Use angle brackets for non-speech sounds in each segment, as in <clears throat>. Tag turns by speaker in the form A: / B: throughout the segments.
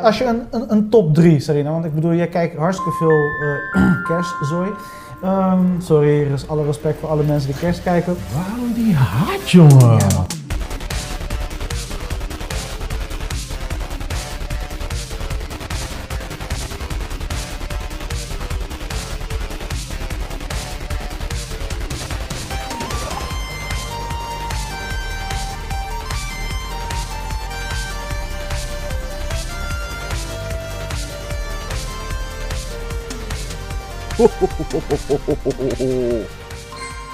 A: als je een, een, een top 3, Sarina, want ik bedoel, jij kijkt hartstikke veel eh <clears throat> kerstzooi. Ehm, sorry, er is alle respect voor alle mensen die kerst kijken.
B: Waarom die haat, jongen?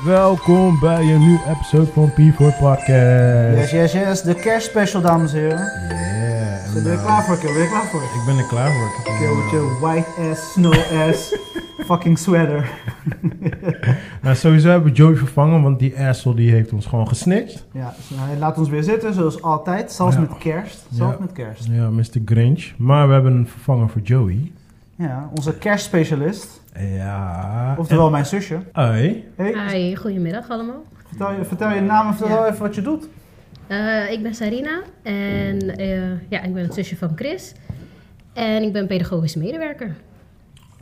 B: Welkom bij een nieuwe episode van P4
A: Yes,
B: Podcast.
A: yes, yes. De kerstspecial, dames en heren.
B: Yeah. en,
A: Ben je er
B: eh,
A: klaar voor, Kil? Ben je er klaar voor?
B: Ik ben er klaar voor. Ik heb
A: Kil,
B: een,
A: met
B: eh,
A: je white ass, snow
B: <laughs>
A: ass, fucking sweater.
B: Nou, sowieso hebben we Joey vervangen, want die asshole die heeft ons gewoon gesnitcht.
A: Ja, dus hij laat ons weer zitten, zoals altijd. Zelfs
B: Ja.
A: met kerst. Zelfs
B: Ja.
A: met kerst.
B: Ja, Mr. Grinch. Maar we hebben een vervanger voor Joey.
A: Ja, onze kerstspecialist.
B: Ja.
A: Oftewel mijn zusje.
B: En- Hoi.
A: Hey,
C: Hi, goedemiddag allemaal.
A: vertel, je, vertel je naam en vertel
C: Ja.
A: even wat je doet.
C: Eh, ik ben Sarina en eh, ja, ik ben het zusje van Chris. En ik ben pedagogisch medewerker.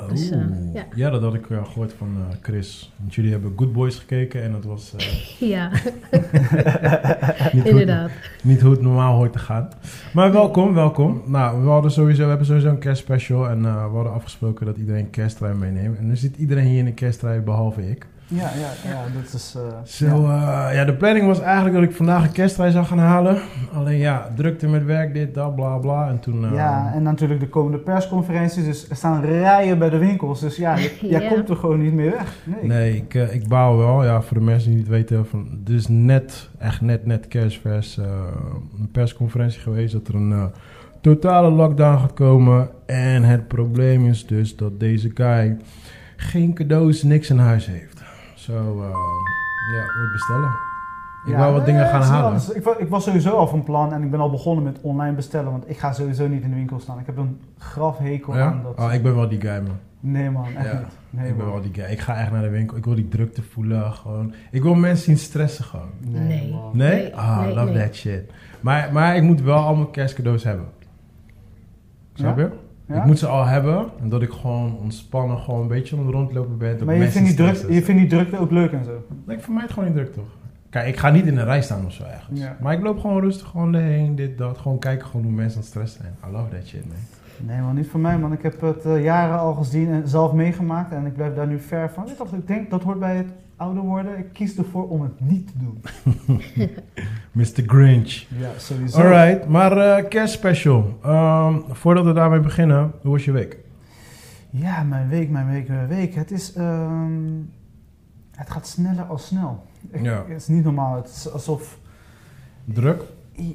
B: Oh.
C: Dus, eh, ja. <laughs>
B: Ja, dat had ik eh, gehoord van eh, Chris. Want jullie hebben Good Boys gekeken en dat was
C: <laughs>
B: eh,
A: <laughs>
C: ja,
B: niet, hoe, het-
C: inderdaad.
B: niet hoe het normaal hoort te gaan. Maar welkom, welkom. Nou, we, hadden sowieso, we hebben sowieso een kerstspecial en eh, we hadden afgesproken dat iedereen een kersttrui meeneemt. En nu zit iedereen hier in een kersttrui, behalve ik.
A: Ja, ja, ja, dat is... eh,
B: Zo,
A: ja.
B: eh, ja, de planning was eigenlijk dat ik vandaag een kerstreis zou gaan halen. Alleen ja, drukte met werk, dit, dat, bla bla. En toen. eh,
A: Ja, en natuurlijk de komende persconferenties. Dus er staan rijen bij de winkels. Dus
C: <laughs>
A: ja, je- jij
C: Ja.
A: komt er gewoon niet meer weg. Nee.
B: Nee, ik, eh, ik baal wel. Ja, voor de mensen die het weten, van, dit is net, echt net, net kerstvers eh, een persconferentie geweest dat er een eh, totale lockdown gaat komen. En het probleem is dus dat deze guy geen cadeaus, niks in huis heeft. Zo, eh, ja, moet bestellen. Ik
A: Ja,
B: wou wat
A: eh,
B: dingen gaan
A: het is wel
B: halen.
A: anders. Ik, wa- ik was sowieso al van plan en ik ben al begonnen met online bestellen. Want ik ga sowieso niet in de winkel staan. Ik heb een graf hekel aan
B: Ja?
A: dat.
B: Oh, ik ben wel die guy, man.
A: Nee man, echt
B: Ja,
A: niet. Nee,
B: ik ben
A: man.
B: wel die guy. Ik ga echt naar de winkel. Ik wil die drukte voelen. Gewoon. Ik wil mensen zien stressen gewoon.
C: Nee.
A: man.
B: Nee?
C: Nee,
B: ah,
C: nee,
B: love
C: nee.
B: that shit. Maar, maar ik moet wel al mijn kerstcadeaus hebben. Snap
A: Ja?
B: je?
A: Ja?
B: Ik moet ze al hebben. En dat ik gewoon ontspannen, gewoon een beetje aan het rondlopen ben. dat
A: Maar je
B: mensen
A: vindt, die
B: niet
A: druk,
B: stressen.
A: je vindt die drukte ook leuk en zo.
B: Nee, voor mij het gewoon niet druk, toch? Kijk, ik ga niet in een rij staan of zo ergens.
A: Ja.
B: Maar ik loop gewoon rustig gewoon erheen, dit, dat. Gewoon kijken gewoon hoe mensen aan het stressen zijn. I love that shit, man.
A: Nee man, niet voor mij man. Ik heb het eh, jaren al gezien en zelf meegemaakt. En ik blijf daar nu ver van. Ik, dacht, ik denk dat hoort bij het ouder worden. Ik kies ervoor om het niet te doen.
B: Mr. Grinch.
A: Ja, sowieso.
B: Alright, maar eh, kerstspecial. Ehm, voordat we daarmee beginnen, hoe was je week?
A: Ja, mijn week, mijn week, mijn week. Het is. ehm, het gaat sneller als snel. Ik-
B: Ja.
A: Het is niet normaal. Het is alsof.
B: Druk?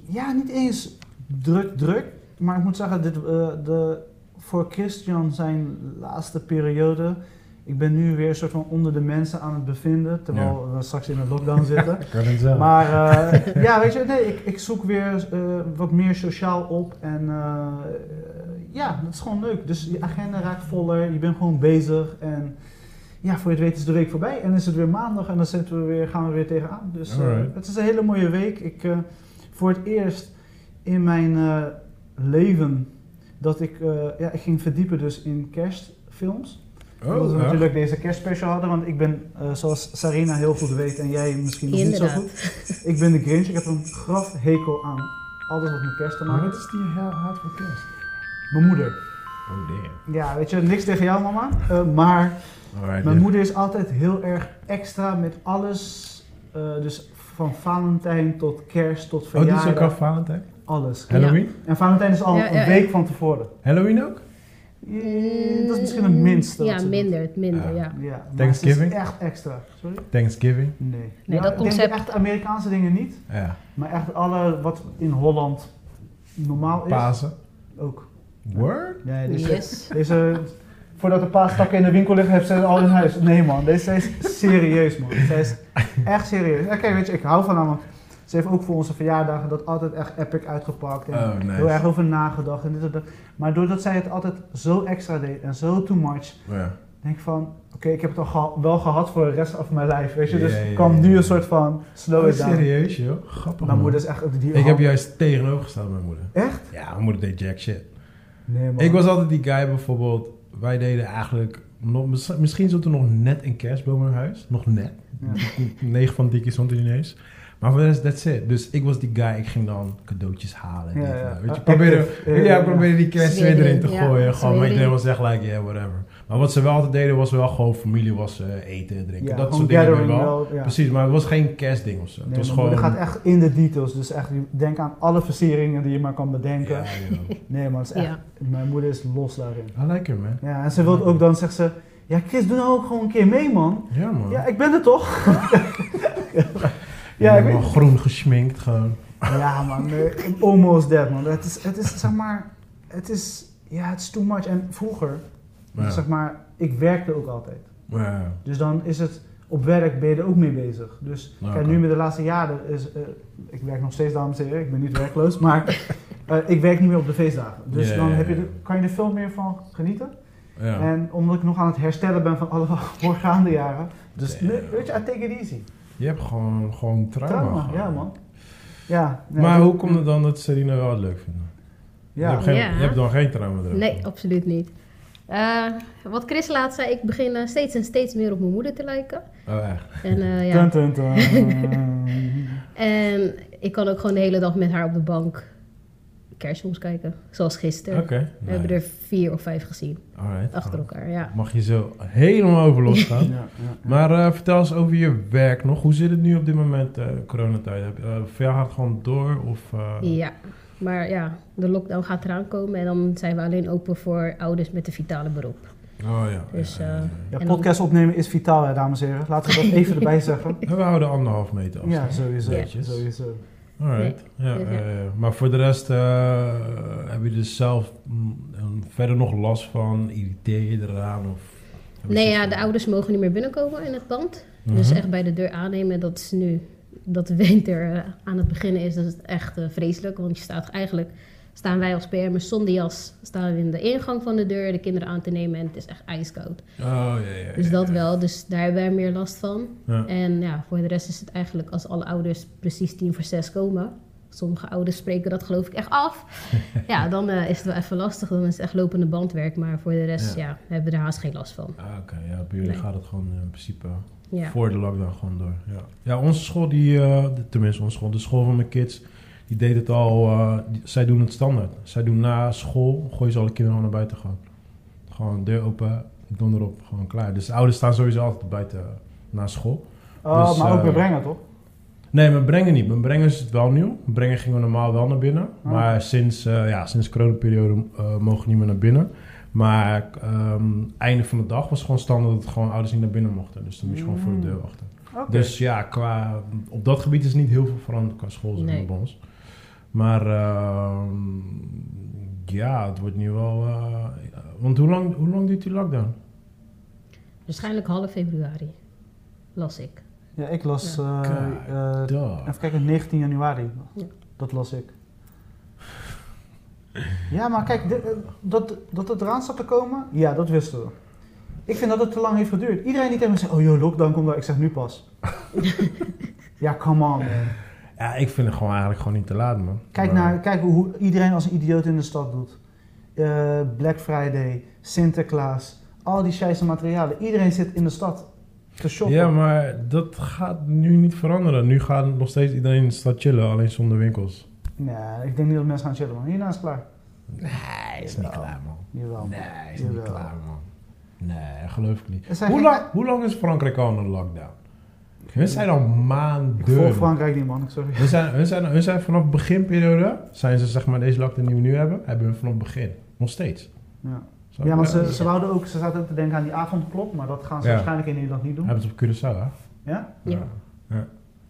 A: Ja, niet eens druk, druk. Maar ik moet zeggen, dit, eh, de, voor Christian zijn laatste periode. Ik ben nu weer soort van onder de mensen aan het bevinden. Terwijl we straks in een lockdown zitten.
B: Ik kan het zelf.
A: Maar eh, ja, weet je, nee, ik, ik zoek weer eh, wat meer sociaal op. En eh, ja, dat is gewoon leuk. Dus je agenda raakt voller, je bent gewoon bezig. En ja, voor je het weet is de week voorbij. En is het weer maandag en dan zitten we weer, gaan we weer tegenaan. Dus eh,
B: Alright.
A: het is een hele mooie week. Ik, eh, voor het eerst in mijn eh, leven dat ik, eh, ja, ik ging verdiepen dus in kerstfilms. Omdat we
B: Oh, ja.
A: natuurlijk deze kerstspecial hadden, want ik ben, eh, zoals Sarina heel goed weet en jij misschien nog niet zo
C: Inderdaad.
A: goed, ik ben de Grinch. Ik heb een graf hekel aan alles wat met kerst te
B: Maar
A: maken
B: wat
A: heeft.
B: is die heel hard voor kerst?
A: Mijn moeder.
B: Oh damn.
A: Ja, weet je, niks tegen jou mama. Eh, maar
B: Alright,
A: mijn
B: dit-
A: moeder is altijd heel erg extra met alles. Eh, dus van Valentijn tot kerst tot
B: Oh, dit is
A: verjaardag.
B: ook al Valentijn?
A: alles.
B: Halloween?
A: En Valentijn is al
C: Ja, ja,
A: een
C: ja.
A: week van tevoren.
B: Halloween ook?
A: Eh, Dat is misschien het minste. wat
C: Mm, Ja,
A: ze doen.
C: minder, het minder,
B: Ah.
C: ja.
A: Ja, maar
B: Thanksgiving?
A: het is echt extra. Sorry?
B: Thanksgiving?
A: Nee.
C: Nee, dat
A: ik denk
C: concept-
A: Echt Amerikaanse dingen niet.
B: Ja.
A: Maar echt alle wat in Holland normaal is.
B: Pasen?
A: Ook.
B: Word?
A: Nee, dus
C: Yes.
A: Deze, voordat de paastakken in de winkel liggen, hebben ze het al in huis. Nee man, deze is serieus man. Deze is echt serieus. En kijk, weet je, ik hou van haar, want ze heeft ook voor onze verjaardagen dat altijd echt epic uitgepakt. En
B: Oh, nice.
A: Heel erg over nagedacht en dit en dat. Maar doordat zij het altijd zo extra deed en zo too much,
B: Ja.
A: denk ik van, oké, ik heb het al geha- wel gehad voor de rest van mijn lijf, weet je. Dus
B: Ja, ja, ja,
A: kwam nu
B: ja.
A: een soort van slow
B: Oh,
A: it down.
B: serieus joh? Grappig
A: Mijn
B: man.
A: moeder is echt... Die
B: Ik heb juist tegenovergestaan mijn moeder.
A: Echt?
B: Ja, mijn moeder deed jack shit.
A: Nee, man.
B: Ik was altijd die guy bijvoorbeeld. Wij deden eigenlijk. Nog, miss- misschien zat er nog net een kerstboom in huis. Nog net. <laughs>
A: Ja.
B: 9 van die keer stond er niet eens. Maar voor de rest, that's it. Dus ik was die guy. Ik ging dan cadeautjes halen.
A: Ja,
B: dit,
A: ja.
B: eh, Weet je,
A: Actief.
B: probeerde,
A: <laughs> Ja,
B: ja,
A: ja,
B: ik probeerde die kerst weer
C: Smerig,
B: erin te
C: ja,
B: gooien. gewoon, maar
C: smerig.
B: iedereen was echt like, yeah, whatever. Maar wat ze wel altijd deden, was wel gewoon familie was eh, eten, drinken.
A: Ja,
B: dat
A: gewoon
B: soort dingen weer
A: gathering
B: wel.
A: wel, ja.
B: Precies, maar het was geen kerstding of zo.
A: Nee,
B: het was
A: maar
B: gewoon...
A: Dat gaat echt in de details. Dus echt, denk aan alle versieringen die je maar kan bedenken.
B: Ja, ja.
A: Nee, man, het is echt,
C: Ja.
A: mijn moeder is los daarin.
B: I like it,
A: <laughs>
B: man.
A: Ja, en ze wil ook dan, zegt ze, ja, Chris, doe nou ook gewoon een keer mee, man.
B: Ja, man.
A: Ja, ik ben er toch?
B: ja,
A: ja, ik
B: helemaal
A: weet-
B: groen gesminkt gewoon.
A: Ja, man, nee, almost dead, man. Het is, het is, zeg maar, het is, ja, het is too much. En vroeger,
B: Ja.
A: zeg maar, ik werkte ook altijd.
B: Ja.
A: Dus dan is het op werk ben je er ook mee bezig. Dus
B: Nou,
A: kijk,
B: oké.
A: nu met de laatste jaren is. eh, ik werk nog steeds, dames en heren, ik ben niet werkloos, <laughs> maar eh, ik werk niet meer op de feestdagen. Dus
B: Ja,
A: dan
B: ja,
A: heb je
B: ja.
A: er- kan je er veel meer van genieten.
B: Ja.
A: En omdat ik nog aan het herstellen ben van alle <laughs> voorgaande jaren. Dus
B: Damn.
A: nee, weet je, I take it easy.
B: Je hebt gewoon, gewoon trauma.
A: Trauma,
B: gewoon.
A: ja man. Ja, nee,
B: maar
A: dat-
B: hoe komt het dan dat Serena wel het leuk vindt? Je,
A: Ja,
B: hebt geen-
C: Ja.
B: je hebt dan geen trauma erin.
C: Nee, absoluut niet. Eh, wat Chris laat zei, ik begin eh, steeds en steeds meer op mijn moeder te lijken.
B: Oh, echt?
C: En, eh,
A: Dun,
C: ja.
A: dun,
B: <laughs>
A: dun.
C: en ik kan ook gewoon de hele dag met haar op de bank kerstfilms kijken. Zoals gisteren.
B: Oké.
C: We hebben er vier of vijf gezien.
B: Alright.
C: Achter elkaar, ja.
B: Mag je zo helemaal over
A: <laughs>
B: losgaan.
A: Ja, ja.
B: Maar eh, vertel eens over je werk nog. Hoe zit het nu op dit moment, eh, coronatijd? Heb, eh, voor jou gaat het gewoon door? Of, eh,
C: Ja, maar ja, de lockdown gaat eraan komen. En dan zijn we alleen open voor ouders met een vitale beroep.
B: Oh ja.
C: Dus,
B: ja, ja,
C: eh,
B: ja.
A: Ja,
C: En dan-
A: podcast opnemen is vitaal, hè, dames en heren. Laten we dat even
C: <laughs>
A: erbij zeggen.
B: En we houden anderhalf meter
A: Ja,
B: afstand.
A: sowieso.
B: Netjes.
A: sowieso.
B: Alright. Ja,
C: Dus ja.
B: eh, maar voor de rest eh, heb je dus zelf mm, een- verder nog last van? Irriteer je eraan? Of,
C: Nee, ja, de ouders mogen niet meer binnenkomen in het pand.
B: Mhm.
C: Dus echt bij de deur aannemen, dat is nu dat de winter eh, aan het beginnen is, dat is het echt eh, vreselijk. Want je staat eigenlijk, staan wij als PM'ers zonder jas, staan we in de ingang van de deur de kinderen aan te nemen en het is echt ijskoud.
B: Oh ja, ja, ja.
C: Dus dat
B: ja.
C: wel, dus daar hebben wij meer last van.
B: Ja.
C: En ja, voor de rest is het eigenlijk als alle ouders precies tien voor zes komen. Sommige ouders spreken dat geloof ik echt
B: <laughs>
C: af. Ja, dan eh, is het wel even lastig. Dan is het echt lopende bandwerk. Maar voor de rest
B: Ja.
C: ja. hebben we er haast geen last van.
B: Ah, Oké, ja, bij jullie
C: Nee.
B: gaat het gewoon eh, in principe
C: Ja.
B: voor de lockdown gewoon door. Ja, ja onze school, die, eh, de- tenminste onze school, de school van mijn kids, die deed het al, eh, die- zij doen het standaard. Zij doen na school, gooien ze alle kinderen gewoon naar buiten gewoon. Gewoon deur open, donder op, gewoon klaar. Dus de ouders staan sowieso altijd buiten eh, na school.
A: Oh,
B: Dus,
A: maar ook
B: eh,
A: weer brengen, toch?
B: Nee, mijn brengen niet. Mijn brengen is het wel nieuw. Mijn brengen gingen we normaal wel naar binnen.
A: Ah.
B: Maar sinds, eh ja, sinds de coronaperiode eh, mogen we niet meer naar binnen. Maar ehm, einde van de dag was gewoon standaard dat gewoon ouders niet naar binnen mochten. Dus dan moest je gewoon voor de deur wachten.
A: Mm. Oké.
B: Dus ja, qua, op dat gebied is niet heel veel veranderd qua school zeg maar,
C: Nee.
B: bij ons. Maar ehm, ja, het wordt nu wel... eh, want hoe lang, hoe lang duurt die lockdown?
C: Waarschijnlijk half februari, las
B: <laughs>
C: ik.
A: Ja, ik las. eh eh,
B: Dag.
A: even kijken, 19 januari.
C: Ja.
A: Dat las ik. Ja, maar kijk, dit, eh, dat, dat het eraan zat te komen, ja, dat wisten we. Ik vind dat het te lang heeft geduurd. Iedereen die tegen me zegt, oh joh, lockdown komt daar. Ik zeg nu pas. ja, come on. man.
B: Ja, ik vind het gewoon eigenlijk gewoon niet te laat, man.
A: Kijk, nou,
B: Maar-
A: naar, kijk hoe iedereen als een idioot in de stad doet. Eh, Black Friday, Sinterklaas, al die scheisse materialen. Iedereen zit in de stad te shoppen.
B: Ja, maar dat gaat nu niet veranderen. Nu gaat nog steeds iedereen in de stad chillen, alleen zonder winkels.
A: Nee, ik denk niet dat mensen gaan chillen, man. Hierna is het klaar.
B: Nee,
A: is niet klaar,
B: man.
A: Jawel.
B: Nee,
A: is niet Jawel. klaar,
B: man. Nee, geloof ik niet.
A: Er zijn
B: Hoe
A: geen-
B: lang, hoe lang is Frankrijk al in de lockdown? Hun zijn al
A: Ik volg
B: maanden.
A: Frankrijk niet, man. Ik- Sorry.
B: Hun zijn, hun, zijn, hun zijn vanaf beginperiode, zijn ze zeg maar deze lockdown die we nu hebben, hebben hun vanaf begin. Nog steeds.
A: Ja, ja
B: Snap je?
A: want ze, ze, wouden ook, ze zaten ook te denken aan die avondklok, maar dat gaan ze
B: Ja.
A: waarschijnlijk in Nederland niet doen.
B: Hebben ze op Curaçao, hè?
A: Ja?
C: Ja.
B: Ja.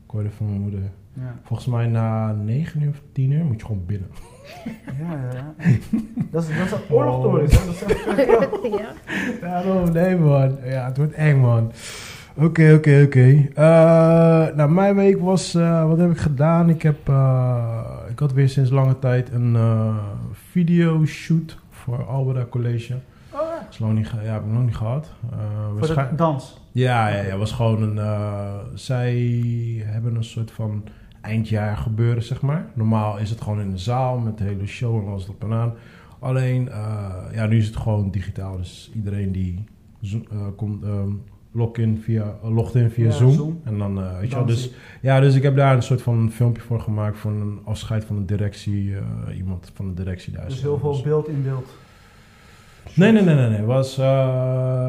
B: Ik hoorde van mijn moeder.
A: Ja,
B: Volgens mij na 9 uur of 10 uur moet je gewoon binnen.
A: ja,
D: <laughs>
A: ja. ja. dat, is, dat is een oorlog
B: Oh.
A: door. is, hè. Dat is echt-
B: <laughs>
C: ja.
B: Daarom, nee man. Ja, het wordt eng man. Oké, oké, oké. Eh, nou, mijn week was... eh, wat heb ik gedaan? Ik heb... eh, ik had weer sinds lange tijd een eh videoshoot voor Alberta College.
A: Oh, ja.
B: Dat is lang niet, ge- ja, heb ik nog niet gehad. Eh,
A: Voor
B: waarschijn-
A: de dans.
B: ja, ja, ja, het was gewoon een. eh, zij hebben een soort van eindjaar gebeuren, zeg maar. Normaal is het gewoon in de zaal met de hele show en alles erop en aan. Alleen, eh, ja, nu is het gewoon digitaal. Dus iedereen die zo- eh, komt, ehm, log in via, eh, logt in via
D: Ja,
B: Zoom.
D: Zoom.
B: En dan, eh, weet je wel,
D: Dan
B: dus,
D: zie-
B: ja, dus ik heb daar een soort van filmpje voor gemaakt. Voor een afscheid van de directie. eh, iemand van de directie daar.
D: Dus heel veel beeld in beeld.
B: Nee, nee, nee, nee. nee. Was, eh,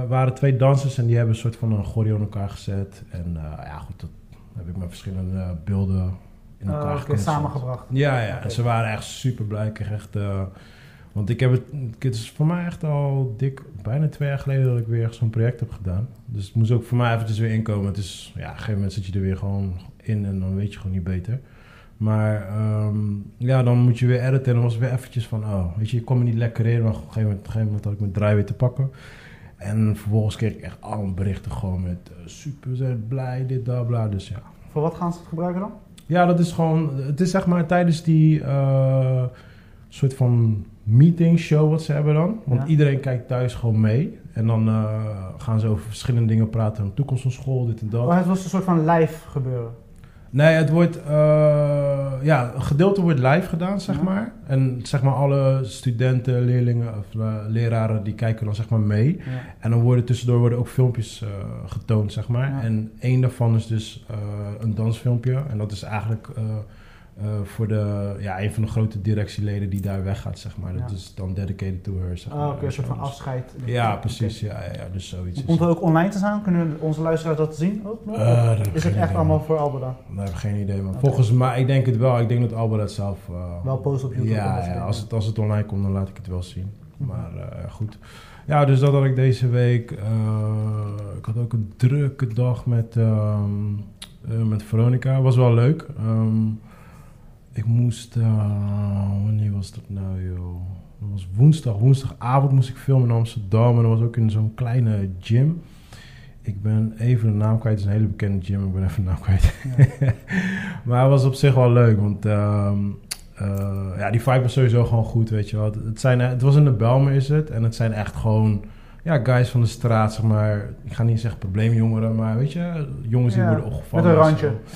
B: waren twee dansers en die hebben een soort van een choreo in elkaar gezet. En eh, ja, goed, dat heb ik met verschillende eh, beelden in
D: Eh,
B: elkaar
D: oké,
B: geknutseld.
D: samengebracht.
B: Ja, ja.
D: Oké.
B: En ze waren echt super blij. Ik kreeg echt, eh, want ik heb het, het is voor mij echt al dik, bijna twee jaar geleden dat ik weer zo'n project heb gedaan. Dus het moest ook voor mij eventjes weer inkomen. Het is, ja, op een gegeven moment zit je er weer gewoon in en dan weet je gewoon niet beter. Maar ehm, ja, dan moet je weer editen en dan was het weer eventjes van, oh, weet je, ik kon me niet lekker in. Maar op een gegeven moment, op een gegeven moment had ik mijn draai weer te pakken. En vervolgens kreeg ik echt allemaal berichten gewoon met eh, super, ze zijn blij, dit, dat, bla. Dus ja,
D: Voor wat gaan ze het gebruiken dan?
B: ja, dat is gewoon. Het is zeg maar tijdens die eh, soort van meeting show wat ze hebben dan. Want
D: Ja.
B: iedereen kijkt thuis gewoon mee. En dan eh, gaan ze over verschillende dingen praten. De toekomst van school, dit en dat.
D: Oh, het was een soort van live gebeuren.
B: Nee, het wordt. eh, ja, een gedeelte wordt live gedaan, zeg
D: Ja.
B: maar. En zeg maar alle studenten, leerlingen of eh, leraren die kijken dan zeg maar mee.
D: Ja.
B: En dan worden tussendoor worden ook filmpjes eh, getoond, zeg maar.
D: Ja.
B: En één daarvan is dus eh, een dansfilmpje. En dat is eigenlijk eh, eh, voor de, ja, een van de grote directieleden die daar weggaat, zeg maar. Dat
D: Ja.
B: is dan dedicated to her, zeg
D: Ah,
B: maar.
D: oké, een soort van afscheid.
B: Ja, precies. Ja, ja, ja, dus zoiets. is
D: Komt er
B: het.
D: ook online te staan? Kunnen onze luisteraars dat zien? Ook nog?
B: Eh, daar heb ik
D: is
B: geen
D: het echt
B: idee.
D: allemaal voor
B: <laughs>
D: Alberda?
B: Daar heb ik geen idee van.
D: Oké.
B: Volgens mij, ik denk het wel. Ik denk dat Albert het zelf... eh,
D: Wel post op YouTube en dat Mhm.
B: Ja,
D: soort
B: ja
D: dingen.
B: als, het, als het online komt, dan laat ik het wel zien. Maar eh, goed. Ja, dus dat had ik deze week. Eh, ik had ook een drukke dag met, ehm, eh, met Veronica. Was wel leuk. Ehm, ik moest. eh, wanneer was dat nou, joh? Dat was woensdag. Woensdagavond moest ik filmen in Amsterdam. En dat was ook in zo'n kleine gym. Ik ben even de naam kwijt. Het is een hele bekende gym. Ik ben even de naam kwijt. maar het was op zich wel leuk. Want ehm, eh, ja, die vibe was sowieso gewoon goed, weet je wel. Het, het zijn, eh, het was in de Belmer is het. En het zijn echt gewoon ja, guys van de straat, zeg maar. Ik ga niet zeggen probleemjongeren, maar weet je... Jongens
D: Ja,
B: die worden opgevangen.
D: met een randje.
B: zo.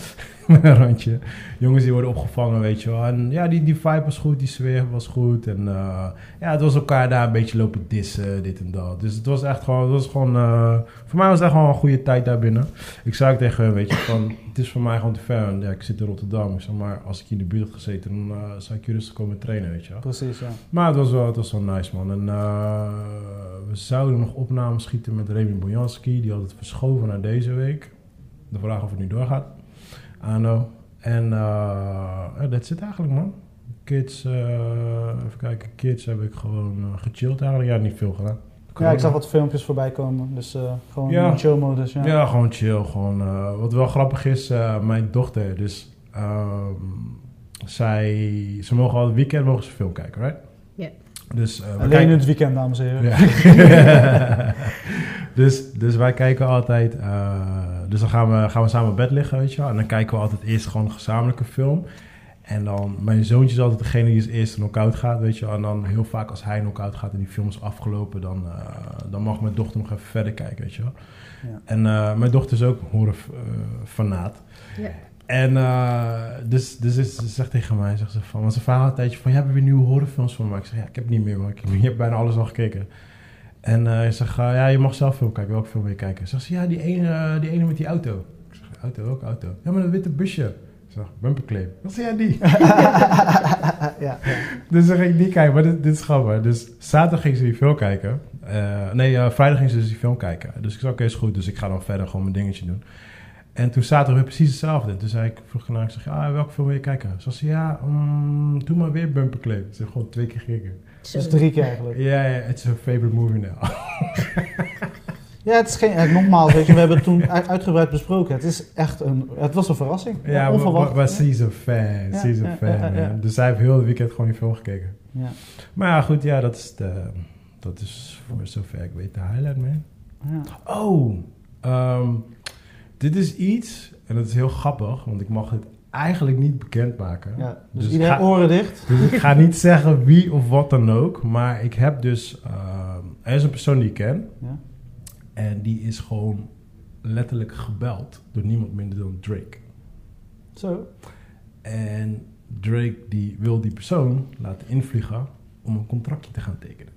B: <laughs> met een randje. Jongens die worden opgevangen, weet je wel. En ja, die, die vibe was goed, die sfeer was goed. En eh, ja, het was elkaar daar een beetje lopen dissen, dit en dat. Dus het was echt gewoon... Het was gewoon eh, voor mij was het echt gewoon een goede tijd daar binnen. Ik zei ook tegen hun, weet je, van... Het is voor mij gewoon te ver. Want Ja, ik zit in Rotterdam. Ik zeg maar, als ik hier in de buurt had gezeten... dan eh, zou ik hier rustig komen trainen, weet je wel.
D: Precies, ja.
B: Maar het was wel, het was wel nice, man. En eh, we zouden nog opnames schieten met Remy Bojanski. Die had het verschoven naar deze week. De vraag of het nu doorgaat. Ano. En eh, dat zit eigenlijk, man. Kids, eh, even kijken. Kids heb ik gewoon eh, gechilled eigenlijk. Ja, niet veel gedaan.
D: Ja, ik zag wat filmpjes voorbij komen. Dus eh, gewoon
B: Ja.
D: in chill modus. Ja.
B: Ja. gewoon chill. Gewoon, eh, wat wel grappig is, eh, mijn dochter, dus ehm, zij, ze mogen al het weekend mogen ze film kijken, right?
C: Ja.
B: Dus, eh, we
D: Alleen in
B: kijken-
D: het weekend, dames en heren.
B: ja. dus, dus wij kijken altijd. eh, dus dan gaan we, gaan we samen op bed liggen, weet je wel. En dan kijken we altijd eerst gewoon een gezamenlijke film. En dan, mijn zoontje is altijd degene die als eerste knock-out gaat, weet je wel. En dan heel vaak als hij knock-out gaat en die film is afgelopen, dan, eh, dan mag mijn dochter nog even verder kijken, weet je wel.
D: Ja.
B: En eh, mijn dochter is ook horrorfanaat.
C: Ja.
B: En eh, dus, dus is- ze zegt tegen mij, zegt ze van, want ze vraagt al een tijdje van, ja, hebben we nieuwe horrorfilms voor me? Ik zeg, ja, ik heb niet meer, maar ik, je hebt bijna alles al gekeken. En eh ik zeg, eh, ja, je mag zelf film kijken, welke film wil je kijken? Zegt ze, ja, die ene, eh, die ene met die auto. Ik zeg, auto, welke auto? Ja, maar dat witte busje. Ik zeg, bumperclaim. Dat zeg, ja, die.
D: ja,
B: dus dan ging ik die kijken, maar dit, dit is grappig. Dus zaterdag ging ze die film kijken. Eh, nee, eh, vrijdag ging ze dus die film kijken. Dus ik zei, oké, is goed, dus ik ga dan verder gewoon mijn dingetje doen. En toen zaten we weer precies hetzelfde. En toen zei ik, vroeg ik aan haar, ik zeg, ah, welke film wil je kijken? Ze zei, ja, mm, doe maar weer Bumper Clay. Ze heeft gewoon twee keer gekeken.
C: Zo.
D: Dus drie keer eigenlijk.
B: Ja, ja, it's her favorite movie now. <laughs>
D: Ja, het is geen... eh, nogmaals, weet je, we hebben het toen uit- uitgebreid besproken. Het is echt een... Het was een verrassing.
B: ja, maar-
D: onverwacht.
B: maar, maar ze is een fan,
D: Ja,
B: ze is een
D: ja,
B: fan,
D: ja, ja.
B: man. Dus zij heeft heel het weekend gewoon die film gekeken.
D: Ja.
B: Maar ja, goed, ja, dat is, de, dat is voor zover ik weet de highlight, man.
D: Ja.
B: Oh, ehm, dit is iets, en dat is heel grappig, want ik mag het eigenlijk niet bekendmaken.
D: Ja, dus,
B: Dus
D: iedereen
B: ga-
D: oren dicht.
B: Dus ik ga niet zeggen wie of wat dan ook. Maar ik heb dus. eh, er is een persoon die ik ken.
D: Ja.
B: En die is gewoon letterlijk gebeld door niemand minder dan Drake.
D: Zo.
B: En Drake die wil die persoon laten invliegen om een contractje te gaan tekenen.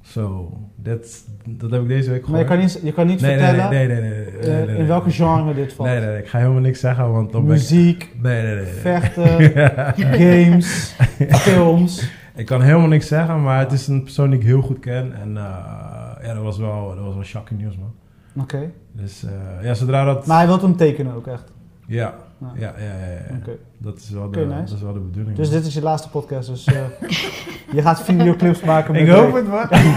B: Zo, that's- dat heb ik deze week
A: Maar je
B: gehoord.
A: kan niet, je kan niet
B: nee, nee,
A: vertellen
B: nee, nee, nee, nee, nee, nee,
A: eh,
B: nee, nee.
A: in welke genre dit valt.
B: Nee, nee, nee, ik ga helemaal niks zeggen, want dan ben ik...
A: Muziek,
B: Nee, nee, nee. nee. <laughs>
A: vechten, games, films.
B: Ik kan helemaal niks zeggen, maar het is een persoon die ik heel goed ken. En eh, ja, dat was wel, dat was wel shocking nieuws, man.
A: Oké.
B: Dus eh, ja, zodra dat...
A: Maar hij wil hem tekenen ook echt.
B: Ja,
A: Nou. Ja.
B: ja, ja, ja. ja.
A: Oké.
B: Dat, is wel de,
A: Oké, nice.
B: dat is wel de bedoeling.
A: Dus
B: man.
A: dit is je laatste podcast, dus eh, je gaat videoclips maken met
B: Ik hoop
A: Drake.
B: het, man.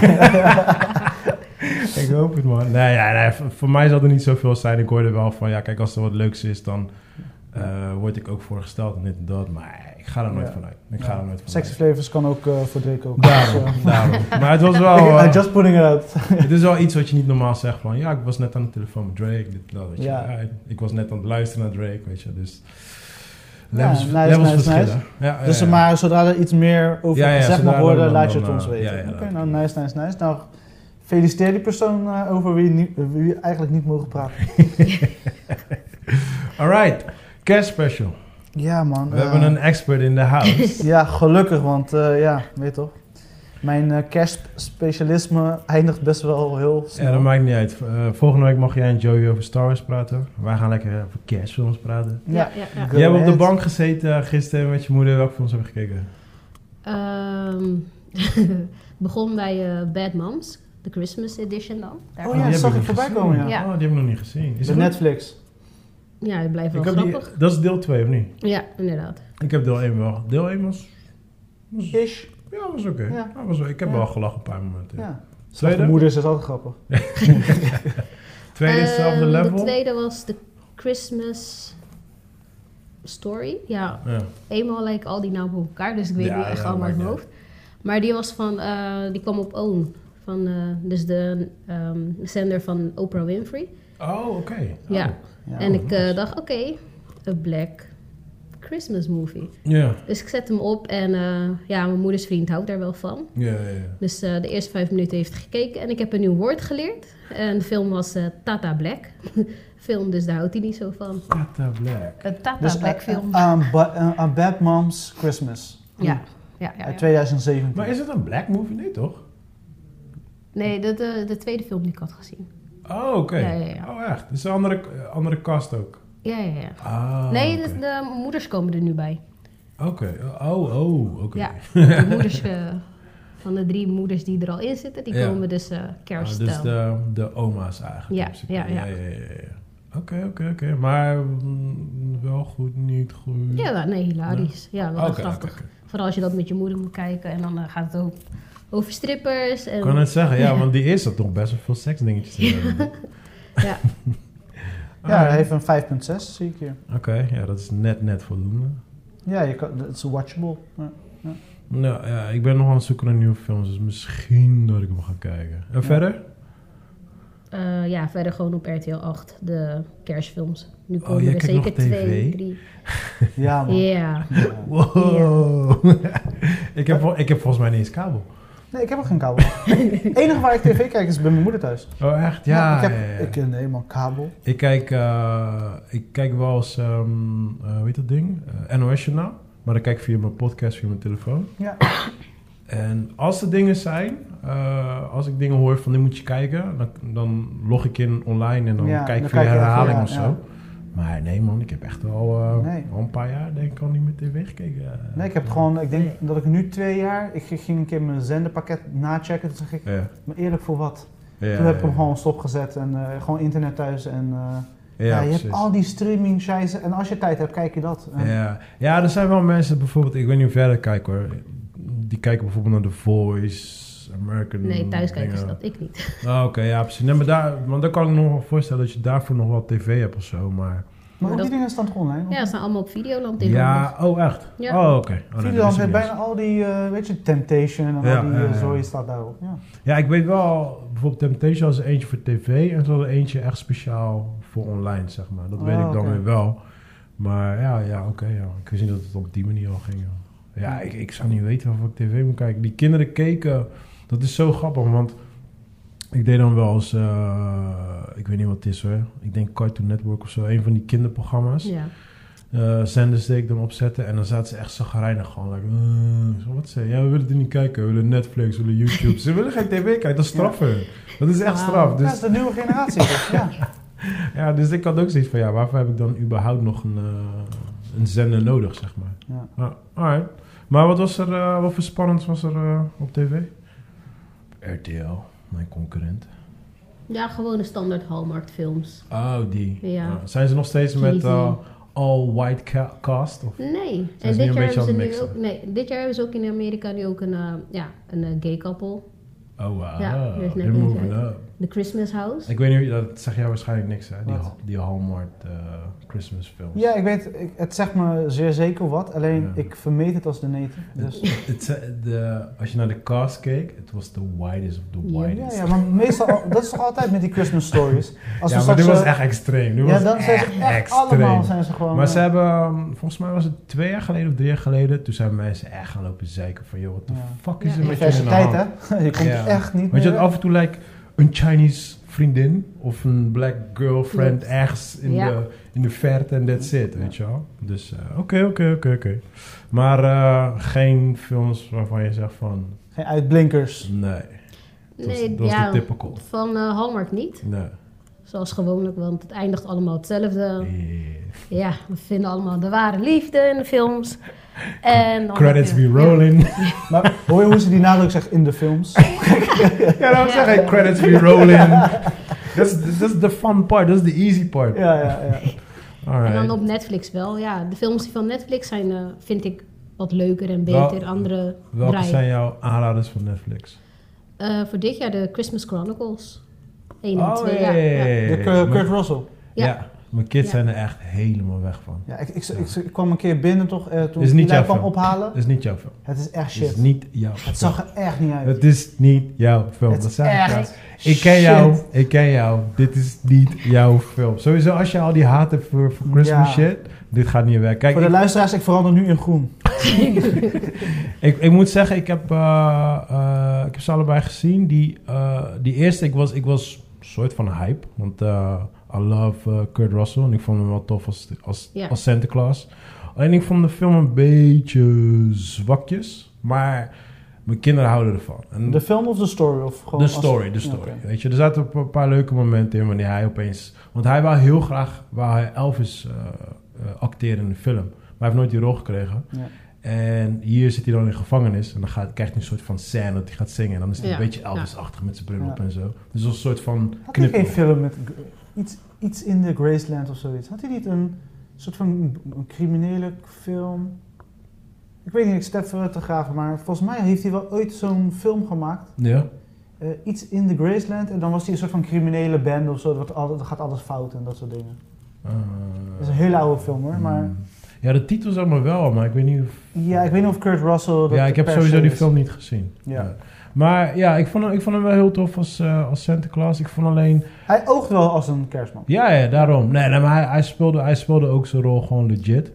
A: <laughs>
B: <laughs> ik hoop het, man. Nee, ja, nee, voor, voor mij zal er niet zoveel zijn. Ik hoorde wel van, ja, kijk, als er wat leuks is, dan eh, word ik ook voorgesteld en dit en dat. Maar ik ga er nooit
A: Ja.
B: vanuit. Ik ga er nooit vanuit.
A: Sexy Flavors kan ook eh, voor Drake ook.
B: Daarom,
A: Dus, eh,
B: daarom. Maar het was
A: <laughs>
B: wel...
A: ik-
B: eh,
A: I'm just putting it out.
B: Het is wel iets wat je niet normaal zegt van ja, ik was net aan de telefoon met Drake. Dit, dat, weet je.
A: Ja.
B: Ja, ik was net aan het luisteren naar Drake, weet je. Dus
A: Ja,
B: levels,
A: nice,
B: levels
A: nice,
B: verschillen. Ja, ja,
A: Dus
B: ja.
A: maar zodra er iets meer over
B: Ja, ja,
A: gezegd mag
B: zodra
A: worden,
B: dan-
A: laat je het
B: dan,
A: ons
B: eh,
A: weten.
B: ja, ja,
A: Oké,
B: dat-
A: nou nice, nice, nice. Nou, feliciteer die persoon eh, over wie, nie- wie we eigenlijk niet mogen praten.
B: Alright, cash special.
A: Ja man.
B: We
A: eh,
B: hebben een expert in de
A: <laughs>
B: house.
A: Ja, gelukkig, want eh, ja, weet toch. Mijn eh, kerstspecialisme eindigt best wel heel snel.
B: ja, dat maakt niet uit. Eh, volgende week mag jij en Joey over Star Wars praten. Wij gaan lekker over kerstfilms praten.
A: Ja.
C: ja, ja.
A: Go
B: Jij hebt op de
A: ahead. Oh
B: bank gezeten gisteren met je moeder. Welke films heb je gekeken?
C: Ehm, <laughs> begon bij eh, Bad Moms, de Christmas edition dan. Daar
A: Oh
B: die
A: ja,
B: heb
A: zag ik
B: ik niet
A: voorbij
B: gezien.
A: komen, ja.
C: Ja.
B: Oh, die heb ik nog niet gezien. Is
A: De
B: het goed?
A: Netflix.
C: Ja, het blijft wel
B: ik heb die,
C: grappig.
B: dat is deel 2 of niet?
C: Ja, inderdaad.
B: Ik heb deel 1 wel. Deel 1 was... was
A: Ish.
B: Ja, was oké.
A: Ja.
B: Ja, was- ik heb
A: Ja.
B: wel gelachen een paar momenten.
A: Ja.
B: Tweede?
A: Slechte moeders is altijd grappig. Eh,
B: Tweede is hetzelfde
C: Ehm,
B: level.
C: De tweede was de Christmas story. Ja,
B: Ja.
C: eenmaal lijken al die nou bij elkaar, dus ik weet
B: Ja,
C: niet echt
B: ja,
C: allemaal uit mijn
B: maakt
C: hoofd. Maar die was van, eh, die kwam op OWN. Van, eh, dus de ehm, zender van Oprah Winfrey.
B: Oh, oké.
C: Ja.
B: Oh.
A: Ja.
C: en ik eh,
B: nice.
C: dacht, oké, een black Christmas movie.
B: Ja,
C: Dus ik zet hem op en eh, ja, mijn moeders vriend houdt daar wel van.
B: ja, ja, ja.
C: Dus eh, de eerste vijf minuten heeft hij gekeken en ik heb een nieuw woord geleerd. En de film was eh, Tata Black. <laughs> film, dus daar houdt hij niet zo van.
B: Tata Black.
C: Een Tata
A: Dus
C: Black
A: eh,
C: film.
B: ah,
A: aan Ba- eh, aan Bad Moms Christmas.
C: ja, ja, ja.
A: Uit
C: ja.
A: 2017.
B: Maar is het een black movie? Nee, toch?
C: Nee, de, de, de tweede film die ik had gezien.
B: Oh, oké.
C: Ja, ja, ja.
B: Oh, echt? Het is een andere, eh, andere cast ook.
C: Ja, ja, ja.
B: Ah,
C: nee,
B: oké.
C: de, de moeders komen er nu bij.
B: Oké. Oh, oh, oké.
C: Ja, de moeders eh,
B: <laughs>
C: van de drie moeders die er al in zitten, die
B: Ja.
C: komen dus eh
B: Ah,
C: kerst.
B: dus
C: eh,
B: de, de oma's eigenlijk.
C: Ja,
B: in principe.
C: ja, ja.
B: ja, ja, ja, ja. Oké, oké, oké. Maar mm, wel goed, niet goed.
C: Ja, wel, nee, hilarisch. Ja, wel
B: Oké,
C: echt grappig.
B: oké, oké.
C: Vooral als je dat met je moeder moet kijken en dan eh, gaat het ook over strippers. En,
B: Ik kan het
A: <laughs>
B: zeggen, ja, want die eerste had toch best wel veel seksdingetjes. in.
C: Ja,
A: Ja,
B: Ah.
A: hij heeft een 5.6, zie ik hier.
B: Oké, ja, dat is net, net voldoende.
A: Ja, je kan, het is watchable. Ja.
B: Nou ja, ik ben nog aan het zoeken naar nieuwe films, dus misschien dat ik hem ga kijken. En verder?
C: Eh, ja, verder gewoon op RTL 8, de kerstfilms. Nu
B: Oh,
C: komen
B: jij
C: er
B: kijkt
C: zeker
B: nog TV?
C: twee, drie.
A: Ja,
B: Oh.
C: Ja,
A: man. Ja.
B: Wow! <laughs> ik, heb, vol- ik heb volgens mij niet eens kabel.
A: Nee, ik heb ook geen kabel. Het enige waar ik tv kijk is bij mijn moeder thuis.
B: Oh, echt? Ja,
A: ik heb
B: ja, ja.
A: Ik,
B: Ik,
A: eh, nee, man, kabel.
B: kijk, eh, ik kijk wel eens, ehm eh, hoe heet dat ding? Eh, NOS Journaal. Maar dan kijk ik via mijn podcast, via mijn telefoon.
A: Ja.
B: En als er dingen zijn, eh, als ik dingen hoor van die moet je kijken, dan, dan log ik in online en dan
A: Ja,
B: kijk ik
A: dan
B: via
A: kijk je even,
B: herhaling
A: ja,
B: of zo.
A: ja.
B: Maar nee man, ik heb echt al, eh,
A: Nee.
B: al een paar jaar denk ik al niet meer tv gekeken.
A: Nee, ik heb het gewoon, ik denk dat ik nu twee jaar, ik ging een keer mijn zenderpakket nachecken. Toen zeg ik,
B: Ja,
A: maar eerlijk voor wat?
B: ja,
A: Toen heb ik hem
B: ja.
A: gewoon stopgezet en eh, gewoon internet thuis. En eh,
B: Ja,
A: ja, je hebt
B: precies.
A: al die streaming scheisse en als je tijd hebt, kijk je dat. Eh, En-
B: Ja. ja, er zijn wel mensen bijvoorbeeld, ik weet niet hoe verder kijken hoor. Die kijken bijvoorbeeld naar The Voice, American...
C: Nee, thuiskijkers,
B: dingen.
C: dat ik niet.
B: Ah, Oké, ja precies. Nee, maar daar, want dan kan ik me nog wel voorstellen dat je daarvoor nog wel tv hebt of zo, maar...
A: Maar ook
C: dat-
A: die dingen staan toch online?
C: Ja, ze zijn allemaal op Videoland tegenwoordig.
B: Ja, oh echt?
C: Ja.
B: Oh, oké. Oh, nee, dat
A: Videoland
B: wist ik
A: heeft
B: niet eens.
A: bijna al die, eh, weet je, Temptation en
B: Ja,
A: al die
B: ja,
A: eh,
B: ja.
A: zooi staat daarop. Ja.
B: Ja, ik weet wel, bijvoorbeeld Temptation was er eentje voor tv en ze hadden eentje echt speciaal voor online, zeg maar. Dat
A: Oh,
B: weet ik dan
A: oké.
B: weer wel. Maar ja, ja oké. ja. Ik wist niet dat het op die manier al ging. joh. Ja, ik, ik zou niet weten of ik tv moet kijken. Die kinderen keken, dat is zo grappig, want ik deed dan wel eens, eh, ik weet niet wat het is hoor, ik denk Cartoon Network of zo, een van die kinderprogramma's.
C: Ja.
B: eh zenders deed ik hem opzetten. En dan zaten ze echt zagrijnig gewoon. Like, "Eh, zo, wat zei je? Ja, we willen er niet kijken. We willen Netflix, we willen YouTube. ze willen geen tv kijken. Dat is straf voor hun. Dat is echt
A: Ja,
B: straf.
A: dat is
B: Dus,
A: de nieuwe generatie. dus, ja.
B: <laughs> ja, dus ik had ook zoiets van... Ja, waarvoor heb ik dan überhaupt nog een, eh, een zender nodig, zeg maar.
A: Ja.
B: Nou, alright. Maar wat was er... eh, wat voor spannends was er eh, op tv? RTL. Mijn concurrent.
C: Ja, gewone standaard Hallmark films.
B: Oh, die.
C: Ja.
B: Ah, zijn ze nog steeds met
C: Cheesy.
B: eh, all white ca- cast? Of?
C: Nee.
B: nu een
C: En dit
B: beetje
C: jaar, hebben
B: aan
C: ze
B: het
C: nu
B: mixen.
C: ook, nee, dit jaar hebben ze ook in Amerika nu ook een, eh, ja, een eh, gay couple.
B: Oh, wow.
C: Ja, er is net
B: They're
C: eentje
B: moving
C: uit.
B: up.
C: The Christmas House.
B: Ik weet niet, dat zegt jou waarschijnlijk niks, hè? Die,
A: Wat?
B: ha- die Hallmark eh, Christmas films.
A: ja, ik weet, ik, het zegt me zeer zeker wat, alleen
B: Ja.
A: ik vermeed het als de neten. Dus.
B: Het- het ze- de, als je naar de cast keek, het was the widest of the
C: Ja.
A: Ja,
B: widest.
A: ja, maar meestal, dat is toch altijd met die Christmas stories. Als
B: Ja,
A: we
B: maar
A: straks,
B: dit was
A: eh,
B: echt extreem. Dit
A: ja,
B: was
A: dan zijn ze
B: echt
A: echt
B: extreem.
A: allemaal zijn ze gewoon.
B: maar
A: eh,
B: ze hebben, ehm, volgens mij was het twee jaar geleden of drie jaar geleden, toen zijn mensen echt gaan lopen zeiken van, joh, wat de
A: Ja.
B: fuck is
C: Ja,
B: er met je aan de
A: diversiteit,
B: hand?
A: hè? <laughs> Je komt
B: Ja.
A: echt niet.
B: Want je
A: meer
B: had af en toe like, een Chinese vriendin of een black girlfriend
C: Klopt.
B: ergens in,
C: Ja.
B: de, in de verte en that's it, weet je wel. Dus eh, oké, oké, oké, oké. Maar eh, geen films waarvan je zegt van,
A: Geen uitblinkers.
B: nee, dat was,
C: Nee,
B: dat was
C: ja,
B: de typical.
C: van eh, Hallmark niet.
B: Nee.
C: Zoals gewoonlijk, want het eindigt allemaal hetzelfde.
B: Eh,
C: Ja, we vinden allemaal de ware liefde in de
B: <laughs>
C: films. En dan
B: Credits
C: heb je-
B: be rolling.
A: Maar hoor je hoe ze die nadruk zegt in de films?
B: <laughs> Ja, daarom
C: Ja.
B: zeg ik credits be rolling. <laughs> Dat is- Dat is de fun part, dat is de easy part.
A: Ja, ja, ja.
C: Ja. En
B: Alright.
C: dan op Netflix wel. Ja, de films die van Netflix zijn, eh, vind ik wat leuker en
B: Wel-
C: beter. Andere
B: Welke
C: draaien.
B: zijn jouw aanraders van Netflix?
C: Eh, voor dit jaar de Christmas Chronicles. 1 en
B: Oh,
C: 2,
B: ja,
C: ja. ja.
A: De Kurt, Kurt Russell.
B: Ja.
C: Ja.
B: mijn kids
C: Ja.
B: zijn er echt helemaal weg van.
A: Ja, ik, ik, ik, ik kwam een keer binnen toch, eh, toen
B: Is niet
A: Eli
B: jouw
A: kwam
B: film.
A: ophalen.
B: Dat is niet jouw film.
A: Het is echt
B: Het is
A: shit.
B: niet jouw
A: Het
B: film.
A: zag er echt niet uit.
B: Het is niet jouw film.
A: Het
B: Dat
A: is
B: zei ik. al.
A: echt
B: Ik ken jou,
A: shit.
B: ik ken jou. Dit is niet jouw film. Sowieso als je al die haat hebt voor, voor Christmas
A: Ja.
B: shit, dit gaat niet werken. Kijk,
A: Voor de
B: ik,
A: luisteraars, ik verander nu in groen.
B: ik, ik moet zeggen, ik heb, eh, eh, ik heb ze allebei gezien. Die, eh, die eerste, ik was, ik was een soort van hype. Want eh, I love eh, Kurt Russell en ik vond hem wel tof als, als,
C: Ja.
B: als Santa Claus. Alleen ik vond de film een beetje zwakjes. Maar mijn kinderen houden ervan. En
A: De film of de story? Of gewoon
B: Hm. De
A: als-
B: story,
A: Ja,
B: de story.
A: oké.
B: Weet je, er zaten een paar leuke momenten in wanneer hij opeens... Want hij wou heel graag wou hij Elvis eh, eh, acteren in de film. Maar hij heeft nooit die rol gekregen.
A: Ja.
B: En hier zit hij dan in gevangenis. En dan gaat, krijgt hij een soort van scène dat hij gaat zingen. En dan is hij
C: Ja,
B: een beetje
C: ja.
B: Elvis-achtig met zijn bril op
A: Ja.
B: en zo. Dus dat is een soort van
A: Had hij geen
B: knipoog.
A: film met g- iets, iets in de Graceland of zoiets? Had hij niet een soort van een criminele film? Ik weet niet, ik step vooruit te graven, maar volgens mij heeft hij wel ooit zo'n film gemaakt.
B: Ja?
A: Eh, iets in de Graceland en dan was hij een soort van criminele band of zo. Dat altijd, gaat alles fout en dat soort dingen.
B: Eh,
A: Dat is een hele oude film hoor, maar...
B: mm. Ja, de titel zeg maar wel, maar ik weet niet of...
A: Ja, ik weet niet of Kurt Russell... dat
B: Ja, ik heb
A: per
B: sowieso
A: se
B: die
A: is.
B: film niet gezien.
A: Ja.
B: Maar ja, ik vond, hem, ik vond hem wel heel tof als, eh, als Santa Claus. Ik vond alleen...
A: Hij oogt wel als een kerstman.
B: Ja, ja daarom. Nee, nee maar hij, hij, speelde, hij speelde ook zijn rol gewoon legit.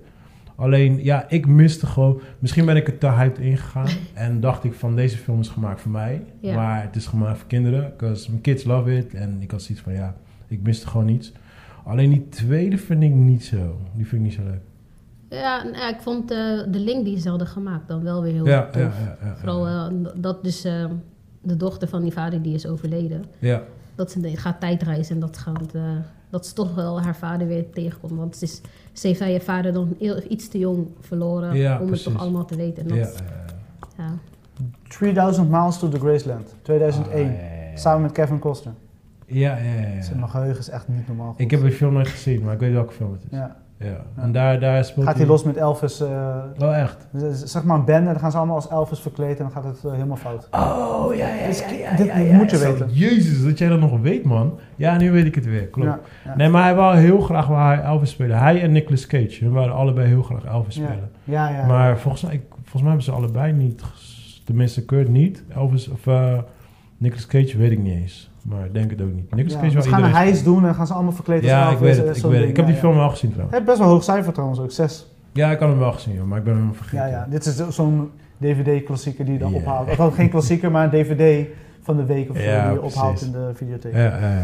B: Alleen, ja, ik miste gewoon... Misschien ben ik er te hyped
C: <laughs>
B: ingegaan. en dacht ik van, deze film is gemaakt voor mij.
C: Ja.
B: Maar het is gemaakt voor kinderen. Because my kids love it. En ik had zoiets van, ja, ik miste gewoon niets. Alleen die tweede vind ik niet zo. Die vind ik niet zo leuk.
C: Ja, nou ja, ik vond eh, de link die ze hadden gemaakt dan wel weer heel
B: Ja, ja,
C: tof.
B: ja, ja, ja.
C: Vooral eh, dat dus eh, de dochter van die vader die is overleden.
B: Ja,
C: Dat ze de- gaat tijdreizen en dat, gaat, eh, dat ze toch wel haar vader weer tegenkomt. Want ze, is, ze heeft haar vader dan heel- iets te jong verloren
B: Ja,
C: om
B: precies.
C: het toch allemaal te weten. En
B: ja,
C: dat,
B: ja.
C: ja. Ja.
A: 3000 Miles to the Graceland, 2001.
B: Ah, ja, ja, ja.
A: Samen met Kevin Costner.
B: Ja, ja, ja, ja.
A: Zijn Mijn geheugen is echt niet normaal goed.
B: Ik heb die film nooit gezien, maar ik weet welke film het is. Ja.
A: Ja.
B: En daar, daar speelt
A: Gaat hij los met Elvis... eh,
B: Oh, echt?
A: z- z- zeg maar een bende, dan gaan ze allemaal als Elvis verkleed en dan gaat het eh, helemaal fout.
B: Oh, ja, ja,
A: Dus
B: ja, ja,
A: dit
B: ja, ja,
A: moet je
B: Zo,
A: weten.
B: Jezus, dat jij dat nog weet, man. Ja, nu weet ik het weer, klopt.
A: Ja, ja.
B: Nee, maar hij wou heel graag waar hij Elvis spelen. Hij en Nicolas Cage, hun waren allebei heel graag Elvis
A: Ja.
B: spelen.
A: Ja, ja.
B: Maar volgens mij, ik, volgens mij hebben ze allebei niet, ges- tenminste Kurt niet, Elvis of eh Nicolas Cage weet ik niet eens. Maar ik denk het ook niet. Nicolas
A: Ja, want
B: Cage wel
A: ze gaan
B: iedereen.
A: een hijs doen en dan gaan ze allemaal verkleed als
B: ja,
A: Elvis.
B: ik weet
A: eh,
B: het, ik
A: zo'n
B: weet het.
A: ding.
B: Ik heb
A: Ja,
B: die
A: ja.
B: film wel gezien trouwens.
A: Hij heeft best wel hoog cijfer trouwens ook, 6.
B: Ja, ik had hem wel gezien, joh, maar ik ben hem vergeten.
A: Ja, ja, dit is zo- zo'n DVD-klassieker die je dan
B: Ja.
A: ophaalt. Of wel geen klassieker, maar een DVD van de week of zo
B: Ja,
A: die je ophaalt
B: precies.
A: in de videotheek.
B: ja, ja, ja.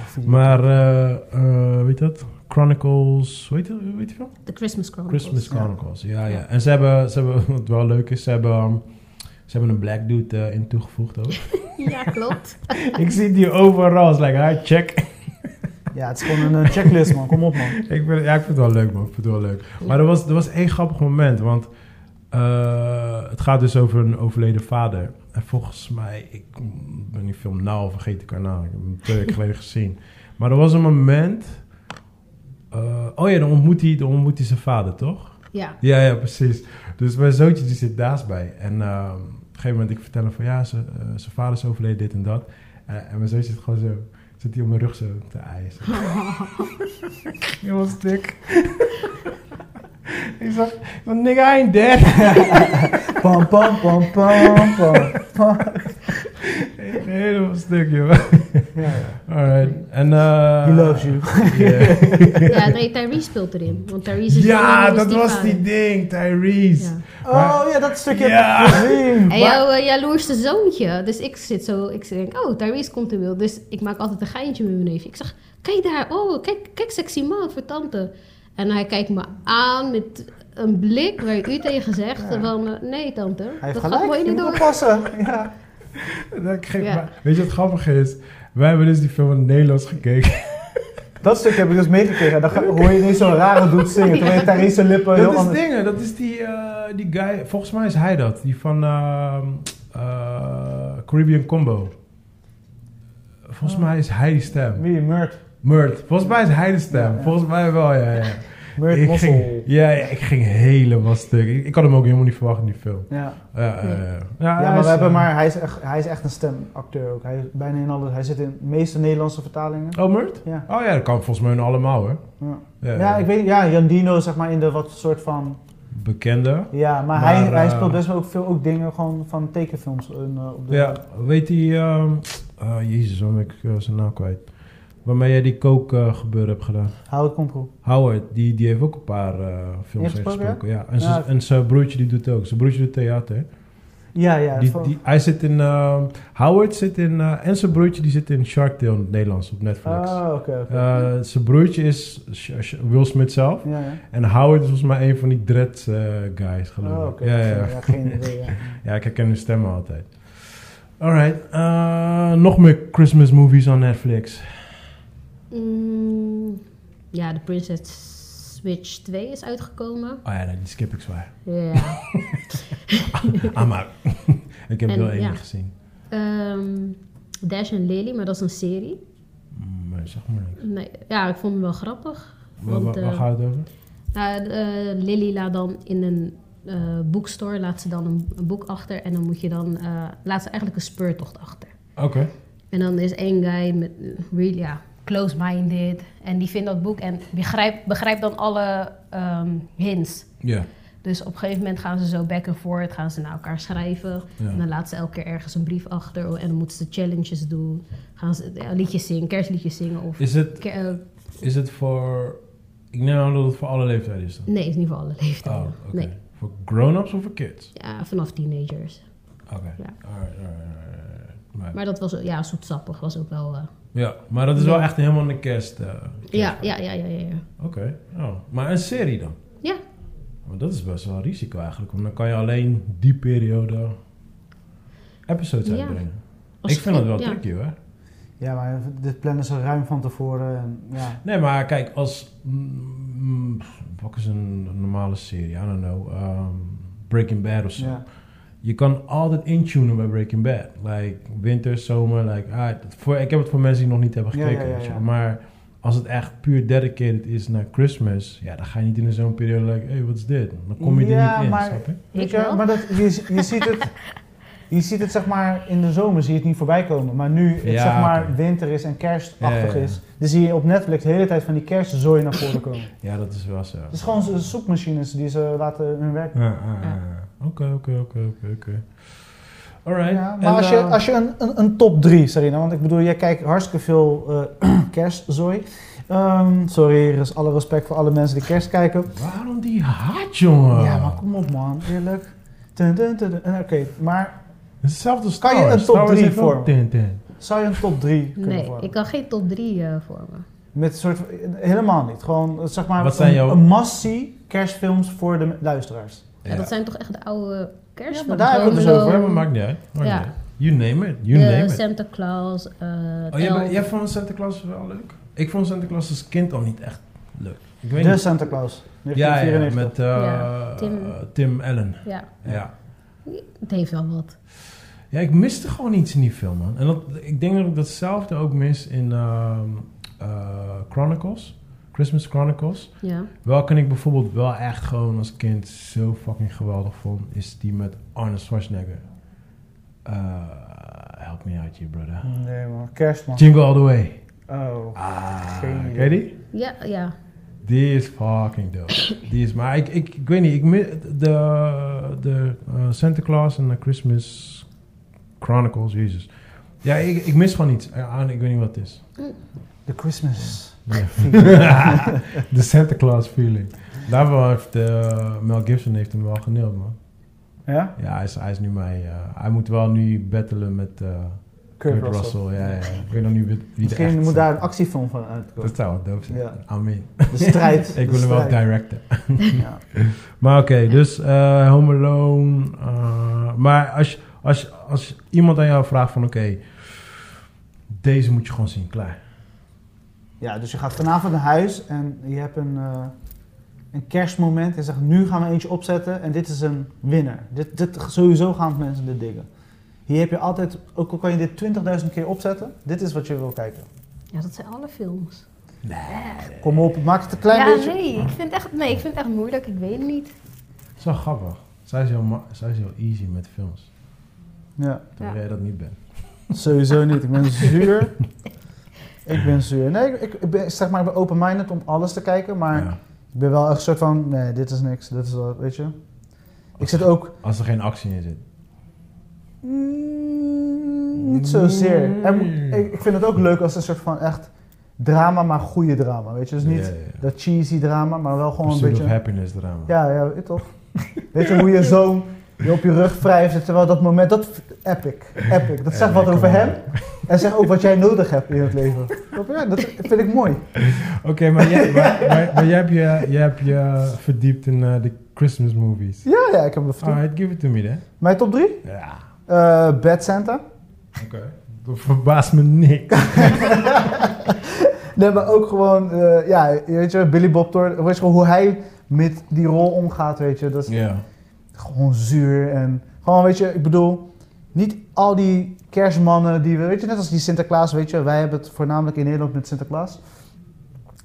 A: Of video-
B: Maar, eh, eh, weet je dat? Chronicles, hoe heet die, hoe heet die film?
C: De Christmas Chronicles.
B: Christmas
A: ja.
B: Chronicles, ja, ja. En ze hebben, ze hebben, <laughs> wat wel leuk is, ze hebben, ehm, ze hebben een black dude eh, in toegevoegd ook.
C: <laughs> Ja, klopt.
B: ik zie die overal, is like, hi, check. <laughs>
A: Ja, het is gewoon een eh, checklist, man. Kom op, man.
B: ik vind, ja, ik vind het wel leuk, man. Ik vind het wel leuk. Maar er was, er was één grappig moment, want eh, het gaat dus over een overleden vader. En volgens mij, ik ben die film nauw vergeten, kanaal. Ik heb hem twee weken geleden gezien. Maar er was een moment. eh, oh ja, dan ontmoet, hij, dan ontmoet hij zijn vader, toch? <laughs>
C: Ja.
B: Ja, ja, precies. Dus mijn zoontje die zit naast mij. En ehm, op een gegeven moment ik vertel hem van ja, ze- eh, zijn vader is overleden, dit en dat. Eh, en mijn zoontje zit gewoon zo, zit hij op mijn rug zo te
C: <laughs>
B: eisen. Je was stuk. <laughs> ik zag, van nigga, I ain't dead.
A: Pam, pam, pam, pam, pam. pam.
B: <laughs> Helemaal stuk, joh.
A: Ja, ja.
B: Alright. En eh...
A: He loves
B: <laughs>
A: you.
B: yeah.
C: ja, nee, Tyrese speelt erin. Want Tyrese <laughs> is
B: ja,
C: jongen, dus
B: dat was die
C: vader.
B: ding, Tyrese.
C: Ja.
A: Oh ja, dat stukje
B: Ja.
A: heb ik gezien.
C: En
A: Waar-
C: jouw eh, jaloerste zoontje. Dus ik zit zo, ik denk, oh, Tyrese komt in beeld. Dus ik maak altijd een geintje met mijn neefje. Ik zeg, kijk daar, oh, kijk, kijk sexy man voor tante. En hij kijkt me aan met een blik waar u tegen zegt van, eh, nee tante,
A: Hij heeft
C: dat gaat mooi
A: gelijk, je
C: niet
A: moet
C: door.
A: oppassen. Ja.
B: Dat ik geen-
C: Ja.
B: maar weet je wat grappig is? Wij hebben dus die film in het Nederlands gekeken.
A: Dat stuk heb ik dus meegekregen. En dan ga- hoor je ineens zo'n rare doet zingen. Terwijl je Therese zijn lippen heel
B: Dat is
A: anders...
B: dingen, dat is die, eh, die guy, volgens mij is hij dat, die van ehm, eh, Caribbean Combo. Volgens mij is hij die stem.
A: Ah. Wie? Murt.
B: Murt, volgens mij is hij de stem.
A: Ja, ja.
B: Volgens mij wel,
A: <laughs>
B: ja. ja.
A: Murt
B: ik
A: Mossel.
B: ging, ja, ja, ik ging helemaal stuk. Ik, ik had hem ook helemaal niet verwacht in die film.
A: Ja.
B: Ja, ja, ja. ja,
A: Ja,
B: hij
A: maar,
B: is,
A: we hebben
B: eh,
A: maar hij, is echt, hij is echt een stemacteur ook. Hij, is bijna in alle, hij zit in de meeste Nederlandse vertalingen.
B: Oh, Murt?
A: Ja.
B: Oh ja, dat kan volgens mij in allemaal, hoor.
A: Ja.
B: Ja,
A: Ja, ik weet, ja, Jandino zeg maar in de wat soort van...
B: Bekende.
A: Ja, maar,
B: Maar,
A: hij, hij
B: eh,
A: speelt best wel ook veel ook dingen gewoon van tekenfilms. En, eh, op de,
B: Ja, weet die... ehm, ah, jezus, waarom ben ik eh, zijn naam kwijt? Waarmee jij die kook eh, gebeuren hebt gedaan.
A: Hou het control.
B: Howard, die, die heeft ook een paar eh, films
A: Ingesproken,
B: gesproken. Ja.
A: Ja,
B: En, zijn-
A: ik-
B: en zijn broertje die doet het ook. Zijn broertje doet theater.
A: Ja, ja.
B: die,
A: van-
B: die, hij zit in... ehm, Howard zit in... eh, en zijn broertje die zit in Shark Tale in het Nederlands op Netflix.
A: Ah, oké. oké.
B: Eh, zijn broertje is Sh- Sh- Will Smith zelf.
A: ja, ja.
B: En Howard is volgens mij een van die dread eh, guys, geloof ik.
A: Oh, oké.
B: ja, ja, ja.
A: geen idee. Ja.
B: Ja, ik herken hun stemmen altijd. Alright, eh, nog meer Christmas movies on Netflix.
C: Mm, ja, de Princess Switch 2 is uitgekomen.
B: Oh ja, nee, die skip ik
C: <laughs>
B: zwaar.
C: Ja.
A: <laughs>
B: Ah, maar <laughs> ik heb
C: En,
B: wel één
C: ja.
B: niet gezien.
C: Ehm, Dash en Lily, maar dat is een serie.
B: Mm, Maar zeg maar niks.
C: Nee, ja, ik vond hem wel grappig.
B: Waar, waar,
C: Want, eh,
B: waar gaat het over?
C: Nou, eh, Lily laat dan in een eh, boekstore laat ze dan een, een boek achter en dan moet je dan eh, laat ze eigenlijk een speurtocht achter.
B: Oké.
C: En dan is één guy met eh, really, ja, close-minded en die vindt dat boek en begrijpt, begrijpt dan alle ehm, hints.
B: Ja.
C: Dus op een gegeven moment gaan ze zo back and forth, gaan ze naar elkaar schrijven.
B: Ja.
C: En dan laat ze elke keer ergens een brief achter en dan moeten ze challenges doen. Gaan ze ja, liedjes zingen, kerstliedjes zingen of...
B: Is het,
C: Ke- eh,
B: is het voor... Ik neem aan dat het voor alle leeftijden is dan?
C: nee, is niet voor alle
B: Oh,
C: leeftijden.
B: oké.
C: Nee,
B: Voor grown-ups of voor kids?
C: ja, vanaf teenagers.
B: Oké.
C: Ja.
B: Alright, alright, alright, alright. Maar,
C: Maar dat was ja, zoetsappig was ook wel. eh,
B: ja, maar dat is wel echt helemaal een kerst. eh,
C: ja, ja, ja, ja, ja, ja.
B: Oké. Oh. Maar een serie dan?
C: Ja,
B: Maar dat is best wel een risico eigenlijk, want dan kan je alleen die periode episodes
C: Ja.
B: uitbrengen.
C: Als
B: ik vind dat wel
C: ja.
B: tricky hoor.
A: ja, maar dit plannen ze ruim van tevoren. En, ja.
B: Nee, maar kijk, als. mm, mm, wat is een normale serie? I don't know. ehm, Breaking Bad of zo.
A: Ja.
B: Je kan altijd intunen bij Breaking Bad. Like winter, zomer. Like, ah, dat- voor, ik heb het voor mensen die nog niet hebben
A: Ja,
B: gekeken.
A: ja, ja,
B: weet je.
A: ja.
B: Maar als het echt puur dedicated is naar Christmas, ja, dan ga je niet in zo'n periode, like, hey, wat is dit? Dan kom je
A: Ja,
B: er niet
A: maar-
B: in, snap je?
A: Weet
C: Ik
A: je,
C: wel.
A: eh, maar dat, je, je ziet <laughs> het. Je ziet het zeg maar in de zomer zie je het niet voorbij komen. Maar nu het
B: Ja,
A: zeg maar
B: oké.
A: winter is en kerstachtig
B: Ja, ja, ja.
A: is. Dan zie je op Netflix de hele tijd van die kerstzooi naar voren komen.
B: <laughs> Ja, dat is wel zo.
A: Het is gewoon zo- zoekmachines die ze laten hun werk doen.
B: Ja, ja, ja. ah, Oké, oké, oké, oké, oké. Alright.
A: Ja,
B: en,
A: maar als je,
B: eh,
A: als je een, een, een top 3, Sarina, want ik bedoel, jij kijkt hartstikke veel eh, <clears throat> kerstzooi. Ehm, sorry, er is alle respect voor alle mensen die kerst kijken.
B: Waarom die haat, jongen?
A: Ja, maar kom op man, eerlijk. Dun, dun, dun, dun. En Oké, maar
B: Hetzelfde Star
A: Kan je
B: Wars.
A: een top
B: Star Wars
A: drie
B: heeft ook
A: vormen?
B: Tintin.
A: zou je een top 3 kunnen
C: Nee,
A: vormen?
C: ik kan geen top 3 eh vormen.
A: Met een soort, helemaal niet. Gewoon, eh, zeg maar,
B: Wat zijn
A: een,
B: jouw-
A: een must-see kerstfilms voor de luisteraars.
C: Ja, dat zijn toch echt de oude kerstfilms.
A: maar daar hebben we het
C: Gewoon
A: dus
B: Ja,
A: over.
B: maar maakt niet uit. Maakt
C: Ja.
B: niet uit. You name it. You
C: de
B: name it.
C: Santa Claus, eh
B: Oh, jij,
C: Elf.
B: bent- jij vond Santa Claus wel leuk? Ik vond Santa Claus als kind al niet echt leuk. Ik weet
A: De
B: niet.
A: Santa Claus.
B: Ja, ja,
A: 1994.
B: met eh,
C: Ja, Tim.
B: eh, Tim Allen.
C: Ja,
B: Ja.
C: het heeft wel wat.
B: ja, ik miste gewoon iets in die film, man. En dat, ik denk dat ik datzelfde ook mis in ehm, eh, Chronicles. Christmas Chronicles.
C: Ja.
B: Welke ik bijvoorbeeld wel echt gewoon als kind zo fucking geweldig vond, is die met Arnold Schwarzenegger. Eh, help me out hier, brother.
A: Nee man, kerstman.
B: Jingle All The Way.
A: Oh.
B: Ah,
A: Geen idee.
B: ken je die?
C: Ja, ja.
B: Die is fucking dope. Die is, maar ik, ik, ik weet niet, ik, mi- de, de eh, Santa Claus en de Christmas Chronicles, jezus. Ja, ik, ik mis gewoon iets aan, ik weet niet wat
A: <laughs>
B: het is.
A: The Christmas.
B: Ja. de Santa Claus feeling. Daarvoor heeft eh, Mel Gibson heeft hem wel geneeld, man.
A: Ja?
B: Ja, hij is, hij is nu mij, eh, hij moet wel nu battelen met eh
A: Kurt,
B: Kurt
A: Russell.
B: Russell. Ja, ja, ja. Ik weet nog niet wie wie de
A: Misschien
B: echte
A: moet
B: Santa-
A: daar een actiefilm van uitkomen.
B: Dat zou wel dope zijn.
A: Ja.
B: Amen.
A: De strijd.
B: <laughs> Ik
A: de
B: wil hem wel
A: strijd.
B: directen.
A: Ja.
B: Maar oké, dus eh Home Alone. eh, maar als, als, als iemand aan jou vraagt van oké, deze moet je gewoon zien, klaar.
A: ja, dus je gaat vanavond naar huis en je hebt een, eh, een kerstmoment. En zegt, nu gaan we eentje opzetten en dit is een winnaar. Dit, dit, sowieso gaan mensen dit diggen. Hier heb je altijd, ook al kan je dit 20.000 keer opzetten, dit is wat je wil kijken.
C: ja, dat zijn alle films.
A: Kom op, maak het een klein
C: ja,
A: beetje.
C: nee ik, vind echt, nee, ik vind het echt moeilijk. Ik weet het niet.
B: Dat is wel grappig. Zij is heel, ma- zij is heel easy met films.
A: Ja,
B: Terwijl
C: Ja.
B: jij dat niet bent.
A: sowieso niet. Ik ben zuur. ik ben zuur. Nee, ik, ik ben, zeg maar, ik ben open-minded om alles te kijken, maar
B: Ja.
A: ik ben wel echt een soort van, nee, dit is niks, dit is wat, weet je. Ik zit ook
B: Als er geen actie in zit.
A: Mm, niet zozeer. Er
B: Mm.
A: moet- ik, ik vind het ook leuk als een soort van echt drama, maar goede drama. Weet je, dus niet
B: Ja, ja, ja.
A: dat cheesy drama, maar wel gewoon
B: Pursuit
A: een
B: of
A: beetje.
B: happiness drama.
A: Ja, ja, weet je toch? <laughs> weet je hoe je zoon je op je rug wrijft, terwijl dat moment, dat epic, epic. Dat
B: Eh,
A: zegt
B: nee,
A: wat over
B: kom
A: hem
B: maar.
A: en zegt ook wat jij nodig hebt in het leven. Snap je? dat vind ik mooi.
B: Oké, maar, jij, maar, maar, maar jij hebt je, jij hebt je verdiept in eh, de Christmas movies.
A: Ja, ja, ik heb dat verteld.
B: Alright, give it to me then.
A: Mijn top 3?
B: Ja,
A: Eh Bad Santa.
B: oké. Dat verbaast me niks.
A: Nee, maar ook gewoon, eh, ja, je weet je, Billy Bob Thornton, weet je gewoon hoe hij met die rol omgaat, weet je. Dat is,
B: Ja.
A: gewoon zuur en gewoon, weet je, ik bedoel, niet al die kerstmannen die we, weet je, net als die Sinterklaas, weet je, wij hebben het voornamelijk in Nederland met Sinterklaas.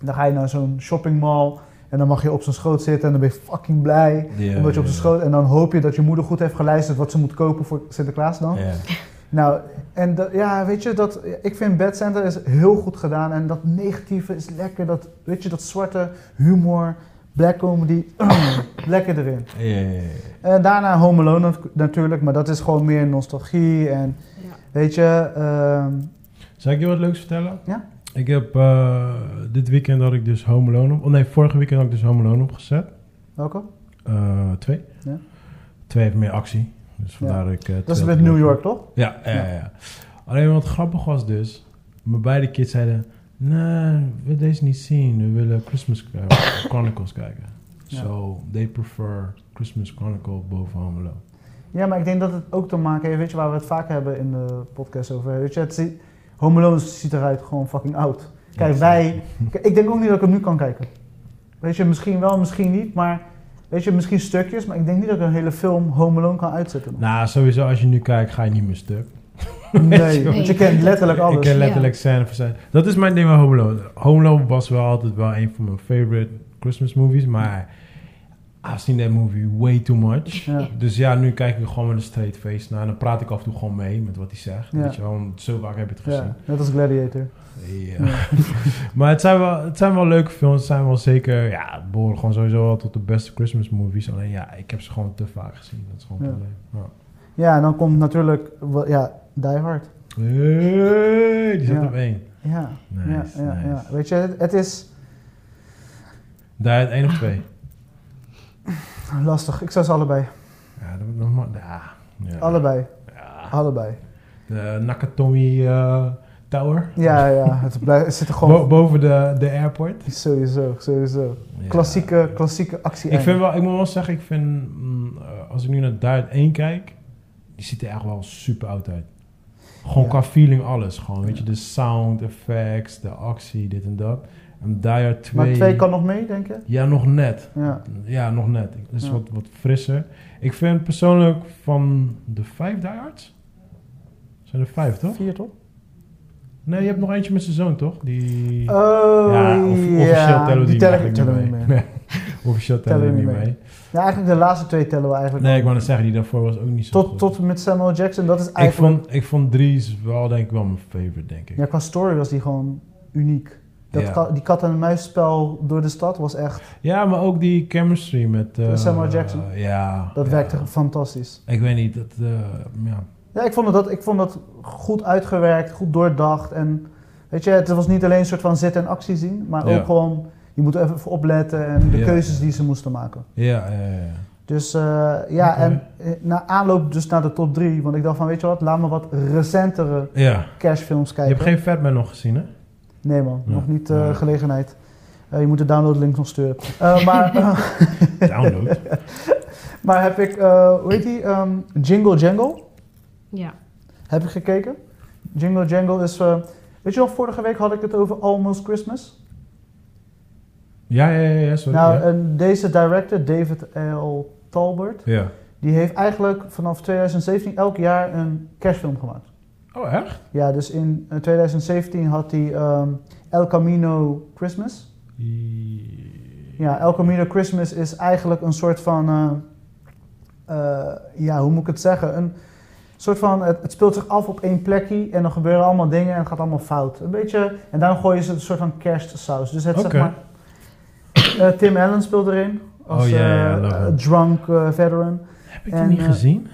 A: Dan ga je naar zo'n shoppingmall en dan mag je op zijn schoot zitten en dan ben je fucking blij.
B: Ja,
A: omdat je op
B: ja,
A: zijn schoot en dan hoop je dat je moeder goed heeft geluisterd wat ze moet kopen voor Sinterklaas dan.
B: ja.
A: Nou, en dat, ja, weet je, dat, ik vind Bad Santa is heel goed gedaan. En dat negatieve is lekker, dat, weet je, dat zwarte humor, black comedy, <clears throat> lekker erin.
B: Ja, ja, ja, ja.
A: En Eh, daarna Home Alone nat- natuurlijk, maar dat is gewoon meer nostalgie en
C: Ja.
A: weet je, ehm,
B: Zal ik je wat leuks vertellen?
A: Ja.
B: Ik heb eh, dit weekend had ik dus Home Alone op. Oh nee, vorige weekend had ik dus Home Alone opgezet.
A: welke?
B: Eh, twee.
A: Ja.
B: Twee heeft meer actie. Dus vandaar dat ik...
A: Dat
B: eh,
A: is
B: twee
A: met
B: had
A: New
B: lopen.
A: York toch?
B: Ja, ja, ja. ja. Alleen wat grappig was dus... Mijn beide kids zeiden... Nee, we willen deze niet zien. We willen Christmas eh, Chronicles kijken.
A: Ja.
B: So, they prefer Christmas Chronicle boven Home Alone.
A: Ja, maar ik denk dat het ook te maken heeft, weet je, waar we het vaak hebben in de podcast over. Weet je, het zie- Home Alone ziet eruit gewoon fucking oud. Kijk,
B: Ja.
A: wij, <laughs> Kijk, ik denk ook niet dat ik het nu kan kijken. Weet je, misschien wel, misschien niet, maar weet je, misschien stukjes, maar ik denk niet dat ik een hele film Home Alone kan uitzetten.
B: Nou, sowieso als je nu kijkt ga je niet meer stuk.
A: <laughs> Nee, want je kent letterlijk
B: Nou, Ik
A: alles.
B: ken letterlijk scène voor scène. Dat is mijn ding met Home Alone. Home Alone was wel altijd wel een van mijn favorite Christmas movies, maar I've seen that movie way too much.
A: Ja.
B: Dus ja, nu kijk ik er gewoon met een straight face naar en dan praat ik af en toe gewoon mee met wat hij zegt.
A: Ja.
B: Weet je wel, want zo vaak heb je het gezien.
A: Ja, net als Gladiator.
B: Ja. <laughs> maar het zijn, wel, het zijn wel leuke films. Het zijn wel zeker, ja, het behoren gewoon sowieso wel tot de beste Christmas movies. Alleen ja, ik heb ze gewoon te vaak gezien. Dat is gewoon een
A: Ja.
B: probleem. Ja.
A: Ja, en dan komt natuurlijk, wel- ja, Die Hard.
B: Hey, die zat
A: Ja.
B: op één.
A: Ja,
B: Nice,
A: ja, ja,
B: nice.
A: ja. Weet je, het, het is
B: Daar het één of twee.
A: lastig. Ik zou ze allebei.
B: Ja, dat nog maar. Ja. Ah. ja.
A: Allebei.
B: Ja.
A: Allebei.
B: De Nakatomi eh Tower.
A: Ja, ja. Het, blijft, het zit er
B: Bo-
A: gewoon...
B: boven de, de airport.
A: Sowieso, sowieso. Klassieke, klassieke actie
B: Ik, vind wel, ik moet wel zeggen, ik vind, mm, eh, als ik nu naar Duit 1 kijk, die ziet er echt wel super oud uit. Gewoon
A: Ja.
B: qua feeling alles. Gewoon, weet je, de sound effects, de actie, dit en dat. En Dire 2...
A: Maar twee kan nog mee, denk je?
B: Ja, nog net.
A: Ja.
B: Ja, nog net. Dat is
A: Ja.
B: wat, wat frisser. Ik vind persoonlijk van de vijf diehards... Zijn er vijf, toch?
A: Vier, toch?
B: Nee, je hebt nog eentje met zijn zoon, toch? Die...
A: Oh,
B: ja, of, officieel tellen we
A: die
B: die
A: tellen,
B: eigenlijk
A: tellen
B: niet
A: we
B: mee.
A: niet
B: Nee, <laughs> officieel tellen we niet mee.
A: Ja, eigenlijk de laatste twee tellen we eigenlijk
B: Nee,
A: wel
B: ik wou net zeggen, die daarvoor was ook niet zo
A: tot,
B: goed.
A: tot met Samuel Jackson, dat is
B: ik,
A: eigenlijk...
B: vond, ik vond Dries wel, denk ik, wel mijn favorite, denk ik.
A: Ja, qua story was die gewoon uniek. Dat
B: Ja.
A: ka- die kat-en-muisspel door de stad was echt...
B: Ja, maar ook die chemistry met... eh,
A: Met Samuel Jackson.
B: ja.
A: Dat
B: ja.
A: werkte fantastisch.
B: Ik weet niet, dat... eh, ja.
A: Ja, ik vond, dat, ik vond dat goed uitgewerkt, goed doordacht. En weet je, het was niet alleen een soort van zit en actie zien, maar
B: Ja.
A: ook gewoon, je moet er even voor opletten en de
B: Ja.
A: keuzes die ze moesten maken.
B: Ja, ja, ja, ja.
A: Dus eh, ja,
B: Oké.
A: en eh, na aanloop dus naar de top 3, want ik dacht van, weet je wat, laat me wat recentere
B: Ja.
A: cashfilms
B: Je
A: kijken.
B: hebt geen Fatman nog gezien, hè?
A: Nee man,
B: Ja.
A: nog niet eh,
B: Ja.
A: gelegenheid. Eh, je moet de downloadlink nog sturen.
B: <laughs>
A: Eh, maar, <laughs>
B: Download.
A: maar heb ik, eh, hoe heet die, ehm, Jingle Jangle?
C: Ja.
A: Heb ik gekeken. Jingle Jangle is. eh, weet je nog, vorige week had ik het over Almost Christmas.
B: ja, ja, ja, ja, sorry.
A: nou,
B: ja.
A: en deze director, David L. Talbert,
B: ja.
A: die heeft eigenlijk vanaf 2017 elk jaar een kerstfilm gemaakt.
B: Oh, echt?
A: Ja, dus in eh, 2017 had hij ehm, El Camino Christmas. Ja, El Camino Christmas is eigenlijk een soort van. eh, eh, ja, hoe moet ik het zeggen? Een soort van. Het, het speelt zich af op één plekje en dan gebeuren allemaal dingen en het gaat allemaal fout. Een beetje. En dan gooien ze een soort van kerstsaus. Dus het
B: Oké.
A: zeg maar. eh, Tim Allen speelt erin. Als
B: Oh, ja, ja,
A: eh,
B: love
A: eh,
B: it.
A: drunk eh, veteran.
B: Heb ik
A: En,
B: die niet
A: eh,
B: gezien?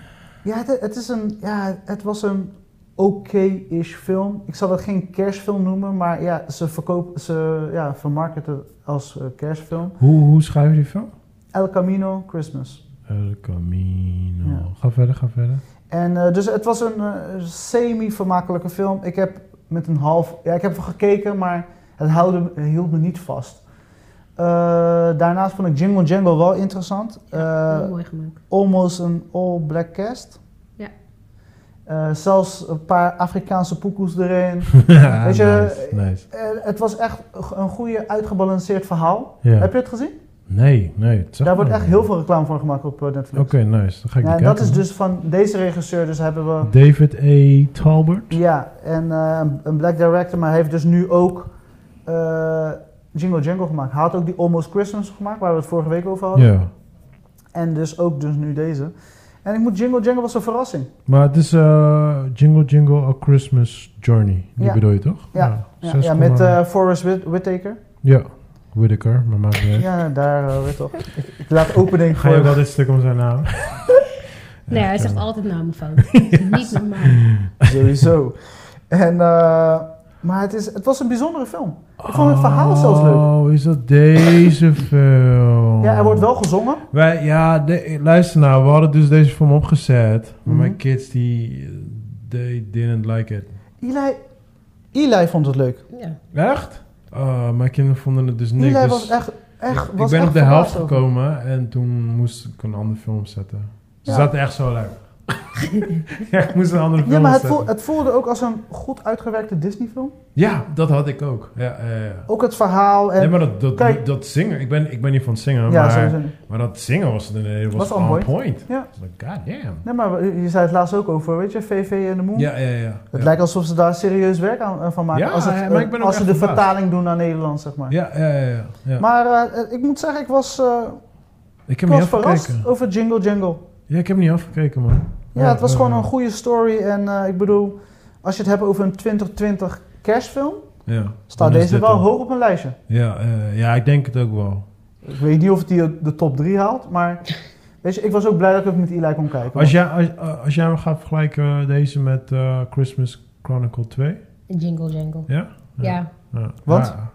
A: Ja, het, het is een, ja, het was een oké-ish film. Ik zal het geen kerstfilm noemen, maar ja, ze, verkopen, ze ja, vermarkten het als eh, kerstfilm.
B: Hoe, hoe schrijf je die film?
A: El Camino Christmas.
B: El Camino.
A: Ja.
B: Ga verder, ga verder.
A: En eh, dus het was een eh, semi-vermakelijke film. Ik heb met een half, ja, ik heb er gekeken, maar het houden, hield me niet vast. Eh, daarnaast vond ik Jingle Jangle wel interessant. Eh,
C: heel mooi gemaakt.
A: almost een all-black cast.
C: Ja.
A: Eh, zelfs een paar Afrikaanse poekoes erin.
B: Weet
A: <laughs> Weet je,
B: Ah, nice, nice.
A: Eh, het was echt een goede, uitgebalanceerd verhaal.
B: Ja.
A: Heb je het gezien?
B: Nee, nee. het zegt
A: Daar wordt
B: me
A: echt
B: niet.
A: heel veel reclame voor gemaakt op eh, Netflix.
B: Oké, nice. Dan Hm. ga ik
A: Ja,
B: die
A: en dat
B: kijken.
A: is dus van deze regisseur, dus hebben we...
B: David A. Talbert.
A: Ja, en eh, een- een black director, maar hij heeft dus nu ook eh, Jingle Jangle gemaakt. Hij had ook die Almost Christmas gemaakt, waar we het vorige week over hadden.
B: Ja.
A: En dus ook dus nu deze. En ik moet Jingle Jangle was een verrassing.
B: Maar het is eh, Jingle Jingle A Christmas Journey. Die
A: Ja.
B: bedoel je toch?
A: Ja. Ja, ja, met eh Forrest Whit- Whitaker.
B: ja. Whittaker, maar maakt niet uit.
A: Ja, daar eh, weer
B: <laughs>
A: toch. Ik, ik laat opening
B: Ga je ook
A: voor.
B: altijd stuk om zijn naam?
C: Nee, hij
B: Echt,
C: zegt
B: eh,
C: altijd namen
B: <laughs>
C: fout. Niet normaal.
A: Sowieso. En, eh, maar het, is, het was een bijzondere film. Ik vond het verhaal zelfs leuk.
B: Oh, is dat deze <laughs> film?
A: Ja, er wordt wel gezongen.
B: Wij, ja, de- luister nou, we hadden dus deze film opgezet. Maar mijn
A: Mhm.
B: kids, die... eh, They didn't like it.
A: Eli, Eli vond het leuk.
C: Ja.
B: Echt? Oh, mijn kinderen vonden het dus niks.
A: Eli
B: dus
A: was echt. echt
B: ik, ik
A: was
B: ben
A: echt
B: op de helft
A: verbaasd over.
B: gekomen en toen moest ik een andere film zetten. Ze
A: Ja.
B: zaten echt
A: <laughs>
B: zo leuk. ja, ik moest een andere film
A: Ja, maar het,
B: zetten.
A: voel, het voelde ook als een goed uitgewerkte Disney-film.
B: Ja, dat had ik ook. Ja, ja, ja.
A: Ook het verhaal en.
B: Nee, maar dat, dat,
A: Eh, Kijk.
B: dat zingen, ik ben, ik ben niet van het zingen,
A: ja,
B: maar,
A: sowieso.
B: maar dat zingen was, nee, was,
A: Was on
B: on point.
A: point.
B: Ja.
A: Ja.
B: God damn.
A: Nee, maar je zei het laatst ook over, weet je, VV en de Moon.
B: Ja, ja, ja.
A: Het
B: ja.
A: Mm. lijkt alsof ze daar serieus werk aan, eh, van maken.
B: Ja,
A: als het,
B: ja,
A: eh,
B: maar ik ben ook
A: als ze
B: echt
A: de
B: verbaasd.
A: vertaling doen naar Nederland, zeg maar.
B: ja, ja, ja, ja, ja.
A: Maar eh, ik moet zeggen, ik was, eh,
B: ik
A: ik
B: heb
A: was
B: hem niet
A: verrast
B: afgekeken.
A: over Jingle Jangle.
B: Ja, ik heb hem niet afgekeken, man.
A: Ja, het was
B: eh,
A: gewoon een goede story. En eh, ik bedoel, als je het hebt over een 2020 kerstfilm,
B: Ja.
A: staat
B: Dan is
A: deze
B: dit
A: wel
B: hem.
A: hoog op mijn lijstje.
B: Ja, eh, ja, ik denk het ook wel.
A: Ik weet niet of het die de top 3 haalt, maar weet je, ik was ook blij dat ik het met Eli kon kijken.
B: Als jij, als, eh, als jij hem gaat vergelijken eh, deze met eh, Christmas Chronicle 2,
C: Jingle Jangle.
B: ja?
C: Ja,
B: Ja.
A: Wat?
B: Ja,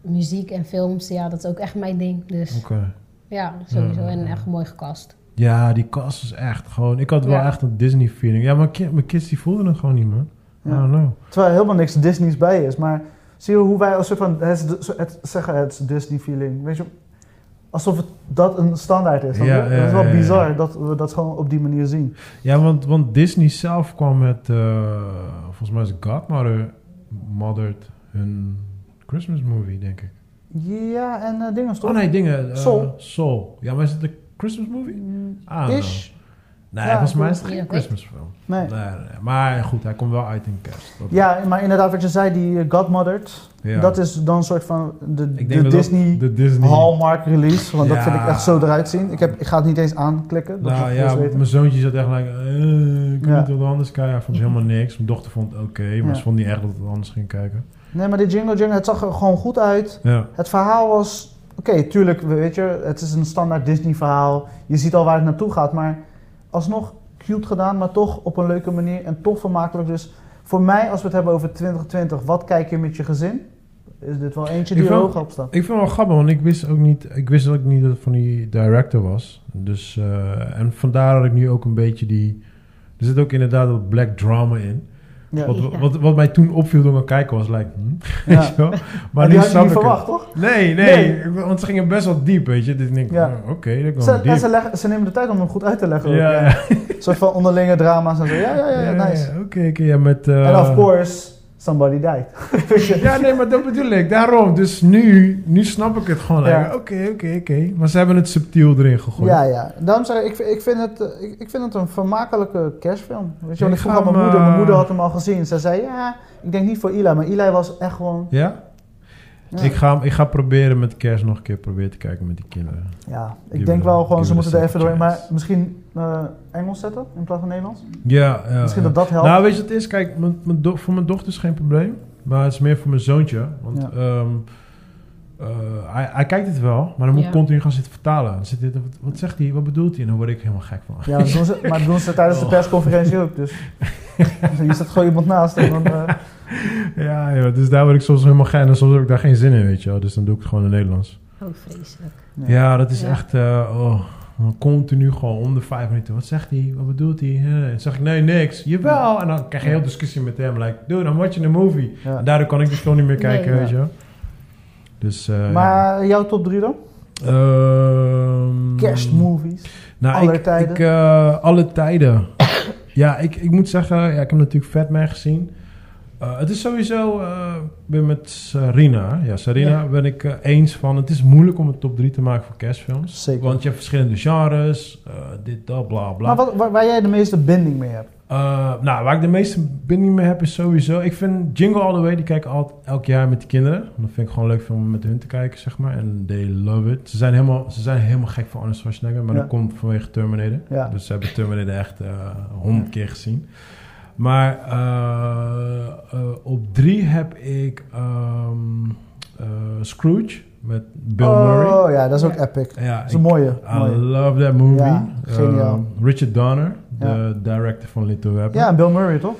C: muziek en films, ja, dat is ook echt mijn ding. Dus
B: Oké.
C: ja, sowieso.
B: Ja.
C: En echt mooi gecast.
B: Ja, die cast is echt gewoon... Ik had wel
C: Ja.
B: echt een Disney feeling. Ja, maar ki- mijn kids die voelden het gewoon niet, man. I don't know.
A: Terwijl er helemaal niks Disney's bij is. Maar zie je hoe wij als soort van het, is de- het zeggen het is Disney feeling. Weet je, alsof het, dat een standaard is.
B: Ja,
A: dat is
B: ja,
A: wel
B: ja, ja.
A: bizar dat we dat gewoon op die manier zien.
B: Ja, want, want Disney zelf kwam met, eh, volgens mij is Godmother modderd hun Christmas movie, denk ik.
A: Ja, en eh, dingen toch?
B: Oh nee, dingen. eh,
A: Soul.
B: Soul. Ja, maar is het een Christmas movie?
A: Mm,
B: Ah,
A: Ish.
B: Nee,
A: Ja,
B: volgens mij is het
C: ik
B: geen
C: weet het.
B: Christmas film.
A: Nee.
B: Nee, nee, nee. Maar goed, hij komt wel uit in kerst. Dat-
A: Ja, maar inderdaad, wat je zei, die eh, Godmothered.
B: Ja.
A: Dat is dan een soort van de,
B: Ik
A: de
B: denk dat dat-
A: Disney
B: de Disney.
A: Hallmark release. Want
B: Ja.
A: dat vind ik echt zo eruit zien. Ik, heb, ik ga het niet eens aanklikken. Dat
B: Nou
A: moet ik eerst
B: ja,
A: weten.
B: mijn zoontje zat echt like, eh, ik
A: Ja.
B: moet wat anders kijken. Hij vond helemaal niks. Mijn dochter vond het oké, maar
A: Ja.
B: ze vond niet echt dat het anders ging kijken.
A: Nee, maar die Jingle Jingle, het zag er gewoon goed uit.
B: Ja,
A: Het verhaal was... Oké, tuurlijk, weet je, het is een standaard Disney verhaal. Je ziet al waar het naartoe gaat, maar alsnog cute gedaan, maar toch op een leuke manier en toch vermakelijk. Dus voor mij, als we het hebben over 2020, wat kijk je met je gezin? Is dit wel eentje
B: Ik
A: die er
B: vond-
A: hoog op staat?
B: ik vind het wel grappig, want ik wist ook niet, ik wist ook niet dat het van die director was. Dus, eh, en vandaar dat ik nu ook een beetje die, er zit ook inderdaad dat black drama in.
A: Ja.
B: Wat,
C: Ja.
B: wat, wat mij toen opviel toen ik aan het kijken was, like, hm,
A: Ja.
B: <laughs> weet je wel?
A: Maar
B: Maar
A: die
B: nu
A: had je
B: snap
A: niet
B: ik het.
A: verwacht, toch?
B: Nee, nee, ik- want ze gingen best wel diep, weet je. Dus ik denk,
A: Ja.
B: oh, oké, dat kwam
A: Ze, en ze,
B: diep.
A: leggen, ze nemen de tijd om hem goed uit te leggen. ook,
B: Ja,
A: ja.
B: ja.
A: Een soort van onderlinge drama's en zo. Ja, ja, ja, ja,
B: Ja,
A: nice.
B: ja, Oké, oké, ja, met... eh,
A: En of course, somebody died. <laughs> Weet je?
B: Ja, nee, maar dat bedoel ik. Daarom. Dus nu, nu snap ik het gewoon.
A: Ja.
B: Like, Oké, oké, oké. Maar ze hebben het subtiel erin gegooid.
A: Ja, ja. Daarom zeg ik, ik, ik, vind het, eh, ik, ik vind het een vermakelijke kerstfilm. Weet je,
B: Ik
A: want ik vroeg
B: ga
A: aan mijn
B: hem,
A: moeder, mijn
B: eh,
A: moeder had hem al gezien. Zij zei, ja, ik denk niet voor Eli, maar Eli was echt gewoon...
B: Ja?
A: Ja,
B: Ik, ga, ik ga proberen met kerst nog een keer proberen te kijken met die kinderen.
A: ja ik
B: Give
A: denk
B: it a-
A: wel gewoon, ze
B: give it a
A: moeten er even
B: second
A: doorheen.
B: chance.
A: Maar misschien eh, Engels zetten in plaats van Nederlands?
B: Ja, ja.
A: misschien
B: ja.
A: dat dat helpt.
B: Nou, weet je wat het is? Kijk, mijn, mijn do- voor mijn dochter is geen probleem. Maar het is meer voor mijn zoontje. Want
A: Ja.
B: ehm, eh, hij, hij kijkt het wel, maar dan moet ik
C: Ja.
B: continu gaan zitten vertalen. Dan zit dit, wat, wat zegt hij? Wat bedoelt hij? En dan word ik helemaal gek van. <laughs>
A: Ja, dat doen ze, maar dat doen ze tijdens de
B: Oh.
A: persconferentie ook.
B: <laughs>
A: Dus je zit gewoon iemand naast en dan... eh,
B: Ja, joh, dus daar word ik soms helemaal gek. En soms heb ik daar geen zin in, weet je wel. Dus dan doe ik het gewoon in Nederlands.
C: Oh, vreselijk.
A: Ja.
B: Ja, dat is
C: Ja.
B: echt... eh, oh, dan continu gewoon om de vijf minuten. Wat zegt hij? Wat bedoelt hij? Eh, En dan zeg ik, nee, niks. Jawel. En dan krijg je heel discussie met hem. Like, dude, I'm watching a movie.
A: ja.
B: En daardoor kan ik de film niet meer kijken,
C: Nee,
B: weet
A: ja.
B: je wel. Dus... eh, ja. Mm.
A: Maar jouw top 3 dan?
B: Ehm,
A: Kerstmovies.
B: nou,
A: aller
B: ik,
A: tijden.
B: Ik, eh, alle tijden. <coughs> ja, ik, ik moet zeggen, ja, ik heb natuurlijk Fatman gezien. Eh, het is sowieso, eh, ik ben met Sarina, ja, Sarina
C: Ja.
B: ben ik eh, eens van, het is moeilijk om een top 3 te maken voor kerstfilms.
A: Zeker.
B: Want je hebt verschillende genres, eh, dit, dat, bla, bla.
A: Maar wat, waar, waar jij de meeste binding mee hebt?
B: Eh, nou, waar ik de meeste binding mee heb is sowieso... Ik vind Jingle All The Way, die kijk ik altijd elk jaar met de kinderen. Want Dat vind ik gewoon leuk om met hun te kijken, zeg maar. En they love it. Ze zijn helemaal, ze zijn helemaal gek van Arnold Schwarzenegger. Maar
A: Ja.
B: dat komt vanwege Terminator.
A: Ja.
B: Dus ze hebben Terminator echt honderd keer gezien. Maar eh, eh, op drie heb ik ehm, eh, Scrooge met Bill Murray.
A: Oh ja, dat is ook epic.
B: Ja,
A: Dat is
B: ik-
A: een mooie.
B: I
A: mooie.
B: love that movie.
A: Ja, geniaal.
B: Ehm, Richard Donner, de
A: Ja.
B: director van Little Weapon.
A: Ja, en Bill Murray toch?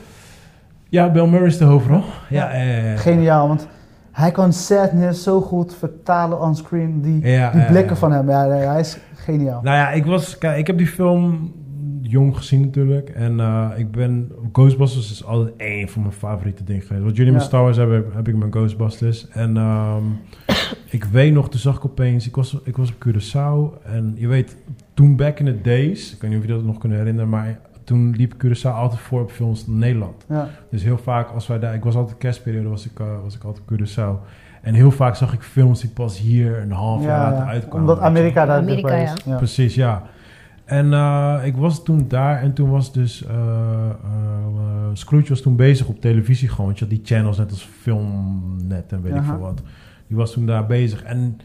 B: Ja, Bill Murray is de hoofdrol. Ja,
A: Ja.
B: eh, ja,
A: Geniaal, want hij kan sadness zo goed vertalen onscreen. Die,
B: ja,
A: die
B: ja,
A: blikken
B: ja.
A: van hem, ja, nee, hij is geniaal.
B: Nou ja, ik, was, kijk, ik heb die film jong gezien natuurlijk. En eh, ik ben... Ghostbusters is altijd één van mijn favoriete dingen geweest. Wat jullie
A: Ja.
B: met Star Wars hebben, heb ik met Ghostbusters. En ehm, <coughs> ik weet nog, toen zag ik opeens... Ik was, ik was op Curaçao en je weet, toen back in the days... Ik weet niet of jullie dat nog kunnen herinneren, maar... Toen liep Curaçao altijd voor op films in Nederland.
A: Ja.
B: Dus heel vaak als wij daar... Ik was altijd kerstperiode, was ik, eh, was ik altijd op Curaçao. En heel vaak zag ik films die pas hier een half jaar
A: Ja,
B: later
A: ja.
B: uitkwamen.
A: Omdat Amerika daar
C: Amerika,
A: dichtbij
C: ja.
A: is. Ja.
B: Precies, ja. En eh, ik was toen daar en toen was dus... eh, eh, eh, Scrooge was toen bezig op televisie gewoon. Want je had die channels net als Filmnet en weet ik
A: Aha.
B: veel wat. Die was toen daar bezig. En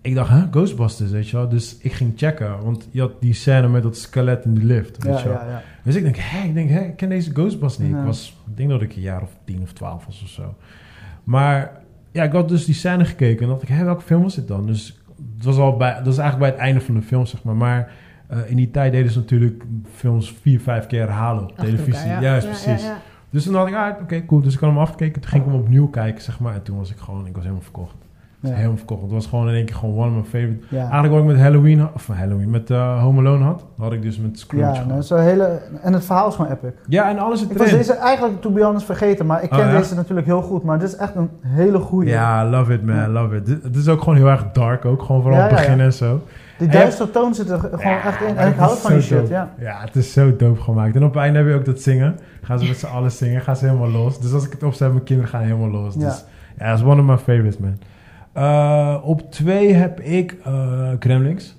B: ik dacht, hè, Ghostbusters, weet je wel. Dus ik ging checken, want je had die scène met dat skelet in die lift, weet
A: Ja,
B: je wel.
A: ja, ja.
B: Dus ik denk, hé, ik denk, hé, ik ken deze Ghostbusters niet.
A: Ja.
B: Ik was, ik denk dat ik een jaar of tien of twaalf was of zo. Maar ja, ik had dus die scène gekeken en dacht ik, hé, welke film was dit dan? Dus het was al bij, dat is eigenlijk bij het einde van de film, zeg maar. Maar eh, in die tijd deden ze natuurlijk films vier, vijf keer herhalen op
C: Achter
B: televisie.
C: elkaar, ja.
B: Juist,
C: Ja, ja,
B: precies.
C: ja.
B: Dus toen dacht ik, ah, oké, cool. Dus ik had hem afgekeken. Toen ging ik hem opnieuw kijken, zeg maar. En toen was ik gewoon, ik was helemaal verkocht. is helemaal verkocht. Het was gewoon in één keer gewoon one of my favorite.
A: Ja.
B: Eigenlijk wat ik met Halloween, had- of Halloween, met eh, Home Alone had, had ik dus met Scrooge.
A: Ja,
B: gehad.
A: nou, zo'n hele, en het verhaal is gewoon epic.
B: ja en alles zit
A: Ik was
B: erin.
A: deze eigenlijk, to be honest, vergeten, maar ik ken
B: Oh, ja?
A: deze natuurlijk heel goed. Maar dit is echt een hele goede.
B: Ja, love it man, love it. Dit- Het is ook gewoon heel erg dark ook, gewoon vooral
A: Ja,
B: aan het
A: ja, ja.
B: begin en zo.
A: Die
B: En je
A: duistere toon zit er gewoon
B: Ja,
A: echt in.
B: maar
A: En ik
B: het is
A: hou van die
B: zo
A: shit,
B: dope.
A: ja.
B: Ja, het is zo dope gemaakt. En op het einde heb je ook dat zingen. Gaan ze met z'n allen zingen, gaan ze helemaal los. Dus als ik het opzet, mijn kinderen gaan helemaal los.
A: Ja.
B: Dus ja, dat is one of my favorites man. Eh, op twee heb ik eh Gremlings.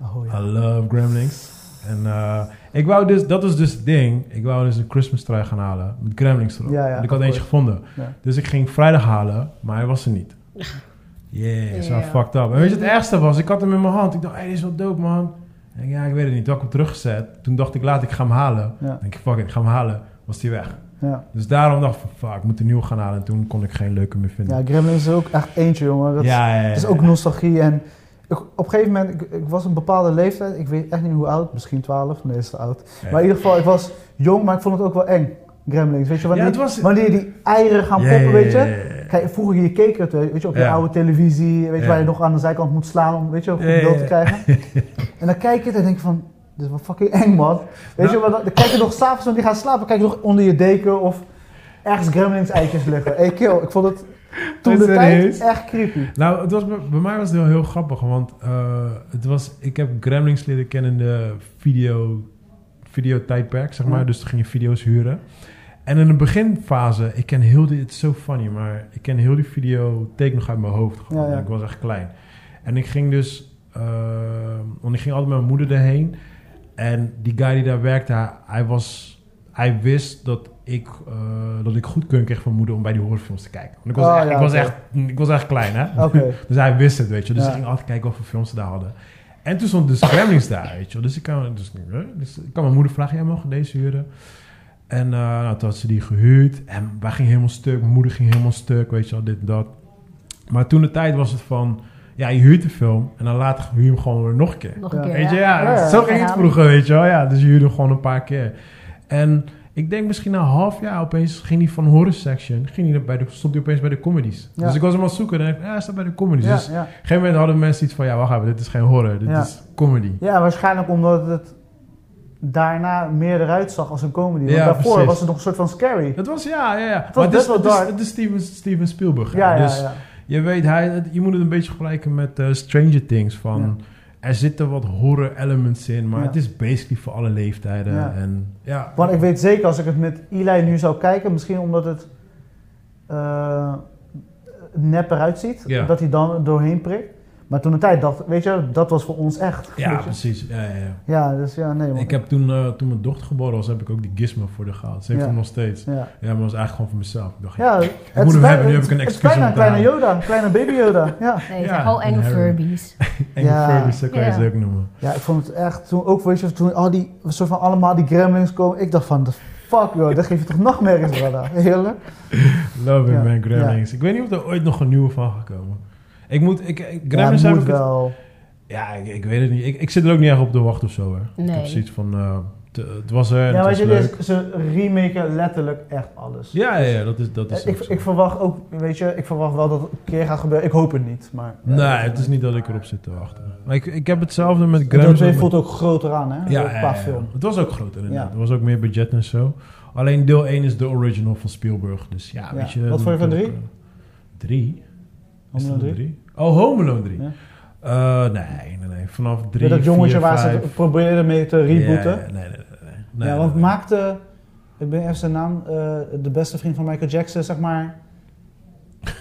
A: Oh
B: I
A: ja.
B: love Gremlings. En eh, ik wou dus, dat was dus het ding. Ik wou dus een Christmas trui gaan halen met Gremlings erop.
A: Ja, ja,
B: Want ik
A: of
B: had eentje gevonden.
A: Ja.
B: Dus ik ging vrijdag halen, maar hij was er
A: <laughs>
B: niet. Yeah, dat is wel
C: Ja.
B: fucked up. En weet je wat het ergste was? Ik had hem in mijn hand. Ik dacht, hey, dit is wel dope man. En ik, ja, ik weet het niet. Toen had ik hem teruggezet. Toen dacht ik, laat ik ga hem halen.
A: Ja.
B: Ik denk ik, fuck it, ik ga hem halen. Was hij weg.
A: Ja.
B: Dus daarom dacht ik, van, fuck, ik moet een nieuwe gaan halen. En toen kon ik geen leuke meer vinden.
A: ja, Gremlins is ook echt eentje, jongen. Dat
B: ja, ja, ja.
A: Het is ook nostalgie. En ik, op een gegeven moment, ik, ik was een bepaalde leeftijd. Ik weet echt niet hoe oud. Misschien 12, nee, is te oud.
B: Ja.
A: Maar in ieder geval, ik was jong, maar ik vond het ook wel eng. Gremlings, weet je,
B: Ja,
A: wanneer,
B: het was-
A: wanneer die eieren gaan
B: Ja,
A: poppen,
B: ja,
A: weet je.
B: ja, ja, ja.
A: Kijk, vroeger je keek het, weet je, op je
B: Ja.
A: oude televisie, weet je,
B: Ja.
A: waar je nog aan de zijkant moet slaan om, weet je, een goed
B: Ja, ja,
A: beeld te
B: ja. <laughs>
A: krijgen. en dan kijk je het en denk je van, dit is wel fucking eng, man. Weet
B: Nou.
A: je, maar dan, dan kijk je nog s'avonds wanneer die gaan slapen, kijk je nog onder je deken of ergens Gremlings eitjes liggen. Hey kill, ik vond het toen
B: Is
A: de
B: er
A: tijd
B: eens?
A: echt creepy.
B: Nou, het was, bij bij mij was het heel, heel grappig, want eh, het was, ik heb Gremlings leren kennen in de video, videotijdperk, zeg maar.
A: Ja.
B: Dus toen ging je video's huren. En in de beginfase, ik ken heel die, het is zo funny, maar ik ken heel die video nog uit mijn hoofd. Gewoon.
A: Ja, ja.
B: Ik was echt klein. En ik ging dus, eh, want ik ging altijd met mijn moeder erheen. En die guy die daar werkte, hij, hij was... Hij wist dat ik, eh dat ik goedkeuring kreeg van moeder om bij die horrorfilms te kijken. Want ik was,
A: Oh,
B: echt,
A: ja,
B: ik was
A: oké. Ah,
B: echt ik was echt klein, hè? <laughs>
A: Oké.
B: dus hij wist het, weet je. Dus
A: Ja.
B: ik ging altijd kijken wat voor films ze daar hadden. En toen stond dus Gremlins daar, weet je. wel. Dus ik kan, dus, eh, dus ik kan mijn moeder vragen, jij mag deze huren? En eh, nou, toen had ze die gehuurd. En wij gingen helemaal stuk. Mijn moeder ging helemaal stuk, weet je wel, dit en dat. Maar toen de tijd was het van... Ja, je huurt de film en dan later huur je hem gewoon weer nog een keer.
C: Nog een
A: Ja.
C: keer.
B: Weet je, ja,
A: Ja.
B: zo ging het
C: Ja.
B: vroeger, weet je wel. Ja, dus je huurde hem gewoon een paar keer. En ik denk misschien na een half jaar opeens ging hij van horror section, ging hij bij de, stond hij opeens bij de comedies.
A: Ja.
B: Dus ik was hem aan het zoeken en dacht ik, ja, hij staat bij de comedies.
A: Ja,
B: Dus op
A: ja.
B: een gegeven moment hadden mensen iets van, ja, wacht even, dit is geen horror, dit
A: Ja.
B: is comedy.
A: ja, waarschijnlijk omdat het daarna meer eruit zag als een comedy. Want
B: Ja,
A: daarvoor
B: precies.
A: was het nog een soort van scary.
B: Dat was, ja, ja, ja. Maar Het
A: was
B: is-
A: best wel
B: het is,
A: dark.
B: Het is Steven, Steven Spielberg. hè.
A: Ja, ja,
B: dus
A: ja.
B: je weet, hij, het- je moet het een beetje vergelijken met eh, Stranger Things. Van,
A: Ja.
B: Er zitten wat horror elements in, maar
A: Ja.
B: het is basically voor alle leeftijden.
A: Ja.
B: En, ja.
A: Want ik weet zeker als ik het met Eli nu zou kijken, misschien omdat het eh nep eruit ziet,
B: Ja.
A: dat hij dan er doorheen prikt. Maar toen de tijd dacht, weet je, dat was voor ons echt.
B: ja,
A: weet je.
B: precies. Ja, ja, ja.
A: ja dus ja, nee. man.
B: Ik heb toen, eh, toen mijn dochter geboren was, heb ik ook die gizmo voor de gehaald. Ze heeft
A: Ja.
B: hem nog steeds.
A: ja.
B: Ja, maar dat was eigenlijk gewoon voor mezelf. Ik dacht, ja.
A: Ja, het
B: moet
A: is
B: hem
A: bij-
B: hebben, nu heb
A: het-
B: ik een
A: Het is
B: excuus om
A: bijna een
B: te
A: kleine
B: halen.
A: Yoda, een kleine baby Yoda. Ja.
C: Nee, het
B: Ja,
C: zijn gewoon enge
B: een herrie.
C: Furbies.
B: Enge
A: Ja.
B: Furby, zo kan je
C: Ja.
B: ze ook noemen.
A: ja, ik vond het echt, toen ook, weet je, toen al die, soort van allemaal die gremlins komen, ik dacht van, the fuck joh, dat geeft je toch nachtmerries, brada. <laughs> Heerlijk.
B: Love it,
A: Ja.
B: man, Gremlings. Ik weet niet of er ooit nog een nieuwe van gaat komen. Ik moet, ik, ik- Gremlins
A: ja,
B: heb
A: moet
B: ik het-
A: wel.
B: Ja, ik, ik weet het niet. Ik, ik zit er ook niet erg op te wachten of zo, hè. Ik
C: Nee.
B: heb zoiets van, eh, te- het was er, en
A: Ja,
B: het
A: weet
B: was
A: je,
B: leuk.
A: dus ze remaken letterlijk echt alles. Eh,
B: Ja, ja, ja, dat is, dat is
A: ik,
B: ook zo.
A: ik verwacht ook, weet je, ik verwacht wel dat het een keer gaat gebeuren. Ik hoop het niet, maar...
B: Nee, het is niet dat ik erop zit te wachten. Maar ik, ik heb hetzelfde met
A: Deel
B: Gremlins.
A: 2
B: ook met-
A: voelt ook groter aan, hè?
B: Ja,
A: Ja, qua
B: ja, ja.
A: film.
B: het was ook groter inderdaad.
A: Ja.
B: Er was ook meer budget en zo. Alleen deel 1 is de original van Spielberg. Dus ja,
A: Ja.
B: weet je...
A: Wat
B: dat
A: vond je van
B: moet
A: drie?
B: ook, eh, Drie? Is
A: Home
B: dat
A: Alone
B: een
A: 3.
B: drie? Oh, Home Alone 3.
A: Ja.
B: Eh, nee, nee, nee. Vanaf drie,
A: Met dat jongetje
B: vier,
A: waar
B: vijf.
A: ze probeerden mee te rebooten.
B: Ja,
A: Ja,
B: ja, nee, nee, nee. nee, nee,
A: want
B: nee.
A: maakte, ik ben even zijn naam, eh, de beste vriend van Michael Jackson, zeg
B: <laughs>
A: maar...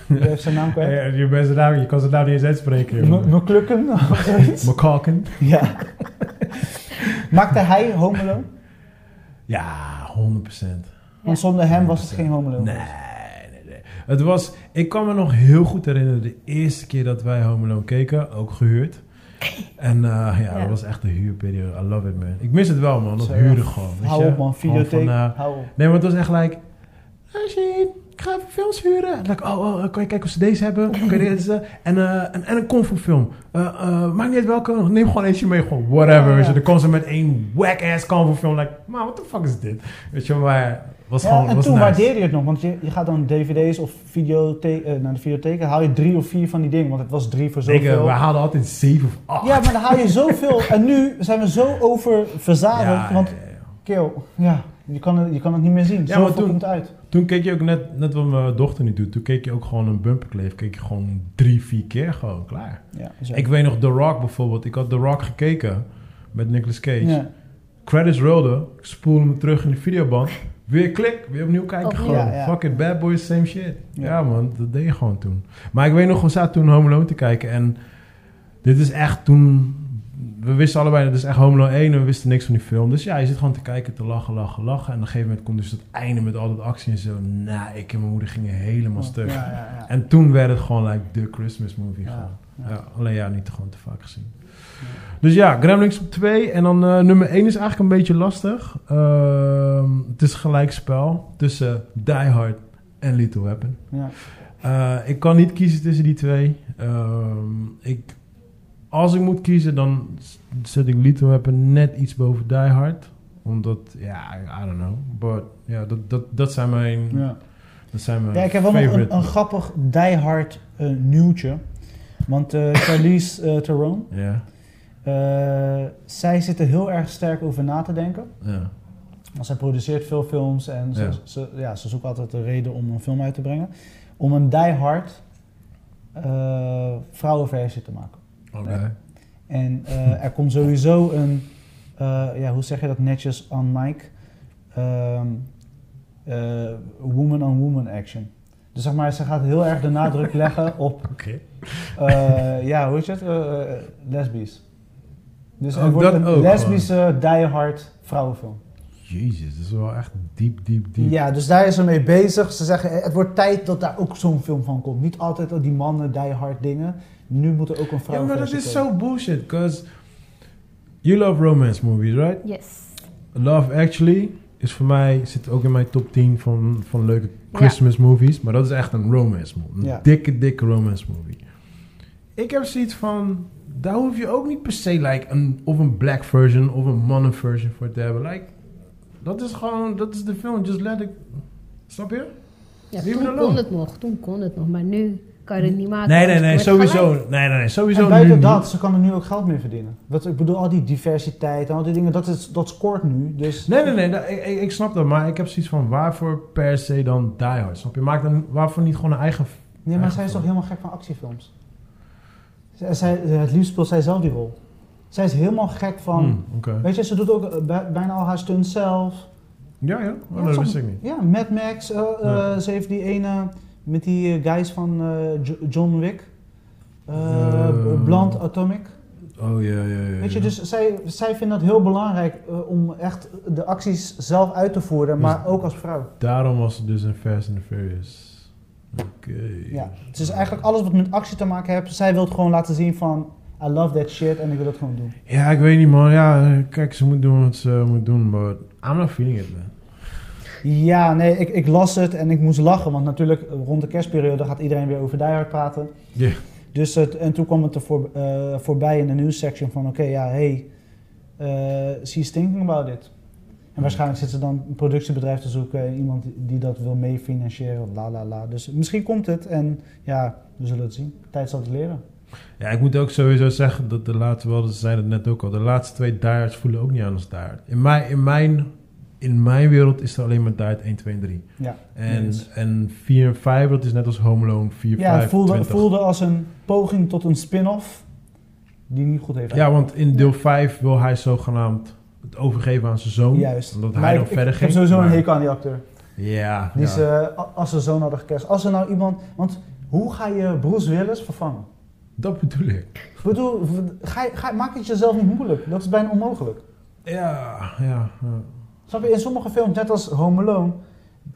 A: Ik ben even zijn naam kwijt.
B: Ja, je, bent zijn naam- je kan zijn naam niet eens uitspreken,
A: M-
B: jongen.
A: McClucken
B: <laughs>
A: of zoiets.
B: McCalkin.
A: Ja. Maakte hij Home Alone?
B: Ja, 100%.
A: Want zonder hem was het geen Home Alone.
B: Nee, nee, nee. Het was, ik kan me nog heel goed herinneren de eerste keer dat wij Home Alone keken, ook
A: <laughs>
B: gehuurd. En eh, ja,
C: Ja.
B: dat was echt de huurperiode. I love it, man. Ik mis het wel, man. Dat
A: Zo,
B: huren gewoon. weet
A: Hou
B: je?
A: op man,
B: Gewoon
A: videotheek,
B: van, eh,
A: hou op.
B: nee, maar het was echt like, Ashien, ik ga even films huren. En dan, oh, oh, kan je kijken of ze deze hebben? Kan
A: <laughs>
B: je deze? En, eh, en, en een kung fu film. Eh, eh, maakt niet uit welke, neem gewoon eentje mee. Gewoon whatever,
A: Ja, ja.
B: weet je. Dan kwam ze met één whack-ass kung fu film. Like, man, what the fuck is dit? Weet je, maar was
A: Ja,
B: gewoon,
A: en
B: was
A: toen
B: nice.
A: waardeerde je het nog, want je, je gaat dan dvd's of videothe- eh, naar de videotheek, haal je drie of vier van die dingen, want het was drie voor
B: Ik, eh,
A: zoveel.
B: we haalden altijd 7 of 8.
A: ja, maar dan haal je
B: <laughs>
A: zoveel en nu zijn we zo oververzadigd, want keel, ja, je kan, het- je kan het niet meer zien.
B: Ja,
A: zoveel
B: maar toen-
A: komt uit.
B: Toen keek je ook net, net wat mijn dochter nu doet. Toen keek je ook gewoon een bumperkleef. Keek je gewoon drie, vier keer gewoon klaar.
A: Ja, zo.
B: Ik weet nog The Rock bijvoorbeeld. Ik had The Rock gekeken met Nicolas Cage.
A: ja.
B: Credits rolden. Ik spoel hem terug in de videoband. Weer klik, weer opnieuw kijken
C: Opnieuw.
B: gewoon.
A: Ja, ja.
B: Fuck it, bad boys, same shit.
A: Ja.
B: Ja. man, dat deed je gewoon toen. Maar ik weet nog, we zaten toen Home Alone te kijken. En dit is echt toen... We wisten allebei, dat is echt Home Alone 1 en we wisten niks van die film. Dus ja, je zit gewoon te kijken, te lachen, lachen, lachen. En op een gegeven moment komt dus dat einde met al dat actie en zo. Nou, ik en mijn moeder gingen helemaal stuk.
A: Ja, ja, ja.
B: En toen werd het gewoon like de Christmas movie.
A: Ja,
B: gewoon.
A: ja.
B: Ja, alleen ja, niet gewoon te vaak gezien. Dus ja, Gremlins op 2. En dan eh, nummer 1 is eigenlijk een beetje lastig. Ehm, het is gelijkspel tussen Die Hard en Little Weapon.
A: Ja.
B: Eh, ik kan niet kiezen tussen die twee. Ehm, ik, als ik moet kiezen, dan s- zet ik Little Weapon net iets boven Die Hard. Omdat, ja, I don't know. But ja, dat, dat, dat zijn mijn,
A: Ja.
B: dat zijn mijn
A: Ja, ik heb wel nog
B: favorite.
A: een, een grappig diehard eh, nieuwtje. Want
B: <laughs>
A: eh Charlize eh Theron,
B: Ja,
A: eh, zij zit er heel erg sterk over na te denken.
B: ja.
A: Want zij produceert veel films en ze,
B: Ja.
A: Ze, ja, ze zoekt altijd een reden om een film uit te brengen. Om een diehard eh vrouwenversie te maken.
B: Oké.
A: En eh, er komt sowieso een, eh, ja, hoe zeg je dat netjes on mic? Ehm, eh, woman on woman action. Dus zeg maar, ze gaat heel erg de
B: <laughs>
A: nadruk leggen op,
B: Oké.
A: eh, ja, hoe is het? Eh, eh, lesbisch. Dus er
B: Ook
A: wordt
B: Oh, dat
A: een
B: ook
A: lesbische diehard vrouwenfilm.
B: Jezus, dat is wel echt diep, diep, diep.
A: Ja, dus daar is ze mee bezig. Ze zeggen, eh, het wordt tijd dat daar ook zo'n film van komt. Niet altijd al die mannen diehard dingen. Nu moet er ook een
B: Ja,
A: vrouw
B: maar dat is zo bullshit, because you love romance movies, right?
C: Yes.
B: Love Actually is voor mij, zit ook in mijn top 10 van, van leuke
C: Ja.
B: Christmas movies, maar dat is echt een romance movie. Een
A: Ja.
B: dikke, dikke romance movie. Ik heb zoiets van, daar hoef je ook niet per se like, een, of een black version of een mannen version voor te hebben. Like, dat is gewoon, dat is de film, just let it, snap je?
C: Ja,
B: Leave it
C: toen
B: alone.
C: kon het nog, toen kon het nog, maar nu kan je het niet maken.
B: Nee,
C: want
B: nee,
C: het
B: nee,
C: wordt
B: sowieso.
C: gelijk.
B: Nee, nee, nee, sowieso
A: En buiten
B: nu
A: dat,
B: niet.
A: ze kan er nu ook geld mee verdienen. Wat, ik bedoel, al die diversiteit en al die dingen, dat, is, dat scoort nu. Dus
B: Nee, nee, nee, dat- ik, ik- ik snap dat, maar ik heb zoiets van waarvoor per se dan Die Hard, snap je? Maak dan waarvoor niet gewoon een eigen...
A: nee, maar zij is toch helemaal gek van actiefilms? Zij, zij- het liefst speelt zij zelf die rol. Zij is helemaal gek van...
B: Hmm, Oké.
A: Weet je, ze doet ook eh, bij- bijna al haar stunts zelf.
B: Ja, ja, oh,
A: Ja,
B: dat
A: som-
B: wist ik niet.
A: Ja, Mad Max. eh, eh,
B: Ja.
A: Ze heeft die ene met die eh, guys van eh, Jo- John Wick. Eh
B: Eh.
A: Blunt Atomic.
B: Oh, ja, ja, ja.
A: Weet je, dus zij, zij vindt dat heel belangrijk eh, om echt de acties zelf uit te voeren,
B: Dus-
A: maar ook als vrouw.
B: Daarom was het dus een Fast and the Furious. Oké.
A: Ja, het is eigenlijk alles wat met actie te maken heeft. Zij wil het gewoon laten zien van, I love that shit en ik wil dat gewoon doen.
B: Ja, ik weet niet, man. Ja, eh, kijk, ze moet doen wat ze moet doen, maar I'm not feeling it, man.
A: Ja, nee, ik, ik las het en ik moest lachen, want natuurlijk eh, rond de kerstperiode gaat iedereen weer over Die Hard praten.
B: Ja.
A: Dus het, en toen kwam het er voor, eh, voorbij in de nieuwssection van, oké, ja, hey, eh she's thinking about it. En waarschijnlijk zit ze dan een productiebedrijf te zoeken en iemand die- die dat wil meefinancieren, la la la. Dus misschien komt het en ja, we zullen het zien. Tijd zal het leren.
B: Ja, ik moet ook sowieso zeggen dat de laatste, wel, ze zeiden het net ook al, de laatste twee Die Hards voelen ook niet aan als Die Hard. In mijn, in mijn, in mijn wereld is er alleen maar Die Hard 1, 2 en 3.
A: Ja,
B: En,
A: Yes.
B: en 4 en 5, dat is net als Home Alone 4,
A: Ja,
B: 5,
A: het voelde,
B: 20.
A: voelde als een poging tot een spin-off die niet goed heeft
B: Ja, want in deel 5 wil hij zogenaamd het overgeven aan zijn zoon.
A: Juist.
B: Omdat
A: Maar
B: hij dan
A: ik,
B: verder
A: ik
B: ging.
A: heb sowieso
B: maar-
A: een hekel aan die acteur.
B: Ja.
A: Die
B: ja.
A: ze, eh, a- als ze zo'n hadden gecast. Als er nou iemand... Want hoe ga je Bruce Willis vervangen?
B: Dat bedoel ik.
A: Ik bedoel, v- ga, je- ga, maak het jezelf niet moeilijk. Dat is bijna onmogelijk.
B: Ja, ja. ja.
A: Snap je? In sommige films, net als Home Alone...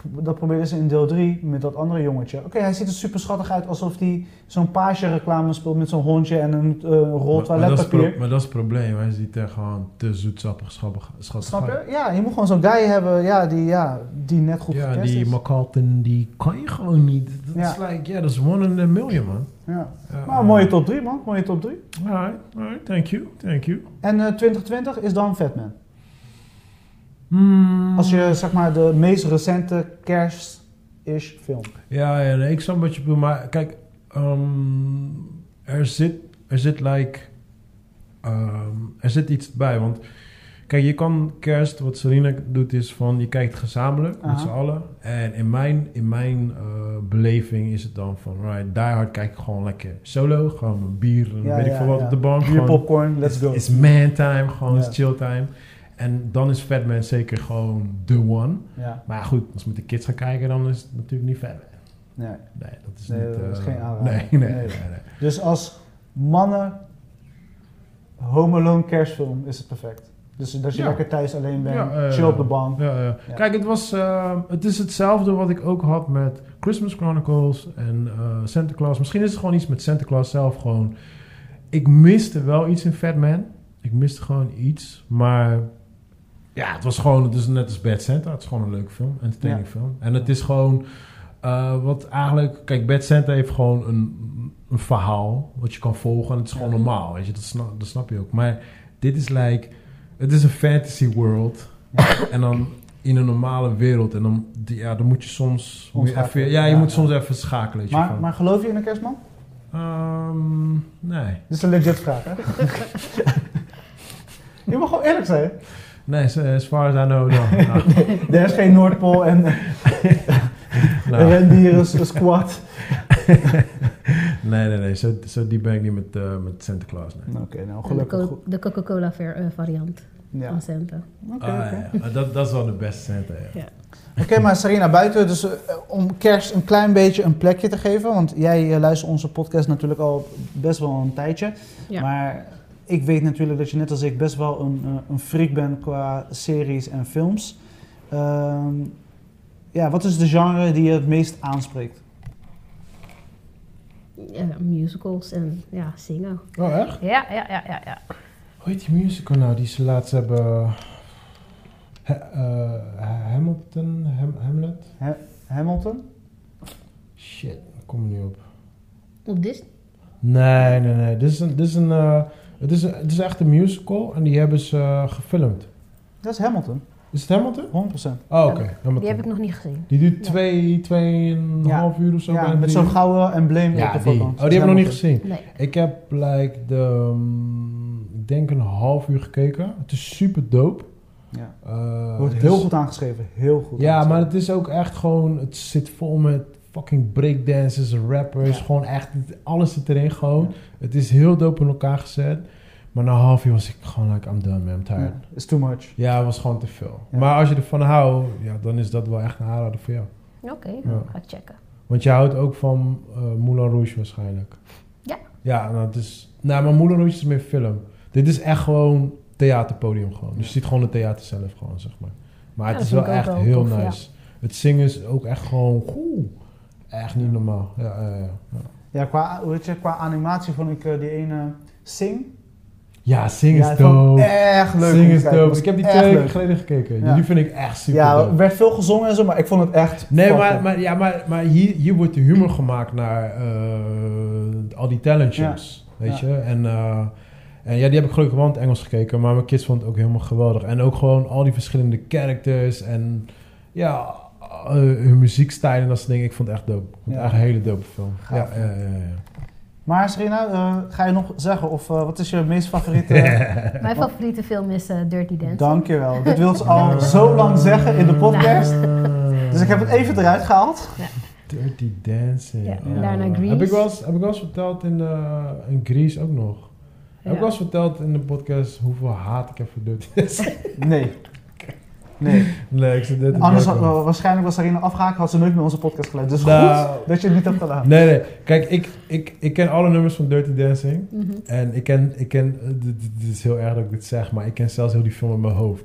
A: dat probeerden ze in deel 3 met dat andere jongetje. Oké, hij ziet er super schattig uit alsof hij zo'n paasje-reclame speelt met zo'n hondje en een eh, rol
B: Maar- maar, dat is pro-
A: toiletpapier.
B: maar dat is het probleem. Hij ziet er gewoon te zoetsappig, schappig, schattig
A: Snap
B: uit.
A: je? Ja, je moet gewoon zo'n guy hebben ja, die, ja, die net goed
B: Ja,
A: gecast
B: die
A: is.
B: McCartan, die kan je gewoon niet. Dat
A: Ja.
B: is like, ja, dat is one in a million, man.
A: Ja.
B: Ja,
A: Maar een mooie top 3 man, mooie top 3.
B: Alright, alright, thank you, thank you.
A: En eh, 2020 is dan Fatman.
B: Hmm.
A: Als je zeg maar de meest recente kerst-ish film.
B: Ja, ja nee, ik snap wat je bedoelt, maar kijk, ehm, er zit, er zit like, ehm, er zit iets bij, want kijk, je kan kerst, wat Serena doet is van, je kijkt gezamenlijk
A: Aha.
B: met z'n allen, en in mijn, in mijn eh, beleving is het dan van, right, die hard kijk ik gewoon lekker solo, gewoon een bier, en
A: Ja,
B: weet ik
A: ja,
B: veel wat
A: ja.
B: op de bank,
A: Bier,
B: gewoon,
A: popcorn, let's go.
B: It's man time, gewoon
A: Ja.
B: is chill time. En dan is Fatman zeker gewoon the one.
A: Ja,
B: Maar goed, als we met de kids gaan kijken, dan is het natuurlijk niet Fatman.
A: nee.
B: Nee, dat is
A: Nee,
B: niet...
A: dat is
B: eh,
A: geen aanrader.
B: Nee, nee,
A: Nee.
B: nee. nee,
A: Dus als mannen Home Alone kerstfilm is het perfect. Dus dat je
B: Ja.
A: lekker thuis alleen bent,
B: Ja, eh,
A: chill op de bank.
B: Ja, ja.
A: Ja.
B: Kijk, het, was, eh, het is hetzelfde wat ik ook had met Christmas Chronicles en eh, Santa Claus. Misschien is het gewoon iets met Santa Claus zelf gewoon... Ik miste wel iets in Fatman. Ik miste gewoon iets, maar... Ja, het was gewoon, het is net als Bad Santa. Het is gewoon een leuke film, entertaining film. En het is gewoon, eh, wat eigenlijk... Kijk, Bad Santa heeft gewoon een, een verhaal wat je kan volgen. En het is gewoon
A: Ja.
B: normaal, weet je. Dat snap, dat snap je ook. Maar dit is like... Het is een fantasy
A: <coughs>
B: world. en dan in een normale wereld. En dan, die- ja, dan moet je soms... moet je
A: Omschakelen.
B: even- ja, je
A: Ja,
B: moet
A: ja.
B: soms even schakelen, weet je
A: Maar,
B: van.
A: maar geloof je in een kerstman?
B: Ehm, nee.
A: Dit is een legit vraag,
B: <laughs>
A: hè? je mag gewoon eerlijk zijn.
B: Nee, as- as far as I know, no.
A: <laughs>
B: Nou,
A: Er is geen Noordpool en
B: nou.
A: rendieren, s- squat.
B: Nee, nee, nee. Zo, zo diep ben ik niet met, eh, met Santa Claus, nee.
A: Oké, nou
C: En De,
A: gelukkig
C: co-
A: goed.
C: de Coca-Cola ver- eh, variant
A: Ja.
C: van Santa.
A: Oké,
B: Ah,
A: oké.
B: ja. Ah, dat, dat is wel de beste Santa, ja.
A: Oké, maar Sarina, buiten, dus eh, om kerst een klein beetje een plekje te geven, want jij eh, luistert onze podcast natuurlijk al best wel een tijdje.
C: Ja.
A: Maar ik weet natuurlijk dat je net als ik best wel een, eh, een freak bent qua series en films. Ehm, ja, wat is de genre die je het meest aanspreekt?
C: Ja, musicals en ja, zingen.
B: Oh, echt?
C: Ja, ja, ja, ja. ja.
B: Hoe heet die musical nou die ze laatst hebben... He- eh, Hamilton? Ham- Hamlet?
A: Hamilton?
B: Shit, daar kom ik niet op.
C: Op Disney.
B: Nee, nee, nee. Dit is een, dit is een, eh, het, is een- het is echt een musical en die hebben ze eh, gefilmd.
A: Dat is Hamilton,
B: Is het Hamilton?
A: 100%.
B: Oh, oké.
C: Ja,
B: Hamilton.
C: Die heb ik nog niet gezien.
B: Die duurt
C: Ja.
B: twee, tweeënhalf uur of zo.
A: ja,
B: bijna
A: met
B: drie
A: zo'n
B: uur.
A: gouden embleem op
B: Ja,
A: de
B: die.
A: voorkant.
B: Oh, die hebben we nog niet gezien.
C: Nee.
B: Ik heb like de, mm, ik denk een half uur gekeken. Het is super dope.
A: Ja.
B: Eh,
A: Wordt
B: het
A: heel
B: is-
A: goed aangeschreven, heel goed
B: Ja, maar
A: aangeschreven.
B: het is ook echt gewoon, het zit vol met fucking breakdancers, rappers,
A: Ja.
B: gewoon echt, alles zit erin gewoon.
A: Ja.
B: Het is heel dope in elkaar gezet. Maar na een half uur was ik gewoon like, I'm done man, I'm tired.
A: Ja, is too much.
B: Ja, het was gewoon te veel.
A: Ja.
B: Maar als je ervan houdt, ja, dan is dat wel echt een aanrader voor jou.
C: Oké,
B: Ja.
C: ga ik checken.
B: Want je houdt ook van eh Moulin Rouge waarschijnlijk.
C: Ja.
B: Ja, nou, het is, nou, maar Moulin Rouge is meer film. Dit is echt gewoon theaterpodium gewoon. Dus je
A: Ja.
B: ziet gewoon het theater zelf gewoon, zeg maar. Maar
C: Ja,
B: het
C: dat
B: is wel
C: vind ik ook
B: echt
C: wel
B: heel
C: tof, ja.
B: nice. Het zingen is ook echt gewoon... Oeh, echt niet normaal. Ja, ja, ja, ja.
A: Ja, qua, hoe heet je, qua animatie vond ik eh, die ene Sing.
B: ja zing
A: Ja,
B: is
A: ik vond
B: dope.
A: Echt leuk. om
B: Sing
A: te
B: is
A: kijken.
B: dope.
A: Was
B: Ik heb die
A: echt
B: twee weken
A: leuk.
B: geleden gekeken.
A: Ja.
B: Die vind ik echt super
A: Ja,
B: dope.
A: er werd veel gezongen en zo, maar ik vond het echt.
B: Nee,
A: fucking-
B: maar, maar, ja, maar, maar hier, hier wordt de humor gemaakt naar eh, al die talent shows, weet
A: Ja.
B: je. En, eh, en ja, die heb ik gelukkig wel in het Engels gekeken, maar mijn kids vonden het ook helemaal geweldig. En ook gewoon al die verschillende characters en ja, eh, hun muziekstijl en dat soort dingen. Ik vond het echt dope. Ik vond het
A: Ja.
B: echt een hele dope film. Ja,
A: Gaaf.
B: ja, ja, ja.
A: Maar Serena, eh, ga je nog zeggen of eh, wat is je meest favoriete?
C: Mijn favoriete film is eh, Dirty Dancing.
A: Dankjewel. Dit wil ze al zo lang zeggen in de
B: <laughs>
A: podcast. Dus ik heb het even eruit gehaald.
B: Dirty Dancing.
C: Ja,
B: oh.
C: daarna Grease.
B: Heb ik wel eens, heb ik wel eens verteld in, eh in Grease ook nog? Heb ik wel eens verteld in de podcast hoeveel haat ik heb voor Dirty Dancing? <laughs>
A: Nee. Nee.
B: nee, ik zit dit te
A: Anders had,
B: maken.
A: eh, waarschijnlijk was Serena afgehaakt, had ze nooit meer onze podcast geluid. Dus
B: Nou.
A: goed dat je het niet hebt gedaan.
B: Nee, nee. Kijk, ik, ik, ik ken alle nummers van Dirty Dancing.
C: Mhm.
B: En ik ken, ik ken eh, dit, dit is heel erg dat ik dit zeg, maar ik ken zelfs heel die film in mijn hoofd.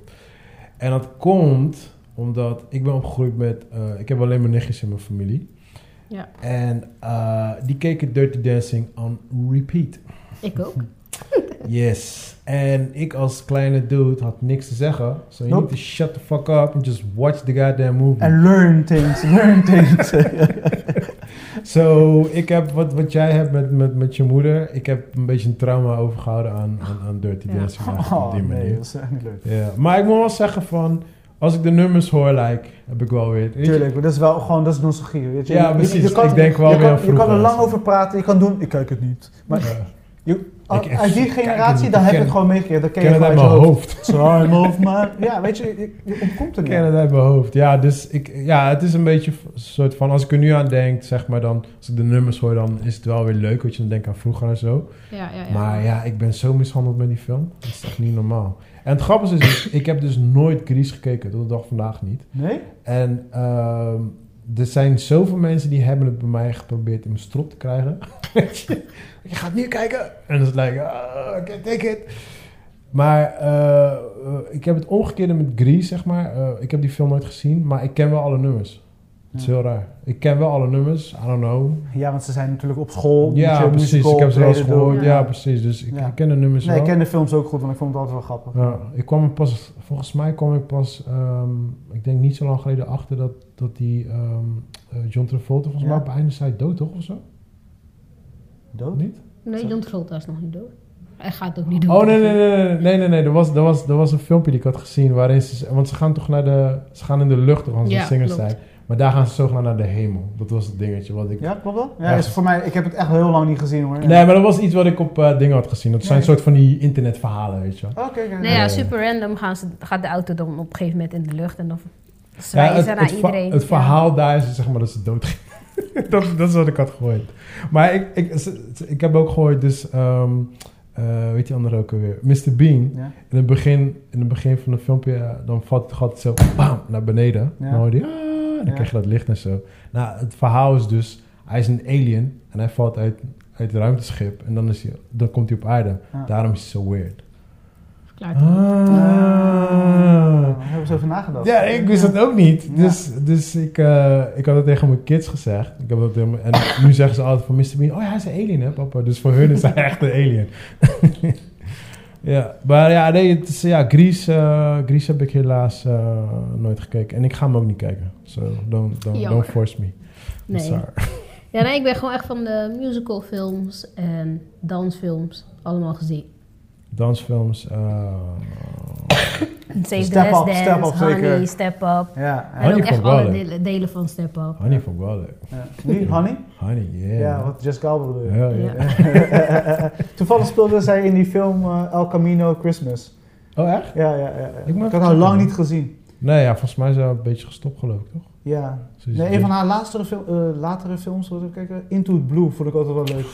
B: En dat komt Omdat ik ben opgegroeid met... eh, ik heb alleen maar nichtjes in mijn familie.
C: Ja.
B: En eh, die keken Dirty Dancing on repeat.
C: Ik ook.
B: Yes. En ik als kleine dude had niks te zeggen. So you
A: Nope.
B: need to shut the fuck up and just watch the goddamn movie.
A: En learn things, learn
B: <laughs>
A: things.
B: So, ik heb wat, wat jij hebt met, met, met je moeder. Ik heb een beetje een trauma overgehouden aan, aan, aan Dirty
C: Ja.
B: Dancing. eigenlijk op
A: oh,
B: die
A: nee,
B: manier.
A: dat is echt niet leuk.
B: Ja, maar ik moet wel zeggen van, als ik de nummers hoor, like, heb ik wel weer... weet je-
A: Tuurlijk, maar dat is wel gewoon, dat is nostalgie, weet je.
B: Ja,
A: Je-
B: precies.
A: Je, kan,
B: Ik denk wel
A: je
B: weer aan
A: kan, je kan er
B: vroeger.
A: lang over praten, je kan doen, ik kijk het niet. Maar
B: Ja.
A: als-
B: Ik-
A: uit die
B: ik kijk het
A: generatie,
B: niet.
A: dan
B: Ik
A: heb je
B: ken-
A: het gewoon meegekregen. Dan ken
B: Ik
A: je
B: ken het
A: gewoon
B: uit
A: uit je
B: mijn
A: hoofd.
B: hoofd.
A: Time <laughs> of my... Ja, weet je, je, je ontkomt er
B: Ik ken
A: niet.
B: het uit mijn hoofd. Ja, dus ik, ja, het is een beetje een soort van, als ik er nu aan denk, zeg maar dan, als ik de nummers hoor, dan is het wel weer leuk, want je dan denkt aan vroeger en zo.
C: Ja, ja, ja.
B: Maar ja, ik ben zo mishandeld met die film. Dat is echt niet normaal. En het grappige
A: <coughs>
B: is, dus, ik heb dus nooit Grease gekeken, tot de dag vandaag niet.
A: Nee?
B: En ehm, er zijn zoveel mensen die hebben het bij mij geprobeerd in mijn strop te krijgen. <laughs> je gaat nu kijken. En dan is het like, ah, I can't take it. Maar eh, eh, ik heb het omgekeerde met Grease, zeg maar. Eh, ik heb die film nooit gezien, maar ik ken wel alle nummers. Het is
A: Ja.
B: heel raar. Ik ken wel alle nummers. I don't know.
A: Ja, want ze zijn natuurlijk op school. moet
B: ja,
A: je
B: precies.
A: musical
B: Ik heb ze wel eens
A: optreden
B: gehoord.
A: doen.
B: Ja.
C: Ja.
B: precies. Dus ik,
A: Ja.
B: ik ken de nummers
A: Nee,
B: wel.
A: ik ken de films ook goed, want ik vond het altijd wel grappig.
B: Ja, ik kwam er pas, volgens mij kwam ik pas, ehm, ik denk niet zo lang geleden achter dat, dat die ehm, eh, John Travolta volgens
A: Ja.
B: mij op het einde zei dood toch of zo?
A: Dood?
B: Niet?
C: Nee, John Travolta is nog niet dood. Hij gaat ook niet dood.
B: Oh nee, nee, nee, nee, nee, nee, nee. Er, was, er, was, er was een filmpje die ik had gezien waarin ze, want ze gaan toch naar de, ze gaan in de lucht toch als
C: Ja,
B: ze zingers
C: klopt.
B: zijn. Maar daar gaan ze zogenaamd naar de hemel. Dat was het dingetje wat ik...
A: Ja, klopt dat? Ja,
B: Ja.
A: Is voor mij, ik heb het echt heel lang niet gezien hoor.
B: Nee, maar dat was iets wat ik op eh, dingen had gezien. Dat zijn
A: Nee.
B: een soort van die internetverhalen, weet je wel.
A: Oké, oké.
C: Nou ja,
B: Nee.
C: super random gaan ze, gaat de auto dan op een gegeven moment in de lucht en dan
B: Ja,
C: zwaaien
B: het,
C: ze naar
B: het va-
C: nou, iedereen.
B: het
C: Ja.
B: verhaal daar is zeg maar dat ze dood ging. <laughs> dat, dat is wat ik had gehoord. Maar ik, ik, ze- ze- ik heb ook gehoord, dus ehm, eh, weet je andere ook alweer? Mr. Bean.
A: Ja.
B: In het begin, in het begin van het filmpje, eh, dan valt het gat zo bam, naar beneden.
A: Ja.
B: Dan hoor je, die, "Ah", dan
A: Ja.
B: krijg je dat licht en zo. Nou, het verhaal is dus, hij is een alien en hij valt uit, uit het ruimteschip en dan, is hij, dan komt hij op aarde.
A: Ja.
B: Daarom is het zo weird.
C: Verklaart hij.
B: Ah.
A: Ah, Daar hebben ze over nagedacht.
B: Ja, ik wist dat ook niet.
A: Ja.
B: Dus, dus ik, eh, ik had het tegen mijn kids gezegd. Ik heb
A: <laughs>
B: dat helemaal, en nu zeggen ze altijd van Mr. Bean... Oh ja, hij is een alien hè papa. Dus voor hun
A: <laughs>
B: is hij echt een alien. <laughs> ja, maar ja, nee, het is, ja, Grease, eh, Grease heb ik helaas eh, nooit gekeken. En ik ga hem ook niet kijken. So, don't, don't,
C: Jammer.
B: don't force me. I'm
C: Nee.
B: sorry.
C: Ja, nee, ik ben gewoon echt van de musicalfilms en dansfilms allemaal gezien.
B: Dansfilms. eh Dus
C: Save
A: Step
C: the Last
A: Up,
C: Dance,
A: Step Up
C: Honey,
A: zeker.
C: Step Up.
A: Ja, ja.
C: En ook
B: vond
C: echt
B: ik wel
C: alle
B: leuk.
C: dele- delen van Step Up.
B: Honey vond ik wel leuk.
A: ja. Wie? Honey?
B: Honey, yeah.
A: Ja, wat Jess Galbel bedoelde.
B: Ja, ja.
C: Ja.
A: <laughs> Toevallig speelde zij in die film eh, El Camino Christmas.
B: Oh, echt?
A: Ja, ja, ja. ja.
B: moet
A: Ik had
B: even
A: haar lang
B: checken.
A: niet gezien.
B: Nee, ja, volgens mij is hij een beetje gestopt geloof ik, toch?
A: Ja.
B: Zoiets-
A: Nee, een van haar latere, fil- eh, latere films, wat ik kijken, Into the Blue, vond ik altijd wel leuk.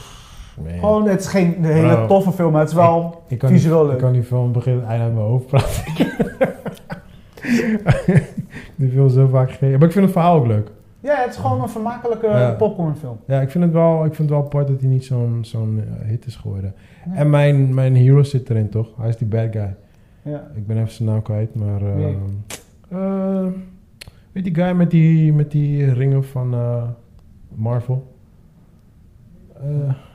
B: Man.
A: Gewoon, het is geen hele
B: Bro.
A: toffe film, maar het is wel...
B: Ik kan,
A: Visueel
B: niet,
A: leuk.
B: ik kan niet van het begin tot het einde uit mijn hoofd praten. <laughs> Die film zo vaak gekeken. Maar ik vind het verhaal ook leuk.
A: Ja, het is gewoon een vermakelijke
B: Ja.
A: popcornfilm.
B: Ja, ik vind het wel, ik vind het wel apart dat hij niet zo'n zo'n eh, hit is geworden.
A: Nee.
B: En mijn, mijn hero zit erin, toch? Hij is die bad guy.
A: Ja.
B: Ik ben even zijn naam kwijt, maar... eh,
A: Wie?
B: eh, weet die guy met die, met die ringen van eh, Marvel? Eh,